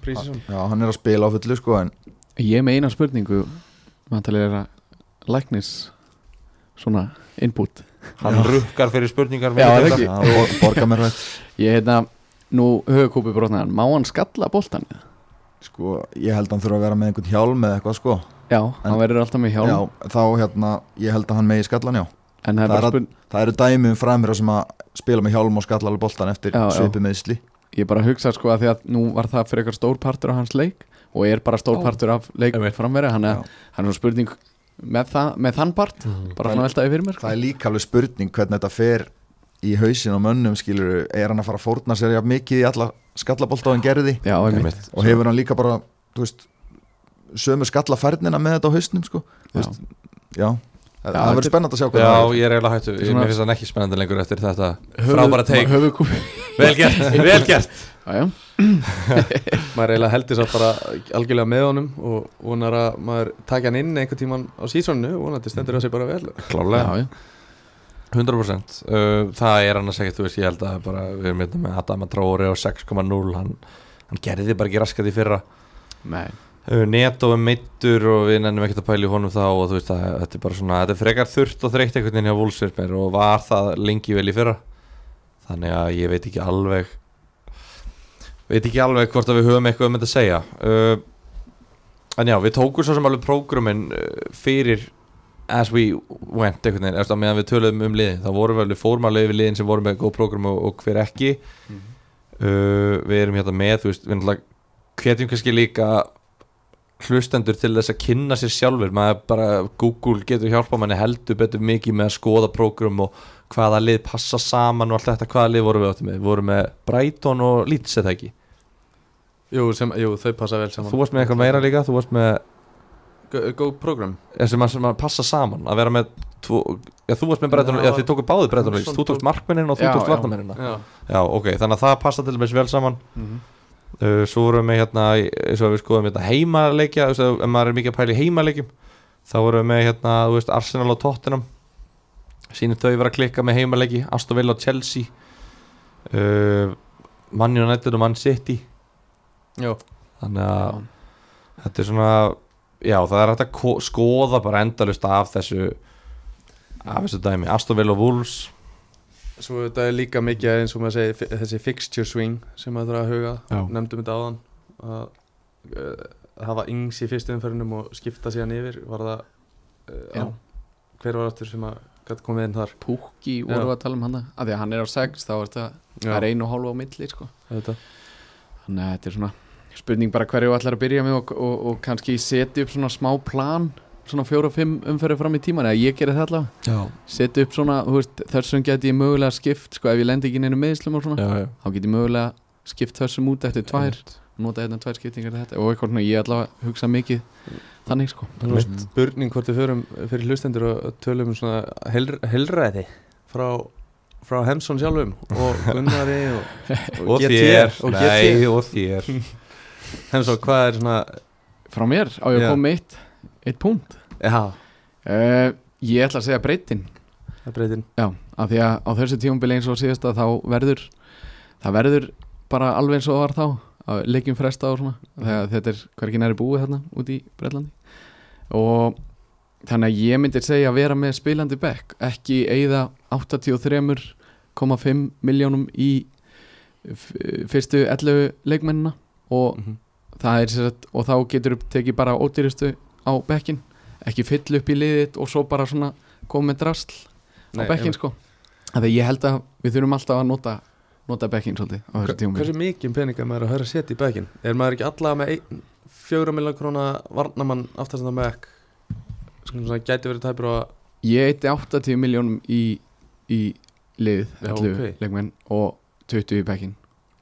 S4: prísisum
S2: Já, hann er að spila á fullu sko en
S3: Ég er með eina spurningu Vantalega er að læknis Svona input
S1: Hann rukkar fyrir spurningar
S3: Já, er það
S2: Já, bor- borga mér veit
S3: Ég hérna Nú höfukúpi brotnaðan Má hann skalla boltan?
S2: Sko, ég held að hann þurfa að vera með einhvern hjálm eða eitthvað sko
S3: Já, hann verður alltaf með hjálm
S2: Já, þá hérna, ég held að hann megi skallan já
S3: En
S2: það
S3: það er
S2: er
S3: bara
S2: að-
S3: spurning
S2: Það eru dæmi um framherra sem að spila með hjálm og skalla alveg boltan eftir
S3: Já, já.
S2: svipi meðsli
S3: Ég bara hugsa sko að því að nú var það fyrir eitthvað stór partur af hans leik Og er bara stór
S1: Ó.
S3: partur af leik
S1: Einmitt.
S3: framverið Þannig
S2: Já.
S3: að hann er svona spurning með, það, með þann part
S1: Mhm.
S3: Bara hann að velta yfir mér sko.
S2: Það er líka alveg spurning hvernig þetta fer í hausin og mönnum skilur er hann að fara að fórna sér jafn mikið í alla skallabolt á hann gerði
S3: Já, einmitt
S1: Einmitt.
S2: og hefur hann líka bara þú veist, sömu skallafærnina með þetta á hausnum sko. Þú
S3: Já.
S2: veist, já, það
S3: þetta er-
S2: verður spennand að sjá hvernig
S1: Já,
S2: það verður.
S1: ég er eiginlega hættu Ég
S3: Svona-
S1: mér finnst hann ekki spennandi lengur eftir þetta Frábæra teik
S3: Höfukúpi
S1: Vel gert, vel gert
S3: [LAUGHS] Já, já
S4: maður eiginlega heldur þess að bara algjörlega með honum og vonar að maður taka hann inn einhvern tíman á sísónu og vonandi stendur það sér bara vel
S1: Klálega
S3: Já, já
S1: 100% uh, það er annars ekkert, þú veist, ég held að bara, við erum hérna með Adama Traore og 6.0 hann, hann gerði bara ekki raskat í fyrra
S3: Nei
S1: uh, Neto er meittur og við nennum ekkert að pæla í honum þá og þú veist, að, þetta er bara svona þetta er frekar þurft og þreytt einhvern veginn hjá Wolfsverfmer og var það lengi vel í fyrra þannig að ég veit ekki alveg veit ekki alveg hvort að við höfum eitthvað um þetta að segja uh, en já, við tókum svo sem alveg prógrumin uh, fyrir as we went einhvern veginn, eftir að meðan við töluðum um liðin þá vorum við alveg fórmálega yfir liðin sem vorum með góð prógrum og, og hver ekki uh, við erum hérna með, þú veist, við náttúrulega hvetjum kannski líka hlustendur til þess að kynna sér sjálfur maður bara, Google getur hjálpa manni heldur betur mikið með að skoða prógrum og hvaða lið passa saman og allt þetta, hvaða lið vorum við áttu með við vorum með Brighton og Leeds eða ekki
S4: jú, sem, jú, þau passa vel saman
S1: þú varst með eitthvað meira líka, þú varst með
S4: Go- góð program
S1: eða sem að, sem að passa saman að vera með tvo, já, þú varst með Brighton
S4: Já,
S1: já, þið tóku báði Brighton og Leeds,
S4: Hansson
S1: þú tókst
S4: tók-
S1: markmennina og þú
S3: Já,
S1: tókst
S3: já.
S1: varnamennina
S4: já,
S1: já, ok, þannig að það passa til dæmis vel saman uh, svo vorum við hérna í- eins og við skoðum hérna heimaleikja þú veist, ef maður er mikið að pæla í heimaleikjum þá vorum við með hérna, þú veist, Arsenal og Tottenham sínum þau vera að klikka með heimaleiki Aston Villa og Chelsea uh, Man United og Man City
S4: já,
S1: þannig að þetta er svona já, það er hægt að ko- skoða bara endalust af þessu af þessu dæmi, Aston Villa og Wolves
S4: svo þetta er líka mikið eins og maður segir fi- þessi fixture swing sem maður þarf að huga
S1: Já.
S4: nefndum þetta áðan að uh, hafa yngs í fyrstu umferðinum og skipta síðan yfir var það uh,
S3: Já.
S4: á- hver var aftur sem að gæti komið inn þar
S3: Pukki voru að tala um hann að því að hann er á 6 þá er þetta það er einu og hálfu á milli sko.
S4: þetta
S3: þannig að þetta er svona spurning bara hverju þú ætlar að byrja með og, og, og kannski setja upp svona smá plan svona fjóra og fimm umferði fram í tíman eða ég gerði það allavega
S1: já,
S3: setja upp svona þú veist, þessum geti ég mögulega skipt sko ef ég lendi ekki í neinu meðslum og svona
S1: já, já.
S3: þá get ég mögulega skipt þessum út eftir tvær nota hérna tvær skiptingar eftir þetta og eitthvað svona ég allavega hugsa mikið þannig sko
S4: Nú er spurning hvort við förum fyrir hlustendur og tölum um svona heil, heilræði frá, frá Hemsson sjálfum [LAUGHS] og Gunnari og,
S1: og
S4: GT.
S1: þér,
S4: og
S1: nei
S4: GT.
S1: og þér
S4: Hemsson, hvað er svona
S3: frá mér á ég
S4: Já.
S3: að koma með eitt, eitt punkt
S4: já,
S3: uh, ég ætla að segja breytin
S4: það er breytin
S3: Já, af því að á þessu tímabili eins og síðast að þá verður það verður bara alveg eins og það var þá að leikjum fresta og svona
S4: Mhm.
S3: þegar þetta er hvergi næri búið hérna úti í Breitlandi og þannig að ég myndi segja að vera með spilandi bekk ekki eigða 83,5 miljónum í f- fyrstu 11 leikmennina og
S4: Mhm.
S3: það er sér að og þá getur upp tekið bara ódýristu á bekkin ekki fyll upp í liðið og svo bara svona koma með drasl á
S4: Nei,
S3: bekkin
S4: einmitt.
S3: sko Þegar ég held að við þurfum alltaf að nota nota bekkin svolítið á þessu tíma
S4: hversu mikið peninga maður er að höra að setja í bekkin er maður ekki allavega með ein, fjóra millar króna varnamann aftast að bekk svona svona gæti verið tæpur á að
S3: Ég eitti 80 miljónum í, í liðið,
S4: Já,
S3: 11
S4: ok.
S3: leikmenn og 20 í bekkin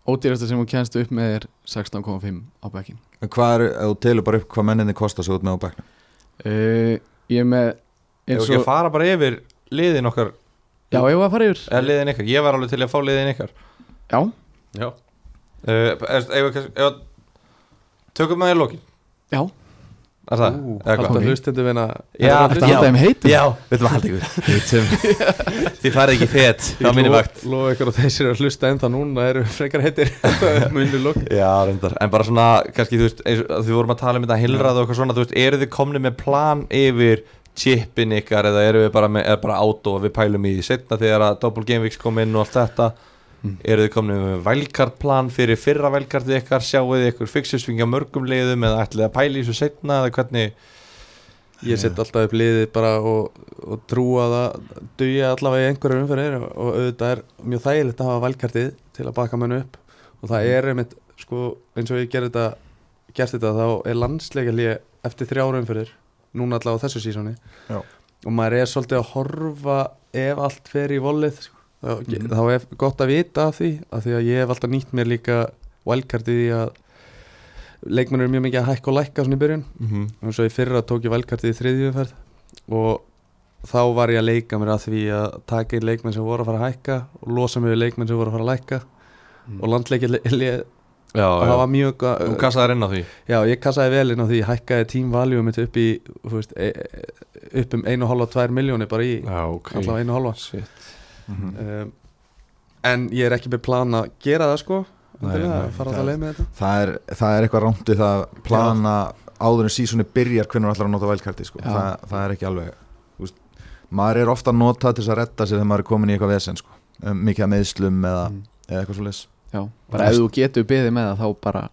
S3: Ódýrasta sem hún kennst upp með er 16,5 á bekkin
S2: En Hvað er, ef þú telur bara upp hvað menninni kostar svo út með á bekknum
S3: uh, Ég er með
S1: Eh, Ef
S3: eins
S1: ekki að
S3: og
S1: fara bara yfir liðin okkar
S3: Já, ég var að fara yfir
S1: eða liðin ykkar, ég var alveg til að fá liðin ykkar Eh, uh,
S3: Já,
S4: já,
S1: er, ef, ef, ef, Tökum maður í lokin
S3: já,
S1: Er það?
S4: Ú,
S1: Eða hvað?
S4: Halda hlustendum hérna. vinna
S1: Já,
S2: Þetta halda þeim heitum
S1: Já, við ætlum að halda ykkur [LAUGHS] Þið farið ekki fet á minni vakt
S4: Lofa ykkur og þeir sem eru að hlusta ennþá núna eru frekar
S1: [LAUGHS]
S4: heitir Munu lók
S1: Já, reyndar En bara svona, kannski, þú veist, eins, og- við vorum að tala um þetta Hilrað og eitthvað svona, þú veist, eru þið komni með plan yfir chipin ykkar eða eru við bara með, er bara átó og við pælum í því setna þegar að Double Game Weeks kom inn og allt þetta eru þið komni með velkart plan fyrir fyrra velkartið ykkar, sjáuð þið ykkur fixusvinga mörgum leiðum eða ætlið að pæli í þessu setna eða hvernig
S4: Ég set alltaf upp liðið bara og, og trúa að það duja allavega í einhverjum umferðir og, og auðvitað er mjög þægilegt að hafa valkartið til að baka mann upp og það er einmitt, sko, eins og ég gerði þetta, gert þetta þá er landsleika eftir þrjára umferðir núna allavega á þessu sísóni
S2: Já.
S4: og maður er svolítið að horfa ef allt fer í volið sko. þá, þá er gott að vita af því af því að ég hef alltaf nýtt mér líka valkartið í að leikmenn eru mjög mikið að hækka og lækka svona í byrjun og svo í fyrra tók ég valkartið í þriðju umferð og þá var ég að leika mér að því að taka inn leikmenn sem voru að fara að hækka og losa mig við leikmenn sem voru að fara að lækka og landleikið það
S1: Mm. Já, já,
S4: var mjög ga-
S1: þú kassaðir inn á því
S4: já, ég kassaði vel inn á því, ég hækkaði tímvaljum mitt upp í, þú veist e, e, upp um 1,5-2 miljónir bara í
S1: Já, ok
S4: allavega 1,5
S1: Shit
S2: Mhm.
S4: um, en ég er ekki með plan að gera það sko
S1: Nei,
S4: endilega,
S1: nei,
S4: fara
S2: það-
S4: það leið með þetta
S2: það er, það er eitthvað rámt við það að plana áður en sísoni byrjar hvernig maður ætlar að nota vælkarti sko.
S3: Já.
S2: það, það er ekki alveg þú veist, maður er ofta að nota til þess að redda sér þegar maður er komin í eitthvað vesen sko. Um, mikið að meðslum eða,
S3: Mm.
S2: eða eitthvað svo leis
S3: Já, bara ef þú getur beðið með það þá bara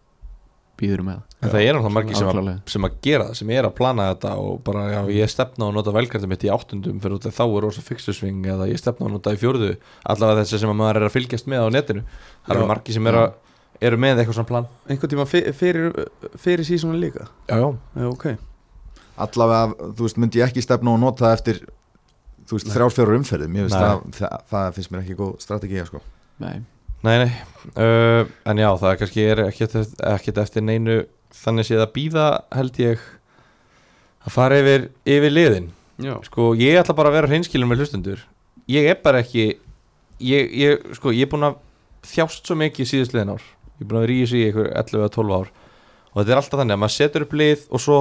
S3: býður með það
S1: En það er náttúrulega margir sem að
S3: Alklálega.
S1: sem að gera það, sem er að plana þetta og bara, já, ég stefna á að nota velkartum mitt í áttundum fyrir út að þá er rosa fixusving eða ég stefna á að nota í fjórðu allavega þessi sem að maður er að fylgjast með á netinu það eru
S4: Já.
S1: margir sem er að, eru með eitthvað svona plan
S4: einhvern tíma fyrir, fyrir sísónu líka
S1: Já, já,
S4: já, ok
S2: allavega, þú veist, myndi ég ekki stefna og nota það eftir þú veist, þrjár fjórar umferðum ég veist,
S1: Nei.
S2: það, það, það finnst mér ekki góð strategía sko.
S3: Nei,
S1: nei, nei uh, en já, það kannski er ekkert, ekkert eftir neinu þannig séð að býða held ég að fara yfir, yfir liðin
S4: já.
S1: sko, ég ætla bara að vera hreinskilin með hlustendur ég er bara ekki ég, ég, sko, ég er búin að þjást svo mikið síðustliðin ár ég er búin að vera í þessu í ykkur 11 eða 12 ár og þetta er alltaf þannig að maður setur upp lið og svo,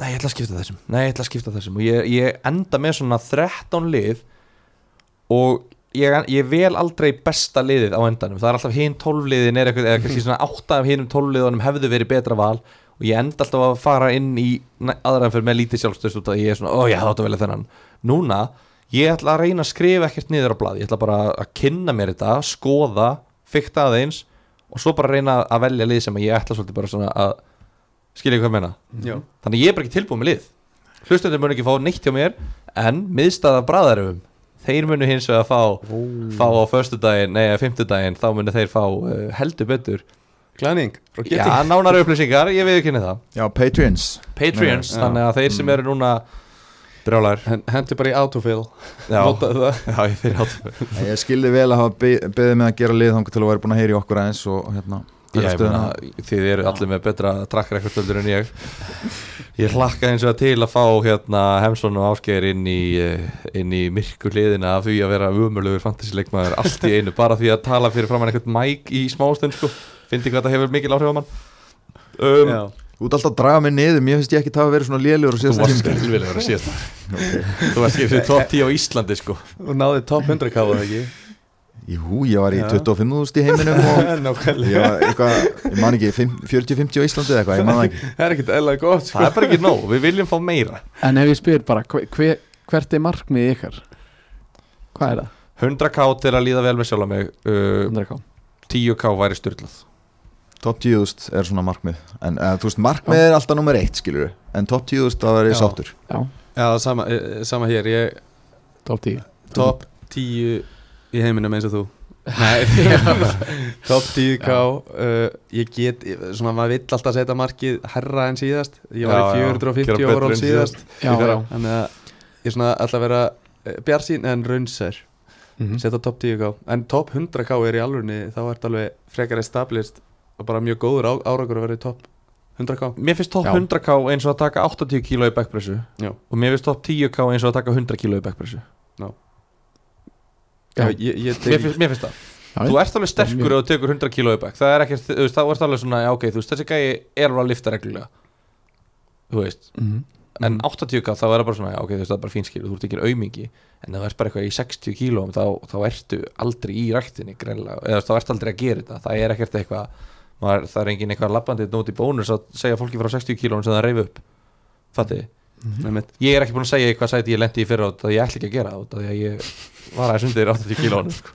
S1: nei, ég ætla að skipta þessum nei, ég ætla að skipta þessum og ég, ég enda með svona 13 lið og ég, ég vel aldrei besta liðið á endanum það er alltaf hinn 12 liðin er eitthvað eða kannski svona 8 af hinnum 12 liðunum hefðu verið betra val og ég enda alltaf að fara inn í aðraðanferð með lítið sjálfstöðst út að ég er svona, ó ég hafði átt að velja þennan núna, ég ætla að reyna að skrifa ekkert niður á blað, ég ætla bara að kynna mér þetta, skoða, fikta aðeins og svo bara reyna að velja lið sem að ég ætla svolítið bara svona að skilja ég hvað ég meina,
S4: já.
S1: þannig að ég er bara ekki tilbúið með lið hlustundum mun ekki fá neitt hjá mér en miðstæða bræðarum þeir munu hins vegar fá, fá á föstudaginn, nei að fimmtudaginn þá munu þeir fá uh, heldur betur
S4: Glæning frá Getty
S1: Já, nánari upplýsingar, ég viðkynni það
S2: já, Patreons
S1: Patreons,
S4: Nei, já.
S1: þannig að þeir sem eru núna brjálæður
S4: Hen- Hentu bara í autofill
S1: já,
S4: Notaðu það
S1: já, ég fyrir átt
S2: Nei, [LAUGHS] ég skildi vel að hafa be- beðið með að gera lið þangað til að vera búin að heyra í okkur aðeins og hérna
S1: Já,
S2: taka
S1: ég
S2: stöðuna.
S1: meina, þið eru allir með betra trakkrekordöldur en ég Ég hlakka eins og til að fá hérna Hemsson og Ásgeir inn í eh, inn í myrku hliðina af því að vera umölugur fantasíleikmaður allt í einu bara því að tala fyrir framann einhvern mæk í smástund sko, fyndi hvað það hefur mikil áhrif á mann um,
S4: Já.
S2: Þú ert alltaf að draga mig niður, mér finnst ég ekki það að vera svona lélugur og
S1: Þú
S2: síðast
S1: varst skilvilegur að síðast Þú varst skilvilegur top 10 á Íslandi sko
S4: Og náði top 100 kafaði ekki [LAUGHS]
S2: Jú, ég var í
S4: Já.
S2: 25.000 í heiminum og ég
S4: Nákvæmlega
S2: var eitthvað, ég man ekki, fimm- 40-50 á Íslandi eða eitthvað, ég man það ekki
S4: Það er ekkert eðla gott sko.
S1: Það er bara ekki nóg, við viljum fá meira
S3: en ef ég spyr bara hver, hver, hvert er markmið ykkar? Hvað er það?
S1: 100k til að líða vel með sjálf mig uh,
S3: 100k
S1: 10k væri styrlað
S2: Top 10.000 er svona markmið en uh, þú veist, markmið er alltaf nummer eitt, skilur en top 10.000 þá er
S4: Já.
S2: ég sáttur
S3: Já,
S4: Já, sama, eh, sama hér Ég
S3: top 10
S4: top 10 í heiminum eins og þú [LAUGHS] Nei Top 10k uh, Ég get, ég- svona maður vill alltaf setja markið Herra en síðast Ég var
S1: Já, já.
S4: í
S1: Gera
S4: 450
S1: betur
S4: overall
S1: en
S4: síðast
S3: Já,
S1: Í fyrra.
S3: já,
S4: Þannig að ég svona ætla að vera Bjarsín en raunsær
S3: Mhm.
S4: setja top 10k en top 100k er í alvörni þá ert alveg frekar established og bara mjög góður á- árangur að vera í top 100k
S1: Mér finnst top
S3: Já.
S1: 100k eins og að taka 80 kg í backpressu
S4: Já.
S1: og mér finnst top 10k eins og að taka 100 kg í backpressu
S4: já,
S3: Já.
S4: ég, ég
S1: mér
S4: tek,
S1: finnst, mér finnst það
S3: Já,
S1: Þú ert alveg
S3: Mjög.
S1: sterkur ef þú tekur 100 kg í back það er ekkert, þú veist, þá ert alveg svona, já ok, þú veist, þessi gæi er alveg að lifta reglulega þú veist
S3: Mhm,
S1: en 80 kall þá er það bara svona já, ok, þú veist það er bara fínskil þú ert ekki aumingi en það er bara eitthvað í 60 kílóm þá, þá ertu aldrei í ræktinni greinlega, eða þú veist, þá ertu aldrei að gera þetta það er ekkert eitthvað maður, það er engin eitthvað labbandi nót í bónus að segja fólki frá 60 kílóm sem það reyfi upp fatti,
S3: mhm.
S4: Einmitt.
S1: ég er ekki búin að segja í hvað sæti ég lendi í fyrra út að ég ætla ekki að gera það út af því að ég var aðeins undir 80 kílóm sko.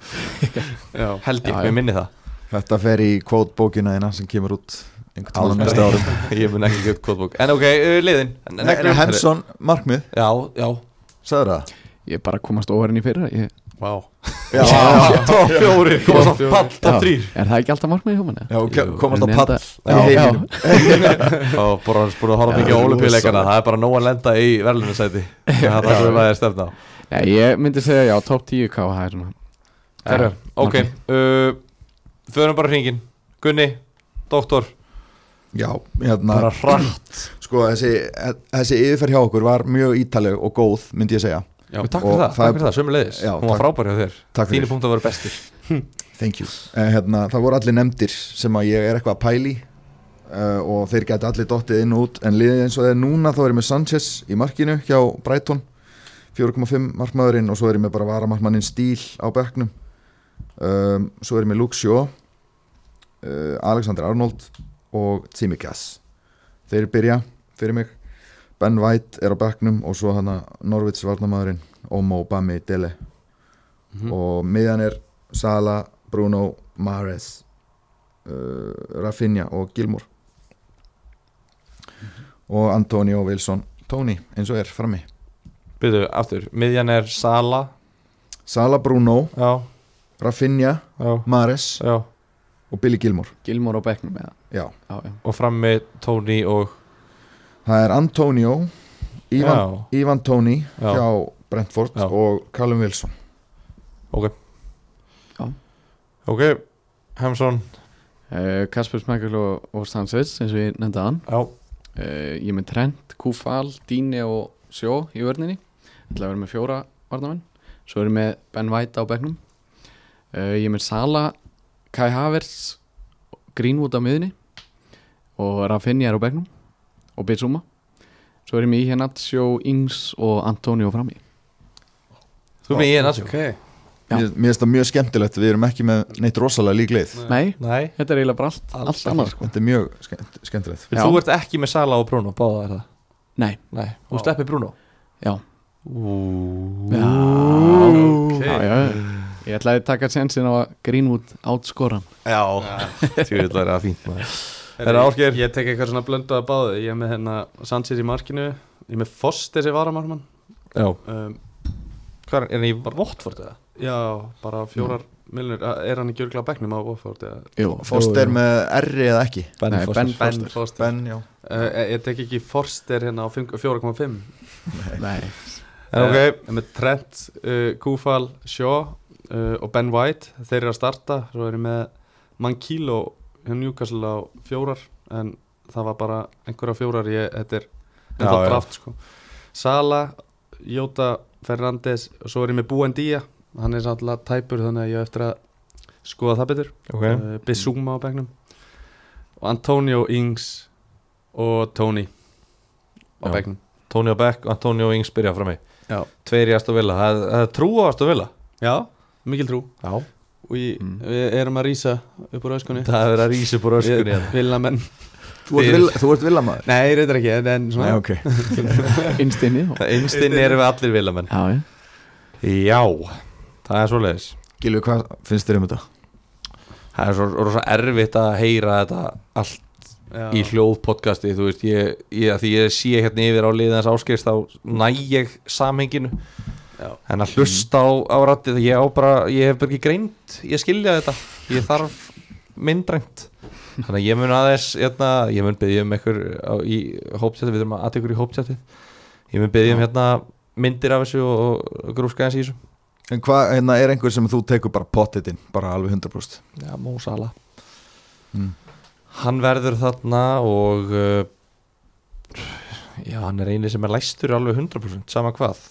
S4: Já.
S1: held ég,
S3: Já, já.
S1: mér minni það
S2: Þetta fer í kvótbókina þína sem kemur út
S1: tímann.
S2: alveg næsta árum
S1: [LAUGHS] ég mun ekki geta kóðbók, en ok, uh, liðin
S2: En Hensson, markmið,
S1: já, já,
S2: sagður það?
S3: Ég er bara að komast óhærin í fyrra ég...
S4: Vá.
S2: Já, [LAUGHS]
S1: top fjóri, komast á
S4: fjórir.
S1: pall, top [LAUGHS] þrýr
S3: Er það ekki alltaf markmið hjá manni?
S2: já ok, komast á
S3: Nei,
S2: pall
S3: þetta-
S2: í
S3: Já.
S2: heiminum
S1: og bara hans búin að horfa
S2: Já,
S1: mikið á
S2: rosalegt.
S1: olimpíuleikana það er bara nóg að lenda í verðlunarsæti það er sem það er stefna á
S3: Nei, ég myndi segja já, top 10 K Það er svona
S1: Herrar, ok,
S3: ok.
S1: uh, förum bara hringin Gunni, doktor
S2: Já, hérna
S1: bara hratt
S2: Sko, þessi, þessi yfirferð hjá okkur var mjög ítaleg og góð, myndi ég segja
S1: já, takk
S2: Og
S1: fyrir það,
S2: það er-
S1: takk fyrir það, sömulegis
S2: Já,
S1: hún var
S2: takk.
S1: frábær hjá þér,
S2: Takk fyrir.
S1: þínu punkt að vera bestir
S2: Thank you eh, hérna, Það voru allir nefndir sem að ég er eitthvað að pæli uh, og þeir geti allir dottið inn og út en liðið eins og það er núna þá er ég með Sanchez í markinu hjá Brighton 4,5 markmaðurinn og svo er ég með bara varamarkmannin Stíl á bekknum um, svo er ég með Luke Shaw uh, Alexander Arnold og Timmy Gass þeir byrja fyrir mig Ben White er á bekknum og svo hana Norvits varnamaðurinn Omo Bami Dele og miðan er Sala, Bruno, Mares uh, Rafinha og Gilmour og Antonio Wilson Tony eins og er frammi
S1: byrju, aftur, miðjan er Sala
S2: Sala, Bruno,
S1: já,
S2: Rafinha,
S1: já,
S2: Mares
S1: já
S2: og Billy Gilmour
S3: Gilmór á bekknum eða
S2: Já.
S3: Já, já
S1: og frammi Tony og
S2: það er Antonio Ivan, Ivan Tony
S1: Já.
S2: hjá Brentford
S1: Já.
S2: og Callum Wilson
S1: já, ok, Hemsson
S3: Uh, Kasper Smækul og, og Stansvits eins og ég nefndi hann
S1: já,
S3: uh, Ég er með Trent, Kúfal, Díni og Sjó í vörninni ætla að vera með fjóra varnamenn Svo er ég með Ben White á bekknum uh, Ég er með Sala, Kai Havertz Greenwood á miðinni og Rafinha er á bekknum og Bitsuma Svo er ég með Ihenatsjó, hérna, Ings og Antonio frammi
S1: þú með ég næstum
S4: Ok.
S3: Já.
S2: Mér mér finnst það mjög skemmtilegt, við erum ekki með neitt rosalega líklið
S3: Nei,
S1: nei,
S3: þetta er eiginlega bara allt,
S1: Alls
S3: allt
S1: ekki.
S3: annað sko.
S2: Þetta er mjög skemmt, skemmtilegt
S3: Já.
S1: þú ert ekki með Sala og Bruno báða er það,
S3: Nei,
S1: nei, þú steppi Bruno
S3: já Já,
S4: ok.
S3: já, já. Ég ætlaði að taka sensin á að Greenwood átskora hann.
S1: Já, tjóðilega er það fínt maður
S4: Herri,
S1: Herra, Ásgeir.
S4: Ég tek eitthvað svona blöndu að báðu Ég er með hérna Sanchez í markinu Ég er með Foster sem varamarmann
S1: Já,
S4: um,
S1: hvað er, er hann í Votford eða?
S4: Já, bara fjórar miljonir Er hann ekki örgla á bekknum á Wofford? Ja.
S3: Jú,
S2: Foster með R eða ekki
S1: Ben
S3: Nei,
S1: Foster.
S3: Ben
S4: Ben
S3: Foster.
S4: Foster
S2: Ben, já
S4: Uh, ég- Ég tek ekki Forster hérna á fimm- 4,5
S3: Nei,
S1: En
S4: Eh,
S1: ok,
S4: Ég er með Trent, uh, Kúfal, Shaw uh, og Ben White Þeir eru að starta Svo er ég með Mankilo Hjá Newcastle á fjórar En það var bara einhverja fjórar ég, Þetta er
S1: Já,
S4: ennþá
S1: já.
S4: draft sko. Sala, Jóta Ferrandes og svo er ég með Buendía Hann er alltaf tæpur þannig að ég á eftir að skoða það betur
S1: ok
S4: okay. uh, Bissúma á begnum og Antonio Ings og Tony á
S1: Já.
S4: begnum
S1: Tony og Beck, Antonio og Ings byrja frá mig
S4: Já.
S1: Tveir í Aston Villa, það það er trú á Aston Villa
S4: Já, mikil trú
S1: Já
S4: og ég,
S3: Mm.
S4: við erum að rýsa upp úr öskunni
S1: Það er verið að rísa upp úr öskunni [LAUGHS] hérna.
S4: vilja menn
S2: Þú ert
S1: Fyrir-
S2: vill- Þú ert villamæður
S4: Nei, reyndar ekki, en- en svona
S2: Nei, ok
S3: innstinnið og...
S1: Einstinn erum við allir vilamenn
S3: Já, já.
S1: Já, það er svoleiðis
S2: Gilvi, hvað finnst þér um þetta?
S1: Það er svo, svo erfitt að heyra þetta allt
S4: Já.
S1: í hljóðpodcasti Þú veist, ég, ég, að því ég sé hérna yfir á liðans áskriðst þá næ ég samhenginu
S4: Já.
S1: en að hlusta á, á rættið ég, á bara, ég hef bara ekki greint ég skilja þetta, ég þarf myndrænt þannig að ég mun aðeins hérna, ég mun byggja um ykkur á, í hóptjætti, við erum að aðta ykkur í hóptjætti ég mun byggja um hérna myndir af þessu og, og grúska eins í þessu
S2: En hvað, hérna er einhver sem þú tekur bara pottetinn, bara alveg 100%
S1: já, Mó Sala
S2: Mm.
S1: hann verður þarna og uh, já, hann er eini sem er læstur alveg 100% sama hvað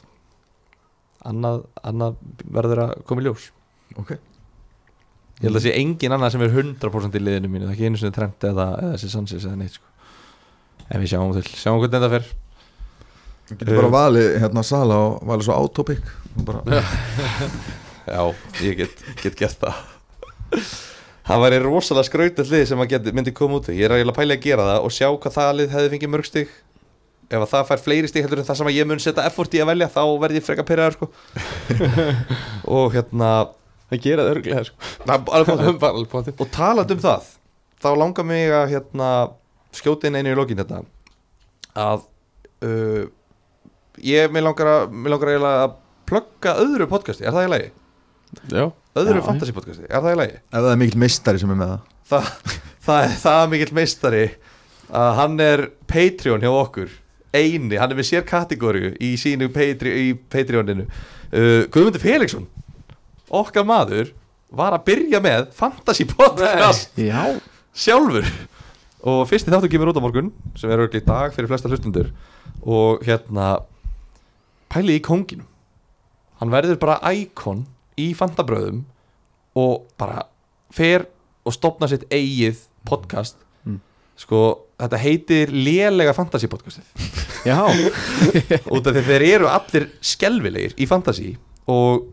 S1: annað, annað verður að koma í ljós
S2: Ok
S1: Ég held að sé engin annað sem er 100% í liðinu mínu, það er ekki einu sinni trend eða, eða þessi sansis eða neitt sko. en við sjáum til, sjáum hvernig þetta fer
S2: Þú getur bara valið hérna Sala og valið svo autopic og bara,
S1: Já, ég get, get gert það Það væri rosalega skrautið lið sem að geti, myndi koma út í. Ég er eiginlega að pæla að gera það og sjá hvað það lið hefði fengið mörg stig Ef að það fær fleiri stig heldur en það sem að ég mun setja effort í að velja þá verð ég freka pyrraður sko
S4: [LAUGHS]
S1: Og hérna
S4: Það gera það örglega sko.
S1: na,
S4: Það er [LAUGHS] bara alveg potið
S1: Og talað um það þá langar mig að hérna, skjóta inn einu í lokin þetta að uh, ég mig langar að, mig langar eiginlega að plugga öðru podcasti, er það í lagi?
S4: Já
S1: Öðru
S4: Já.
S1: fantasy podcasti, er það í lagi?
S2: ef það er mikill meistari sem er með það
S1: Þa, það, er- það er mikill meistari að hann er Patreon hjá okkur eini, hann er með sér kategóriu í sínu Patri, í Patreoninu uh, Guðmundur Felixson okkar maður var að byrja með fantasy podcast
S4: Já
S1: sjálfur og fyrsti þáttu kemur út á morgun sem er örgli í dag fyrir flesta hlustundur og hérna pæli í kónginu hann verður bara íkon í fantabröðum og bara fer og stopna sitt eigið podcast
S4: Mm.
S1: sko þetta heitir lélega fantasy podcastið
S4: Já
S1: [LAUGHS] út af því að þeir eru allir skelvilegir í fantasy og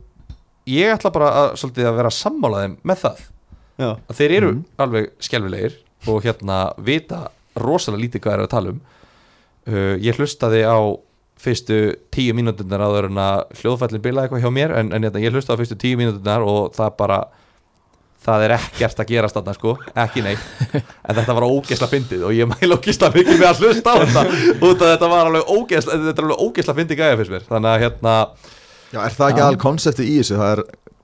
S1: ég ætla bara að, svolítið, að vera sammála þeim með það
S4: Já
S1: að þeir eru alveg skelfilegir og hérna vita rosalega lítið hvað er að tala um uh, ég hlustaði á fyrstu tíu mínúturnar áður en að hljóðfællin bilaði eitthvað hjá mér en, en hérna, ég hlustaði á fyrstu tíu mínúturnar og það bara það er ekkert að gerast þarna sko, ekki neitt en þetta var ógeðsla fyndið og ég mæla ógeðsla mikið með að hlusta á þetta út að þetta var alveg ógeðsla, þetta er alveg ógeðsla fyndið gæja fyrst mér, þannig að hérna
S2: Já, er það ekki all konseptið í þessu? Það er,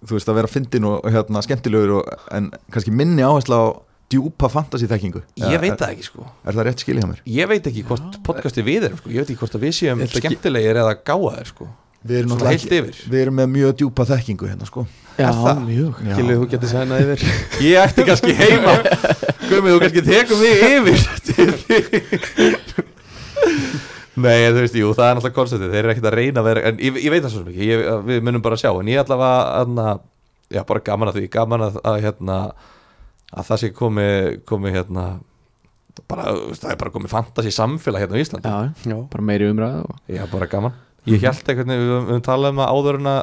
S2: þú veist, að vera fyndin og hérna, skemmtilegur og, en kannski minni áhersla á djúpa fantasy-þekkingu
S1: ég
S2: er,
S1: veit það ekki sko
S2: Er það rétt skilja hjá mér?
S1: ég veit ekki hvort podcasti við erum sko. ég veit ekki hvort að við séum
S4: Ég ætla ekki-
S1: skemmtilegir eða gáðaðir sko.
S2: Við erum,
S1: svona heilt yfir
S2: við erum með mjög djúpa þekkingu hérna, sko
S1: Er það?
S4: mjög Gilvið, þú getur sænað yfir
S1: ég ætti kannski heima komið þú kannski tekum mig yfir til þín. nei en þú veist jú það er náttúrulega konceptið þeir eru ekkert að reyna að vera en ég, ég veit það svo mikið ég, við munum bara sjá en ég ætla að anna, já bara gaman að því gaman að, að hérna að það sé komi komi hérna bara þú veist, það er bara komið fantasi samfélag hérna á Íslandi
S5: Já,
S4: Já
S5: bara meiri umræða og...
S1: Já, bara gaman Ég held einhvern veginn, við höfum talað um að áður en að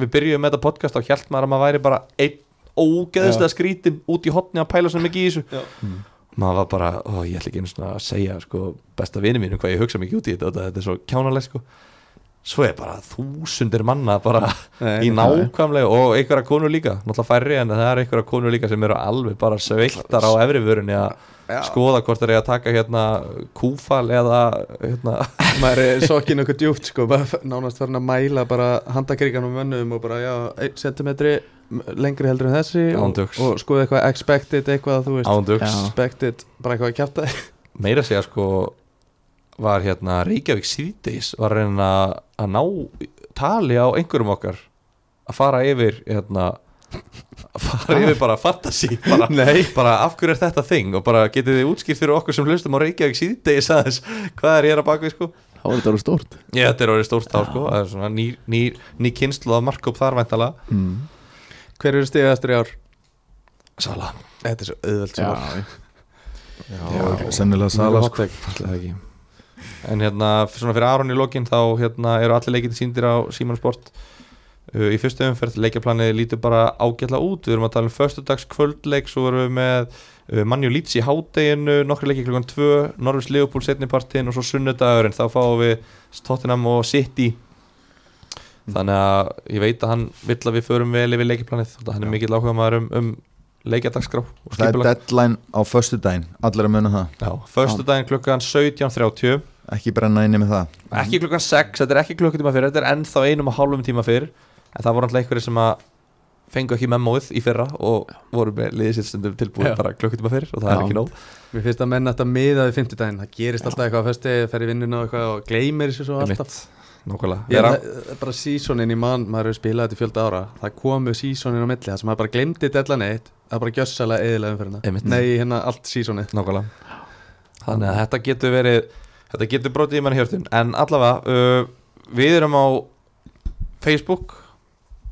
S1: við byrjuðum með þetta podcast og held maður að maður væri bara einn ógeðslega skrítin út í hotni að pæla svona mikið í þessu
S4: Já.
S1: maður var bara, ó, ég ætla ekki einu svona að segja sko, besta vini mínum hvað ég hugsa mikið út í þetta þetta er svo kjánalegt sko svo er bara þúsundir manna bara í
S4: Nei, nei.
S1: nákvæmlega og einhverja konur líka náttúrulega færri en það er einhverja konur líka sem eru alveg bara sveittar á efrivörunni að skoða hvort þeir eru að taka hérna kúfal eða hérna
S4: Maður er sokkinn okkur djúpt sko bara f- Nánast farin að mæla bara handakrikan og mönnum og bara já, 1 cm lengri heldur en þessi
S1: Já,
S4: og,
S1: djóks.
S4: og skoði eitthvað expected eitthvað þú veist
S1: ándöks
S5: Já.
S4: Expected, bara eitthvað að kjæfta
S1: meira að segja sko var hérna Reykjavík síðdeis var að reyna að ná tali á einhverjum okkar að fara yfir hérna að fara yfir bara fantasy bara,
S4: [LAUGHS]
S1: bara af hverju er þetta þing og bara getið þið útskýrt fyrir okkur sem hlustum á Reykjavík síðdeis aðeins hvað er ég er að baka við sko
S5: þá er þetta alveg stórt
S1: ég þetta er orðið stórt þá sko það er svona ný, ný, ný kynslu að marka upp þar væntala
S2: mm.
S4: Hver eru stigastri ár?
S1: Sala
S4: Þetta er svo auðvelt sem var
S5: Já,
S2: Já, Já sennilega Sala, sko
S1: sko. En hérna, f- svona fyrir Aron í lokin þá hérna, eru allir leikindi síndir á Simon Sport uh, í fyrstu umferð leikjaplanið lítur bara ágætla út við erum að tala um föstudags kvöldleik svo erum við með uh, Manju Líts í hádeginu nokkri leiki klukkan 2, Norvis Leopold setnipartin og svo sunnudagurinn, þá fáum við Tottenham og City
S2: Mm.
S1: þannig að ég veit að hann vill að við förum vel yfir leikjaplanið þótt að hann er mikill áhuga maður um, um leikjadagskrá og
S2: Það er
S1: skipulag
S2: deadline á föstu daginn, allir að muna það
S1: Já, föstudaginn klukkan 17.30
S2: Ekki brenna inni með það
S4: Mhm.
S1: ekki klukkan 6, þetta er ekki klukkutíma fyrir þetta er ennþá einum og hálfum tíma fyrir en það voru alltaf einhverjir sem að fengu ekki memóið í fyrra og voru með liðið sitt stundum tilbúið
S4: Já.
S1: bara klukkutíma fyrir og það er
S5: Já.
S1: ekki nóg
S4: [LAUGHS] Mér finnst að menna þetta miðaði 50 daginn Það gerist alltaf eitthvað að festi, fer í vinnuna og eitthvað og gleymir þessu svo alltaf
S1: Nákvæmlega,
S4: Ég,
S1: vera,
S4: það, það er bara sísonin í mann, maður hefur spilað þetta í fjölda ára Það komu sísonin á milli, það sem maður bara glemdi dellan eitt Það er bara gjössalega eðilega umfyrirna
S1: Einmitt.
S4: Nei, hérna allt sísonið
S1: nákvæmlega Þannig að þetta getur verið þetta getur brotið í mann hjörtun en allavega, uh, við erum á Facebook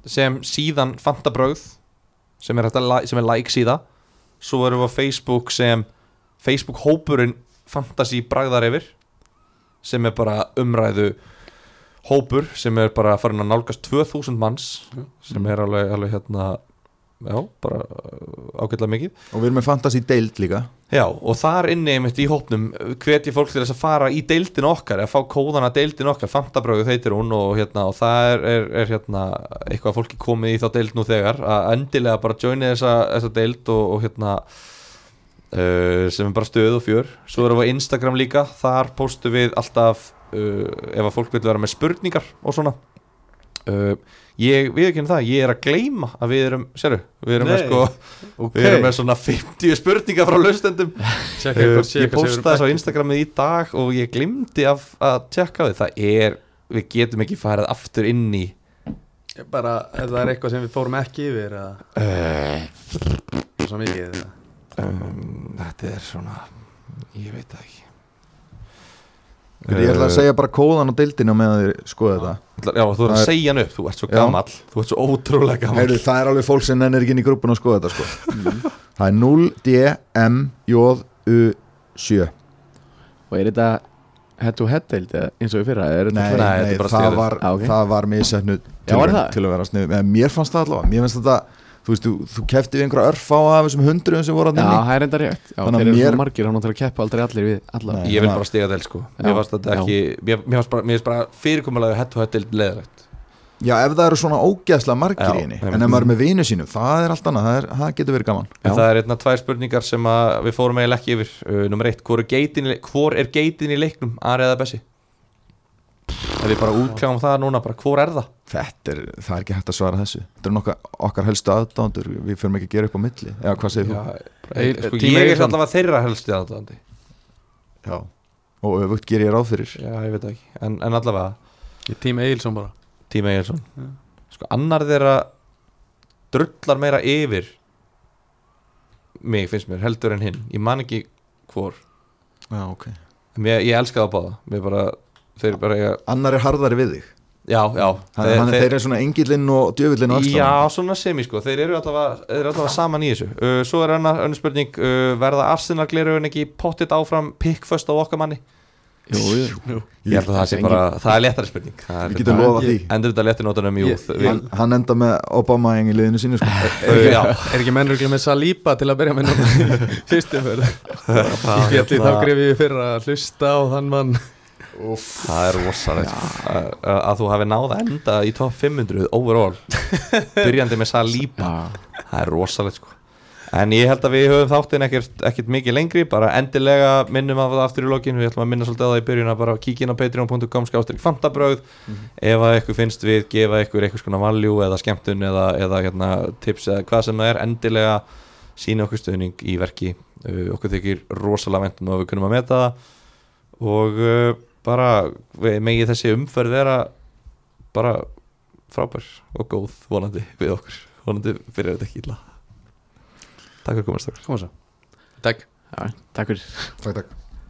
S1: sem síðan Fantabröð sem er, hægt að li- sem er like síða svo erum við á Facebook sem Facebook hópurinn fantasy bragðar yfir sem er bara umræðu hópur sem er bara farin að nálgast 2000 manns
S4: Já.
S1: sem er alveg, alveg hérna já, bara uh, ágætlega mikið
S2: og við erum með fantasy deild líka
S1: Já, og þar inni einmitt í hópnum hveti fólk til þess að fara í deildin okkar eða fá kóðana deildin okkar, fantabröðu þeitir hún og, hérna, og það er, er, er hérna, eitthvað að fólki komið í þá deild nú þegar að endilega bara joini þessa, þessa deild og, og hérna uh, sem er bara stöð og fjör svo erum við á Instagram líka, þar postum við alltaf uh, ef að fólk vil vera með spurningar og svona uh, ég, við erum ekki það, ég er að gleyma að við erum, sérðu, við erum með
S4: Nei.
S1: sko
S4: okay.
S1: Við erum með svona 50 spurningar frá laustendum Eh,
S4: Tjekka hvort um- sé
S1: Ég
S4: eitthvað sem við
S1: postaði
S4: erum
S1: þess á
S4: bætt.
S1: Instagramið í dag og ég glimti af að tjekka á því Það er, við getum ekki farið aftur inn í
S4: Ég bara, ef það er eitthvað sem við fórum ekki yfir eða
S2: Eh,
S4: svo mikið eða.
S1: um, Þetta er svona, ég veit það ekki Eh,
S2: ég ætla að segja bara kóðan á deildinu með þér skoða þetta
S1: Já, þú er
S2: Það
S1: að
S2: er-
S1: segja hann upp, þú ert svo
S2: Já.
S1: gamall Þú ert svo ótrúlega gamall
S2: Heyrðu, það er alveg fólk sem nennir ekki inn í grúpun og skoða þetta sko. það er 0DMJU7
S5: Og er þetta head to head deild eða eins og í fyrra? Er þetta
S2: Nei,
S5: svona-
S1: þetta
S2: nei,
S1: er bara
S2: það,
S1: stigið.
S2: var,
S5: Ah, ok.
S2: það var misjafnu
S5: Já, var það?
S2: til að vera sniðu Mér fannst það allavega, mér finnst þetta Þú veist, þú, þú kefti við einhverja örf á af þessum hundruðum sem voru að
S5: Já,
S2: nynni
S5: það er enda rétt Já,
S2: Þannig að
S5: þeir eru
S2: mér-
S5: svona margir, hann áttur að keppa aldrei allir við alla
S2: Nei.
S1: Ég vil bara stiga þeir sko
S5: Já.
S1: Mér fannst þetta
S5: Já.
S1: ekki, mér mér fannst bara, mér fannst bara fyrirkomulegu hett og hett leðrætt
S2: Já, ef það eru svona ógeðslega margir
S1: Já,
S2: í henni
S1: einmitt.
S2: En ef maður er með vinu sínum, það er allt annað Það, er, það getur verið gaman
S1: En
S5: Já.
S1: það er einna tvær spurningar sem að við fórum eiginlega ekki yfir uh, Númer eitt, hvor er geitin, í- hvor er geitin í leiknum, Ari eða Bessi? Ef við bara útkjáum það núna, bara hvor er það?
S2: Þetta er, það er ekki hægt að svara þessu Þetta er nokkar okkar helstu aðdándur Við förum ekki að gera upp á milli Já, hvað segir
S1: Já,
S2: þú?
S1: ég, sko,
S4: Tími
S1: ég er
S4: Egilsson.
S1: allavega þeirra helsti aðdáðandi
S2: Já Og öfugt ger ég ráð fyrir
S1: Já, ég veit það ekki En, en allavega,
S4: Ég tíma Egilson bara
S1: Tími Egilson Sko, annar þeirra drullar meira yfir mig, finnst mér, heldur en hinn Ég man ekki hvor
S2: Já, ok
S1: En Mér, ég elska það báða Mér bara, þeir bara eiga
S2: Annar er harðari við þig
S1: Já, já
S2: Hann, hann, þeir, eru svona engillinn og djöfullinn og
S1: Já, svona semi sko, þeir eru allavega, þeir eru allavega saman í þessu uh, Svo er annar önnur spurning uh, Verða Arsenal gleruðun ekki pottitt áfram pikkföst á okkar manni?
S5: Jú, jú.
S1: Ég held að það sé bara, það er léttari spurning Það er
S2: Við getum
S1: hérna-
S2: lofa því
S1: Endur þetta létti nótunum, jú
S4: Ég-
S1: þ-
S4: ég-
S1: við-
S2: hann, hann enda með Obama í liðinu sínu sko.
S1: Þau- já,
S4: Er ekki mennuruglega með Saliba til að byrja með núna fyrstu fyrir
S1: það,
S4: [LAUGHS] Ég ætli
S1: hérna-
S4: þá gref ég fyrir að hlusta á þann mann
S1: það er rosalegt sko. að, að þú hafi náð að enda í top 500
S4: [LAUGHS]
S1: overall byrjandi með Saliba
S5: Já,
S1: það er rosalegt sko en ég held að við höfum þáttinn ekkert, ekkert mikið lengri bara endilega minnum að það aftur í lokin við ætlum að minna svolítið að það í byrjun að bara kíkja inn á patreon.com skástrík fantabröð ef að ykkur finnst við gefa ykkur eitthvað skona valjú eða skemmtun eða, eða hérna, tips eða hvað sem það er endilega sína okkur stöðning í verki uh, okkur þykir rosalega vendum að við kunum að meta það og uh, bara við- megi þessi umferð vera bara frábær og góð vonandi við okkur vonandi byrjar þetta ekki illa Takk fyrir komast okkur
S4: Koma svo Takk
S5: já, takk fyrir
S2: Takk, takk